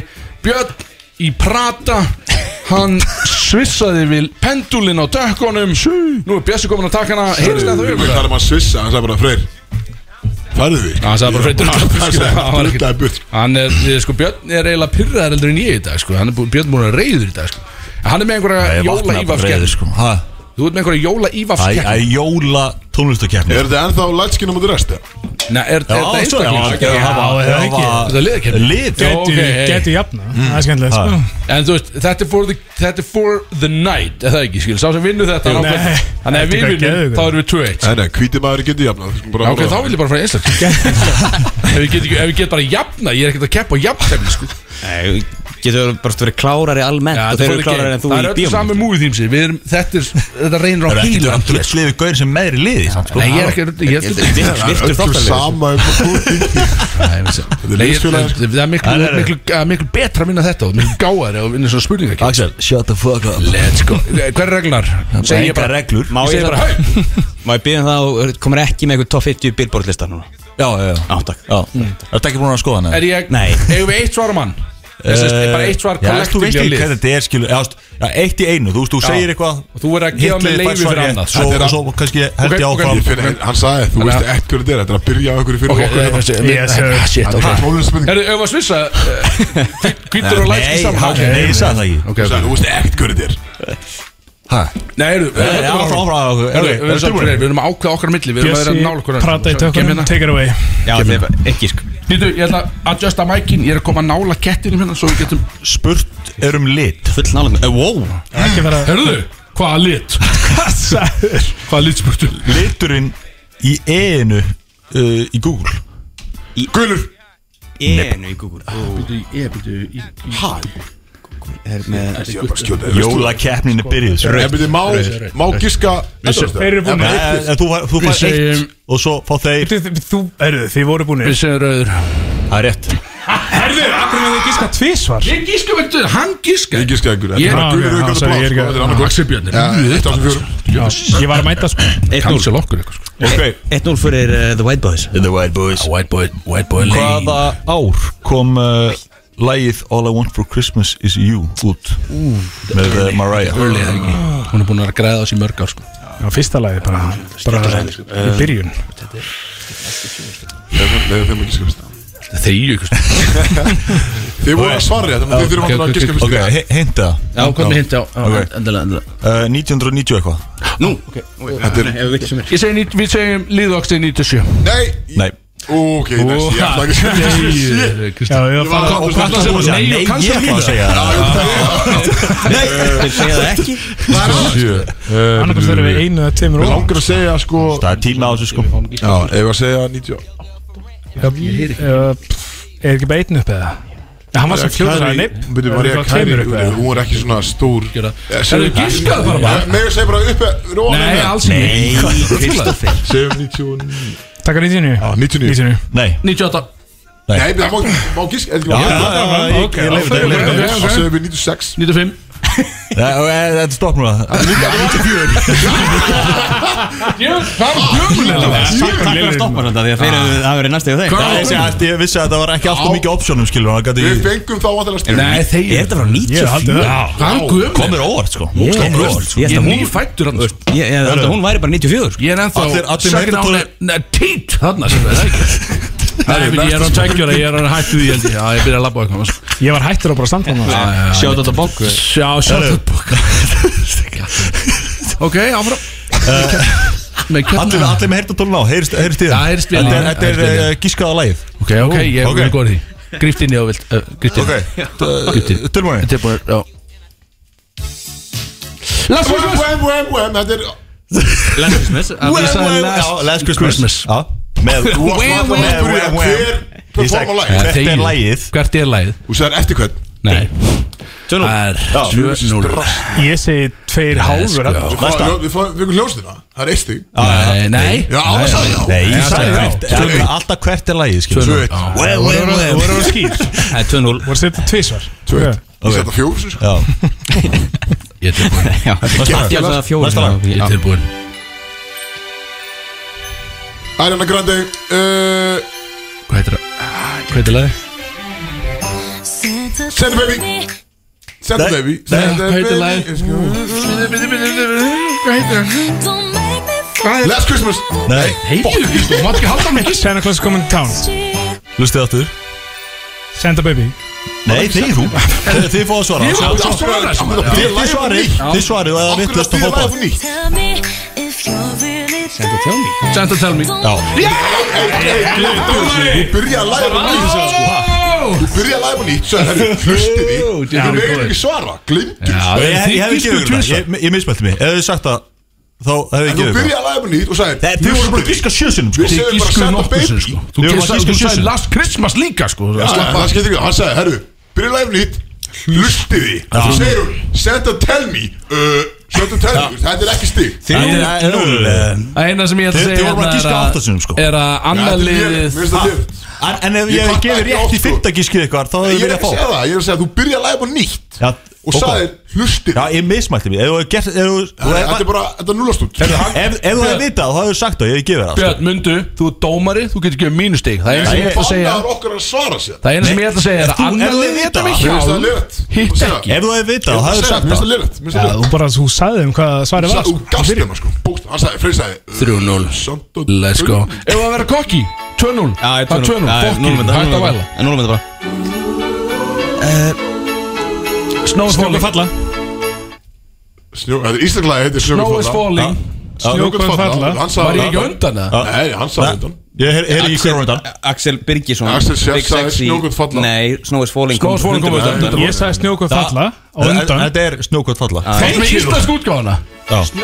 Björn í Prata Hann svissaði við pendulinn á dökkunum Nú er Bjössi komin að taka hana Heyrist það Við það? talaðum að svissa Hann sagði bara freyr Færðu því Hann sagði bara Ég- fyrir Hann sagði Hann var bara ekki Drullar burt Hann er, ég, sko, Björn er eiginlega pyrraðar eldur en ég í dag sko. Hann er bú- Björn búin að reyður í dag sko. En Hann er með einhverja Ég Jóla vaknaði bara Ívafs reiður, keppni sko. Ha? Þú ert með einhverja Jóla Ívafs Æ, keppni æ, jóla tónlistakeppni Er þetta ennþá lætskinn á móti resta? Nei, Er er Já, þetta svo já, einstaklega? já, hafa- er það hafa- ekki? Þetta er liðakeppni. Lið Já, Getu, ok, hey. Mhm. getu jafna Það er skemmtilegt sko. En þú veist, þetta er for the, þetta er for the night Er það ekki, skil, sá sem vinnur þetta Jú, hann ákveður. nei. Þannig að Þetta við er vinnum, geðveikur. þá erum við 2-1 Nei, nei, hvíti maður getur jafna Ok, þá vil ég bara fara í einstaklega Ef við getum get bara jafna, ég er ekkert að keppa á jafntefni sko. Nei, Getur bara verið klárari almennt Já, og þetta þeir er for eru the klárari game. en þú Það er í öll bíómynd saman múið þýmsi Við erum, þetta er, þetta reynir á Það er ekki híla að drulliði gaur sem meðri liði samt, sko. Nei, ég er ekki, ég er ekki Virtur þáttarlegur Sama um að búti Nei, ég vissi. er Nei, ég- liðsfélagar. Það er miklu, Nei, nei, nei. miklu, að miklu betra að vinna þetta og Miklu gáðari að vinna svona spurningar Axel, shut the fuck up Let's go Sko, eh, Hver er reglunar? Segir ég Engar bara reglur Má Ég segi ég bara, það? hau Má ég bíða um það og komur ekki með eitthvað top 50 billboard lista núna Já, já, já Já, takk Já, ertu ekki búin að skoða hana? Er ég, Nei. eigum við eitt svar á mann? Ég sést, bara eitt svar Eh, Já, þú veist kollektífli á ekki lið. hvað þetta er, skilur Já, þú veist, já, eitt í einu, þú veist, þú segir eitthvað Og þú verður að gefa mér leyfi fyrir annað. Svo, Þetta er að- svo kannski held ég Ok, ok. áfram Ég finn, hann sagði, þú veist ekki hvað þetta er Þetta er að byrja á einhverju fyrir Ok, okkur hérna. Yes, sir. Ah, shit, Þetta ok er bara tónlistspurning Herru, ef að svissa Eh, Hvítur og lækst í Nei, saman hann- nei, ég sagði það ekki Þú Ok, ok. sagði, Þú veist ekkert hvað þetta er Hæ? Nei, herru Nei, Eh, já, áfram, áfram, áfram, Herru, ok, við erum ertu svo búin? Við erum að ákveða okkar á milli Við erum að vera nála Bjössi okkur prata í tökunum hérna. Take it away Já, þeir bara ekki sko Býtu, ég ætla að adjusta mækin Ég er að koma að nála kettinum hérna Svo við getum Spurt er um lit Full nálega Eh, Wow, Ekki vera Herru, hvaða lit? Hvaða lit spurtu? liturinn í e-inu uh, í Google Gulur Enu í eh, Google Ég býtu í Ég er bara að skjóta þér, veistu. Jólakeppnin er byrjuð sko. En byrju, má- Má giska Þeir eru En búin en eh, þú fær- þú Við fær eitt segjum- og svo fá þeir Þú, herðu, þið voru búin Við segjum rauður Það er rétt Herðu, akkur með þið giska tvísvar Ég gíska veitu, hann gíska Ég giska einhverju Þetta Ég- er bara Ah, gulur ok, auðvitað ah, sorry, ég blá er ekki- sko. Þetta er annað gulur Axel Björn er Þetta er fyrir Ég var að mæta sko Kansel okkur eitthvað sko. Ok, 1-0 fyrir uh, The White Boys The White Boys White boy, white boy Hvaða ár kom uh, lægið All I Want For Christmas Is You út með uh, Mariah Early, eða ekki? Hún er búin að græða þessi mörg ár sko. Já, fyrsta lagi bara Bara í byrjun leiðu þeim að giska fyrst Þegju sko. Þið voru að svara rétt, þannig að þið þurfum alltaf að giska fyrst í dag. Ok, hinta Já, hvað með hinta á Ok. Endilega, endilega Eh, 1990 eitthvað Nú, ok Þetta er- Ég segi, nít- við segjum líðvaksti 97 Nei, Nei ok, næst, ég ætla ekki að segja shit. Já, ég var að fara Og hvað ætlaðu að segja? Nei, Nei, og kannski ég ætla að segja það Þeir segja það ekki Það er annars. Annarkvæmst verðum við einu eða tveimur Við og langar að segja sko Það er tíma á þessu sko Já, ef ég að segja 90 Er ekki bara einu upp eða? Nei, Hann var svo fljóður að neip Byrju, var ég að kæri Hún er ekki svona stór Gera. Eh, segðu- Herru, giskaðu bara bara. Eh, Megum segja bara upp Nei, alls ekki Kristoffer Segjum 99 Takk að 99 Já, 99 99 Nei 98 Nei, það má, má gíska Já, Já, já, já, Ah, ég- ég leyfi þetta, ég leyfi þetta. það segjum við 96 95 Nei, ok, Þetta stopp núna Það var gömulega Takk fyrir að stoppa þetta því að þeir eru það verið næstu hjá þeim Ég vissi að- ég vissi að þetta var ekki alltaf mikið optionum skilur hann gæti Við fengum þá alltaf stjórn Nei, Er þegju þetta frá 94? Það var gömulega Komir óvart sko Ég Komir óvart sko Ég ég held er að hún- nýfættur hann sko. ég- ég held að hún væri bara 94 sko. Ég er ennþá Allir- allir Second meira on tónlega- a- Nei, Tít Þarna sem það er ekki Nei, fyrir, ég er hann tækjur Ég er hann hættu því held ég Já, ég byrja að labba á eitthvað sko. Ég var hættur á bara samtána Sjáðu þetta bongu Sjá, sjá það bóka Ok, áfram Með Eh, Allir, kjöldum allir með heyrtatólun á, heyrst, heyrst í Ah. Já, heyrist í Þetta er- það. Þetta er Heyrist í eh, giskaða lagið Ok, ok, ég ok. er góð í því Grift inn í og vilt uh, Grift inn Ok, Grift tilbúinni Tilbúinir, já Last Wem, Christmas wem, wem, wem Þetta er Ég sagði Já, last Last Christmas Christmas. Já, Með Þú varst Wham, alltaf wham, að spyrja wham, wham. hver performa Ég lag sagði- Þetta er þegið. lagið. Hvert er lagið? Þú segir eftir hvern Nei Tjónum Það er Já. 7-0 Ég segi tveir hálfur sko. þarna. Við fáum- Við fáum- við fengum hljóðstina Það er eitt stig Ah, Nei, nei Já, það sagði já Nei, ég sagði já. hvert Það er Alltaf hvert er lagið, skilur Tvö við. eitt. Well, well, well Voru það skýr Það er 2-0 Voru þetta tvísvar Tvö eitt. Ég setja fjóð sko. Já, Ég er tilbúin Ég held að það er fjóri Næsta lag. Ég er tilbúin Ariana Grande uh, Hvað heitir það? Hvað heitir lagið? Send a baby Send a Nei, baby nei, Send a hvað heitir baby lagið? Ég skal- Last Christmas nei, Heiðu því sko, maður ekki halda mig Santa Claus is coming to town lustið aftur Santa baby Nei, þið þú Þið fóðu að svara Af hverju- af hverju- af hverju- af hverju- Þið svarið, þið svarið Það er Af hverju að vittlust að því fóta lagið nýtt Santa tell me Já, Þú byrjaði að læra á nýtt sagði sko. Þú byrjaði að læra á nýtt Svo herri, hlusti því Jú, djöfull Þú er meginn góður. ekki svara Glimtu Já, þið ég ég hefði gistu gefið ykkur það tvisvar. Ég- Ég mismælti mig, ef þið sagt það Þá hefði ég Þú gefið ykkur byrjaði að læra á nýtt Og sagði Þið voru bara að giska sjösunum, sko Við Þið segjum bara gískuðu send a nokkuð sem baby sko Þið Þú voru að gískuðu þú giska sagði sjö. last Christmas líka sko Já, það skiptir ekki, hann sagði, herru, byrja live nýtt Hlusti því, þú segir hún Send a tell me uh, Send a tell me, þetta er ekki stig Þið voru Það eina sem ég ætla að Þið- þið segja voru hérna bara að er giska að- átta sinnum, sko. Er að Þetta annað er léleg, mér liðið finnst það djöfull. En, en ef Ég ég fatta hefði gefið ekki rétt í oft, sko. fyrta gískið ykkar þá Ég hefði ég er verið ekki að að fá segja það, ég er að segja, þú byrja live á nýtt Já, Og ok. sagði, hlusti Já, því ég mismælti mig Ef þú hefði gert Ef þú- ef þú Þetta er hefði- bara, þetta er núlast út ef- ef þú hefði vitað þá hefði sagt það Ég hefði gefið það sko. Björn, mundu, þú er dómari, þú getur gefið mínustig Það eina sem ég ætla að segja Bannaður okkur að svara sér Það eina sem ég ætla að segja er Þú- að annar ef þið liðið vita þetta mig það. Mér finnst það hjá liðrætt Hitt ekki Ef þú hefði vitað þá Það er hefði sagt sagt Mér það finnst Já, það Þú liðrætt bara, þú sagði um hvað svarið var Þú sko. gafst þeim sko Bókst, hann sagði, Freyr sagði uh, 3-0. send a- Let's go Ef það vera kokki 2-0 Já, ég Það er 2-0 Fokkin, hætt að væla Núlum þetta bara Snow is falling falla Snjó, þetta er íslensk lagi, heitir Snow is falling Snjókvæm falla Hann Var sagði ég ekki undan það? Nei, hann sagði undan Ég heyr- heyri ekki hverjum undan Axel Birgisson Axel Sjöfn Big sagði Sexy. Snjókvæmt falla. Nei, Snow is Falling Snow is Falling kom undan. undan. Ég sagði snjókvæm falla á Þa- undan Þetta er snjókvæmt falla Það er með íslensk útgáðana Já. God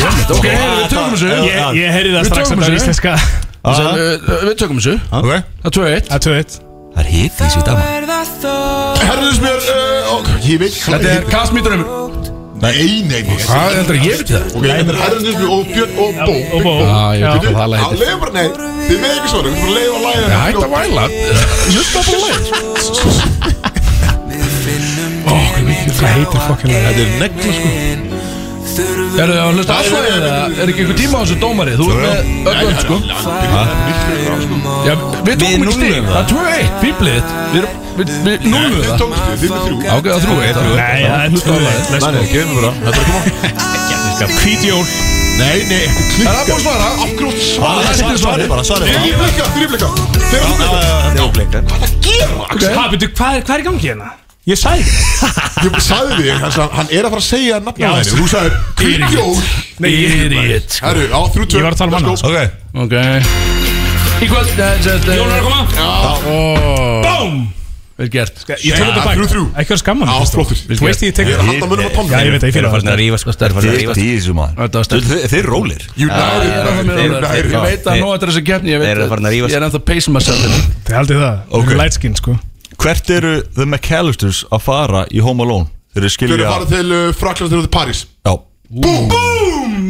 damn it Ok, við tökum þessu Já. Ég- Ég, ég heyri það Við strax að tökum það er þessu. um íslenska Ég sagði, uh, Við tökum þessu Ok Það er 2-1 Það er 2-1 Það er hitt þessi dag Herðus mér, uh, og, ég veit hvað Þetta er heitir. Cast Me Drömmur Nei, nei, nei Hvað heldur að ég veit það? Ok, þetta er herðus mér og björn og bó Og bó Já, ég veit Já. hvað það lag heitir Leifur, nei, þið með ekki svona Við fyrir að leifa að læða Hætt að væla Hlusta bara á lagið. Hvað heitir fokkin það? Þetta er negla sko Eru það að hlusta afslæðið eða er ekki einhver tíma á þessu dómari? Þú er með öllum sko sko, Já, við Við tókum ekki stig núllum Það er 2-1, fýblið Við erum, við, við núlum Þið það tókst þið, þið með þrjú Ok, það er 3-1 Nei, það er 2-1 Let's go. gefum við bara Hvít jól Nei, nei, ekki klikka Er það búin að svara? Afgrótt Ah, svara svarið bara, svarið bara. Þrýblikka, þrýblikka Þrýblikka Þjóðblikar Ha, betur, hvað, er- hvað er í gangi hérna? Ég sagði ekki neitt. Ég sagði því, hann, sagði- hann er að fara að segja nafna Já, á henni Þú sagði, kvikkjól Nei, ég, Herru, á þrjú tvö ég var að tala um annars Ok Ok Í kvöld eh, Jón Jón er að koma BOOM Vel gert Ég tók þetta bæk Þrjú þrjú Ekki verið skamman Já, flottur. Þú veist ég tek Ég er að halda mönnum á Já, tónum ég veit það, ég Þeir fyrir eru farin að það rífast Það eru farin að sko. Þið rífast þessu Þetta var maður stöð. Þið- Þið rólir United Ég veit að Þeir- nú þetta er þessi keppni Ég Þeir veit eru farin að rífast. Ég er ennþá pacing myself hérna. Þið haldið það Ok. Það er lightskin sko Hvert eru The McAllisters að fara í Home Alone? Þau Þeir eru eru að skilja fara til uh, Fraklands þegar til París Já BOOM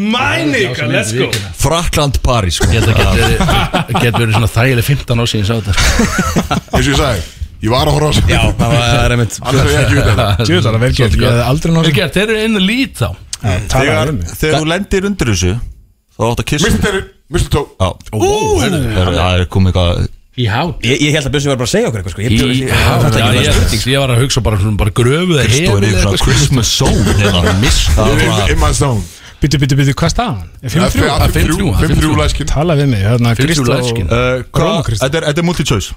Mænika, let's go Frakland París sko. Ég held að get verið það Get verið svona þægileg 15 ár síðan Sá þetta Eins og ég sagði, ég var að horfa á þessu Já, það var einmitt Annars hef ég ekki vitað þetta. Jú, það er vel gert, ég hefði aldrei náð Vel þessu. gert, þeir eru inn að lít þá Talaði Þegar, um mig þegar þú lendir undir þessu Þá átt að kissa Mr. Terry, Mr. Tó Já Ú, heyrðu, Það er komið eitthvað Í há Ég ég held að Bjössi var bara að segja okkur eitthvað sko Ég- Í ég- há þetta er ekki bara spurning Ég var að hugsa bara svona bara gröfuð eða Kristóð hefur er eða eitthvað eitthvað, Christmas hérna. Zone Eða mist Það In, er bara in my zone Bítu, bítu, bítu, hvað er staðan? Er 5-3? að 5-3, 5-3 læskinn Tala við mig, hérna 5-3 Kristó læskin. Uh, Róma hvað- Kristín. Þetta er, þetta er multi-choice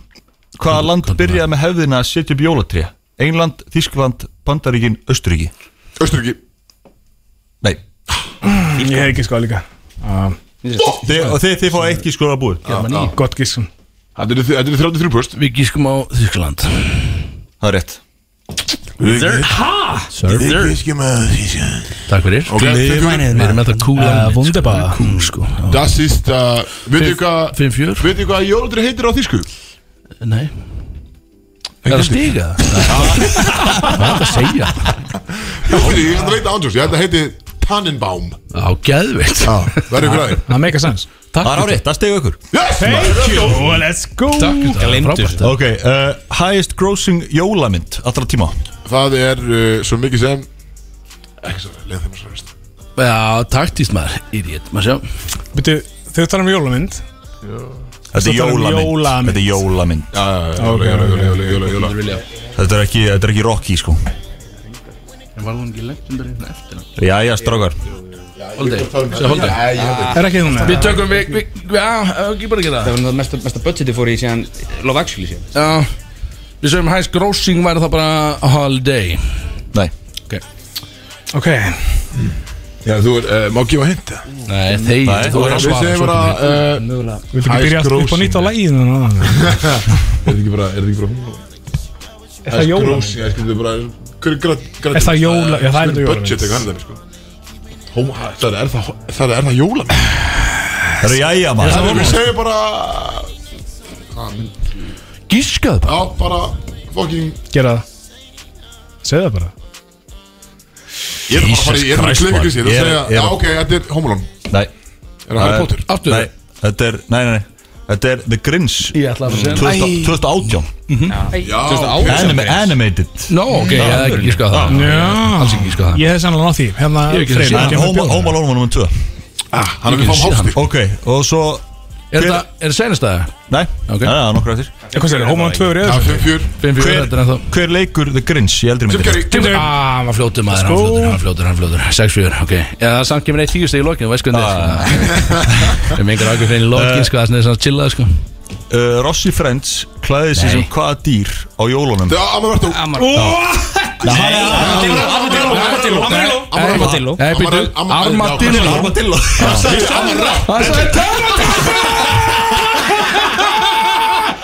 Hvaða land byrjaði með hefðina að setja upp jólatré? England, Þískland, Bandaríkin, Östuríki Östuríki Nei Ég hef ekki sko líka Þi, Og þið, þið fá eitt gískur að búið Gott gísum Þetta eru- þetta eru 33 bröst Við gískum á Þýrkland Það er rétt Takk fyrir Ok, fengum við- Við erum alltaf kúl Eh, Wunderbar. Kúl sko Das ist uh, Veitu hvað 5-4 Veitu hvað jólundri heitir á þýsku? Nei Er það stiga? Hvað er það að segja? Ég veit ekki, ég ætla að veita ándjós Ég ætla að heiti Tannenbaum Á, geðveitt Verður ykkur aðeins Það make a sense Það er á rétt, það stegu ykkur Yes! Thank you, let's go Takk Gleymdur. Frábært Ok, uh, highest grossing jólamynd allra tíma Það er uh, svo mikið sem Ekki svo leið þeim að svo veist Já, taktíst maður Idiot, maður sjá Bítu, þau tala um jólamynd Þetta Þú er talar um jólamynd jólamynd. Þetta er jólamynd Já, já, já, jóla, jóla, jóla, jóla, jóla, jóla Þetta er ekki, þetta er ekki Rocky sko Var hún ekki lengt undir hérna eftir hann? Jæja, strákar Holdið, segja holdið Er ekki hún Við tökum, við, við, við- já, ef ekki bara gera Það var náttúrulega mesta, mesta budgeti fór í síðan Love Actually síðan það Já, við sögum hæst grossing væri það bara holiday Nei Ok Já, þú er, uh, má gefa hint Nei, þeir, Nei, þú er að Við svara segjum svo bara komið. uh, Viltu ekki byrja upp á nýtt á læginu? Er þetta ekki bara, er þetta ekki bara hún? Er það jólamynd? Grósi, ég skildi bara Hver er grætt? Er það jóla- já, það er þetta jólamynd. Budget eitthvað annað sko Hó- Það er- er það, það er, er það jóla Það er jæja maður Við segjum bara Gískaðu bara Já, bara Fucking Gera það Segð það bara Ég er bara að fara Jesus í- ég er bara að Christ, klika maður. Kristi Ég er að Ég er- segja, ég já er- ok, þetta er Homolón Nei Er það Harry Potter? Aftur. Nei, þetta er, nei, nei, nei Þetta er The Grinch Ég ætla að fara að segja 2000 2018 Já, Anima, Animated Nó, ok, ég hef ekki gískað það Alls ekki gískað það Ég hef sannlega nátt því Hérna Ég hef ekki Freyr, séð En kemur Home bjór. Home Alone var nummer 2 Ah, hann er við fáum hálfstík Ok, og svo Er þetta, er þetta senastæða? Nei, Ok. okay. það er nokkur eftir Eh, Hvað sér, Hóman 2 er Já, yfir 5-4 5 Hver- fyrir þetta er ennþá Hver leikur The Grinch í eldri Jim myndir? Carrey Timur Ah, hann var fljótur maður, hann var fljótur, hann var fljótur, hann var fljótur 6 fyrir, ok Já, það samt kemur eitt tíu stegi í lokin, þú veist hvernig þetta er Við mengar ákveð fyrir lokin, sko, það er svona svona chillað, sko Uh, Rossi Friends klæði sig sem hvaða dýr á jólunum? Já, Amavartó Armadillo Eh, Armadillo Nei, býttu, Armadillo Armadillo Það er svona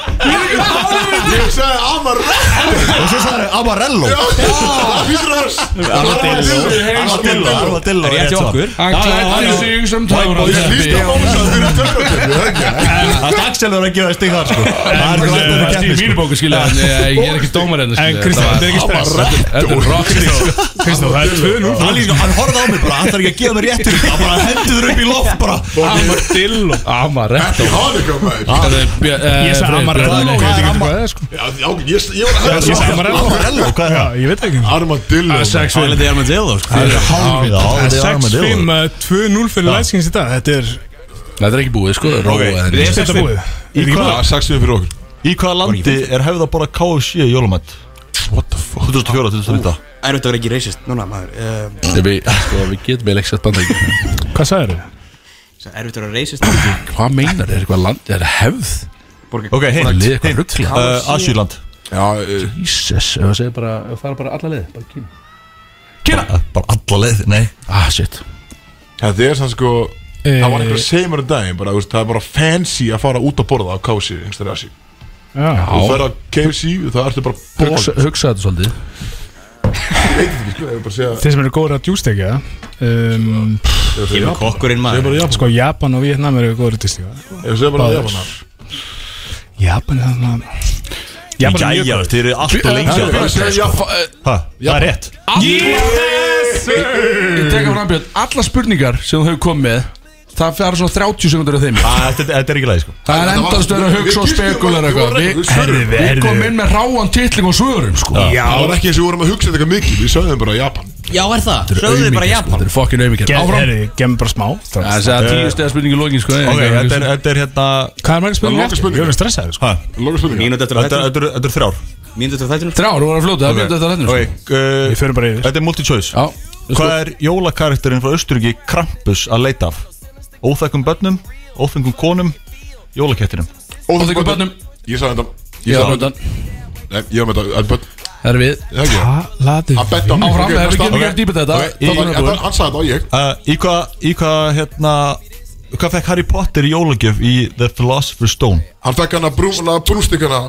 um Ég sagði Amavartó Og svo sagði Amarello Armadillo Armadillo er rétt Rétti svar okkur Hann klætti sig um sem töfrandi Það er Axel verið að gefa stig þar sko Það er glætt að Í það kemur mínu bóku skilja Ég er ekki hérna, dómar henni En Kristján, þetta er ekki stress Þetta er rock Kristján, það er 2-0 Hann líka, hann horfði á mig bara, hann þarf ekki að gefa mér réttur Hann bara hendur þurr upp í loft bara Armadillo Amarello eh? Ég eh, sagði Amarello Ég veit ekki hvað það er sko Ég sagði Amarello Armadillo, hvað er Já, það? ég veit það ekki Armadillo Sex Það er þetta Armadillo sko Það er hálfið á, þetta er 6-5, Armadillo eh, 2-0 fyrir læskins í dag Þetta er Þetta er ekki búið sko Róa henni Þetta er búið Er ekki búið? 6-4 fyrir okkur Í hvaða landi er hefða bara KFC í jólumætt? What the fuck? 2004, 2009 Erfitt að vera ekki reisist Núna maður uh, Við, sko, við getum vel ekki sett bandar Hvað sagðið þau? Það er erfitt að vera reisist Hvað Hvað meinar, er eitthvað land, er hefð Ok, hinn, Það er eitthvað hinn, ruggla uh, Asjúland Já, Jesus, ef það segir bara, ef það er bara alla leið Bara kína Kína Bara alla leið, nei Ah, shit þetta er sann sko Það var einhver að segja mér um daginn bara, þú veist, það er bara fancy að fara út að borða á kási einhverstað rasi Já, Þú fer að KFC, það ertu bara Hugsa, hugsa þetta svolítið bókald Þeir sem eru góður að djústekja um, Kemur kokkurinn maður Sko Japan og Vietnam eru góður að djústekja Ég segi bara að Japanar Japan er þarna Japan er mjög Jæja, góður þeir eru alltaf lengi að Ég segi Japan eh, Ha, Það er rétt Ég tek af rambjörn, alla spurningar sem þú hefur komið með, Það fer svona 30 sekundur af þeim Ah, Þetta þetta er ekki lægi sko Það er Þetta var- endast verið að hugsa og Við- við- spekulera eitthvað við- Við- við- við- Herri, Við komum inn með ráan titling og svörum sko Já Það var ekki eins og við vorum að hugsa þetta eitthvað mikið Við sögðum bara Japan Já, er það? Sögðu þið bara Japan Þetta er fokkin auðmikið Gerð, Áfram herri, gemur bara smá Það er að segja tíu stegar spurningi í lokin sko Ok, þetta er- þetta er hérna Hvað er margir spurningar langar eftir? spurningar. Ég er orðinn stressaður sko ha, Lóka spurning Mínúti eftir að Þetta þetta eru þættinum þetta eru þrjár Mínúti eftir að þættinum Þrjár voru að fljóta, það Ok, fljóta þetta ok, lennu uh, Við förum bara yfir. Þetta er multi-choice Já, Hvað er jólakarakterinn frá Östuríki Krampus að leita af? Óþekkum börnum, óþekkum konum, jólakettinum Og þegar bönnum Ég sagði þetta Ég Já, sagði þetta undan Nei, ég var með þetta að börn- Það er við Það ekki Hvað laðu Að betta á mig Áfram, Ok, ef við næsta. getum Ok. gert dýpið þetta Ok, þá ég- erum við þetta- búin. Hann sagði þetta og ég uh, Í hvað, í hvað, hérna Hvað fekk Harry Potter í jólagjöf í The Philosopher's Stone? Hann fekk hann að brúna brústikkana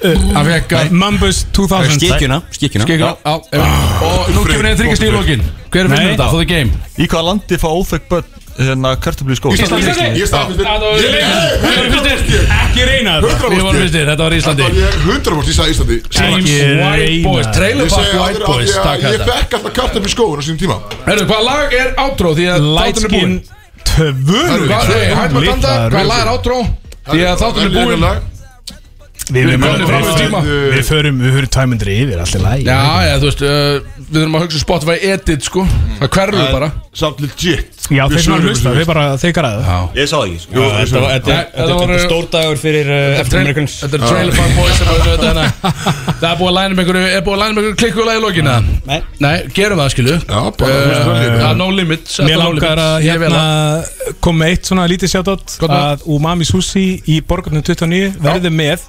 Hann fekk að Mumbus 2000 Skikjuna Skikjuna Skikla, á, já, Ah. Og nú kemur einn þryggjast í lokin Hver er Nei. vinnur þetta? For the game Í hvað landi fá óþekk börn hérna kartablu í skóla? Ég staðfist Það var- Við vorum fyrstir. Ekki reyna þetta Við vorum Íslandi fyrstir, þetta var Íslandi 100 bort, ég sagði Íslandi Strax. Ekki White Boys, reyna Trailer Ég Park segi White aldrei af Boys því Takk að ég þetta fekk alltaf kartum í skóin á sínum tíma Herru, hvaða lag er átró? Því að Light þáttunum er búin skin 2 Herru, hvað- hey, hættum að Litla standa Hvaða lag er rauð. átró? Því að þáttunum er búin Við Við erum komum fram í tíma. Við við förum Við höfum tæmundri yfir Allt í lagi Já, já, þú veist uh, Við þurfum að hugsa um Spotify edit, sko Það hverfur bara Samt legit Já, þeir sem sögðum að hlusta þessu. Við bara þeir græðu Ég sá það ekki sko. Þetta var Nei, Þetta voru dagur fyrir uh, Trail- Þetta er Trailer Park Boys sem hafa þetta hérna Það er búið að læna með einhverju Er búið að læna með einhverju klikku og lagi í lokina Nei. Nei, gerum það skilu Já, bara þú veist það Það líka. er no limits Mér langar að Ég vil hérna að koma með eitt svona lítið sjátt Gott mál. að Umami Sushi í borgarnum 29 verður með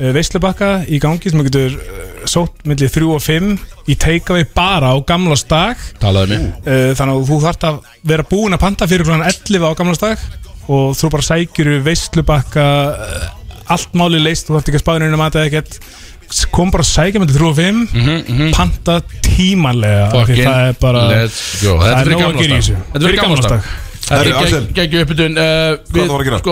eh, veislubakka í gangi sem þú getur eh, sótt millir 3 og 5 í teikavi bara á gamlásdag Talaðu mér Eh, þannig að þú þart að vera búin að panta fyrir klokkan 11 á gamlásdag og þú bara sækjur veislubakka eh, allt máli leist, þú þart ekki að spáðinu að mata ekkert S- kom bara að sækja með 3 og 5 panta tímanlega af því Mhm, Fucking það er bara Let's go það Þetta er nóg að er gamlársdag gera í þessu. Þetta er gamlársdag Herri, Þetta Axel. er geggjum uppbytun Uh, Hvað það var að gera?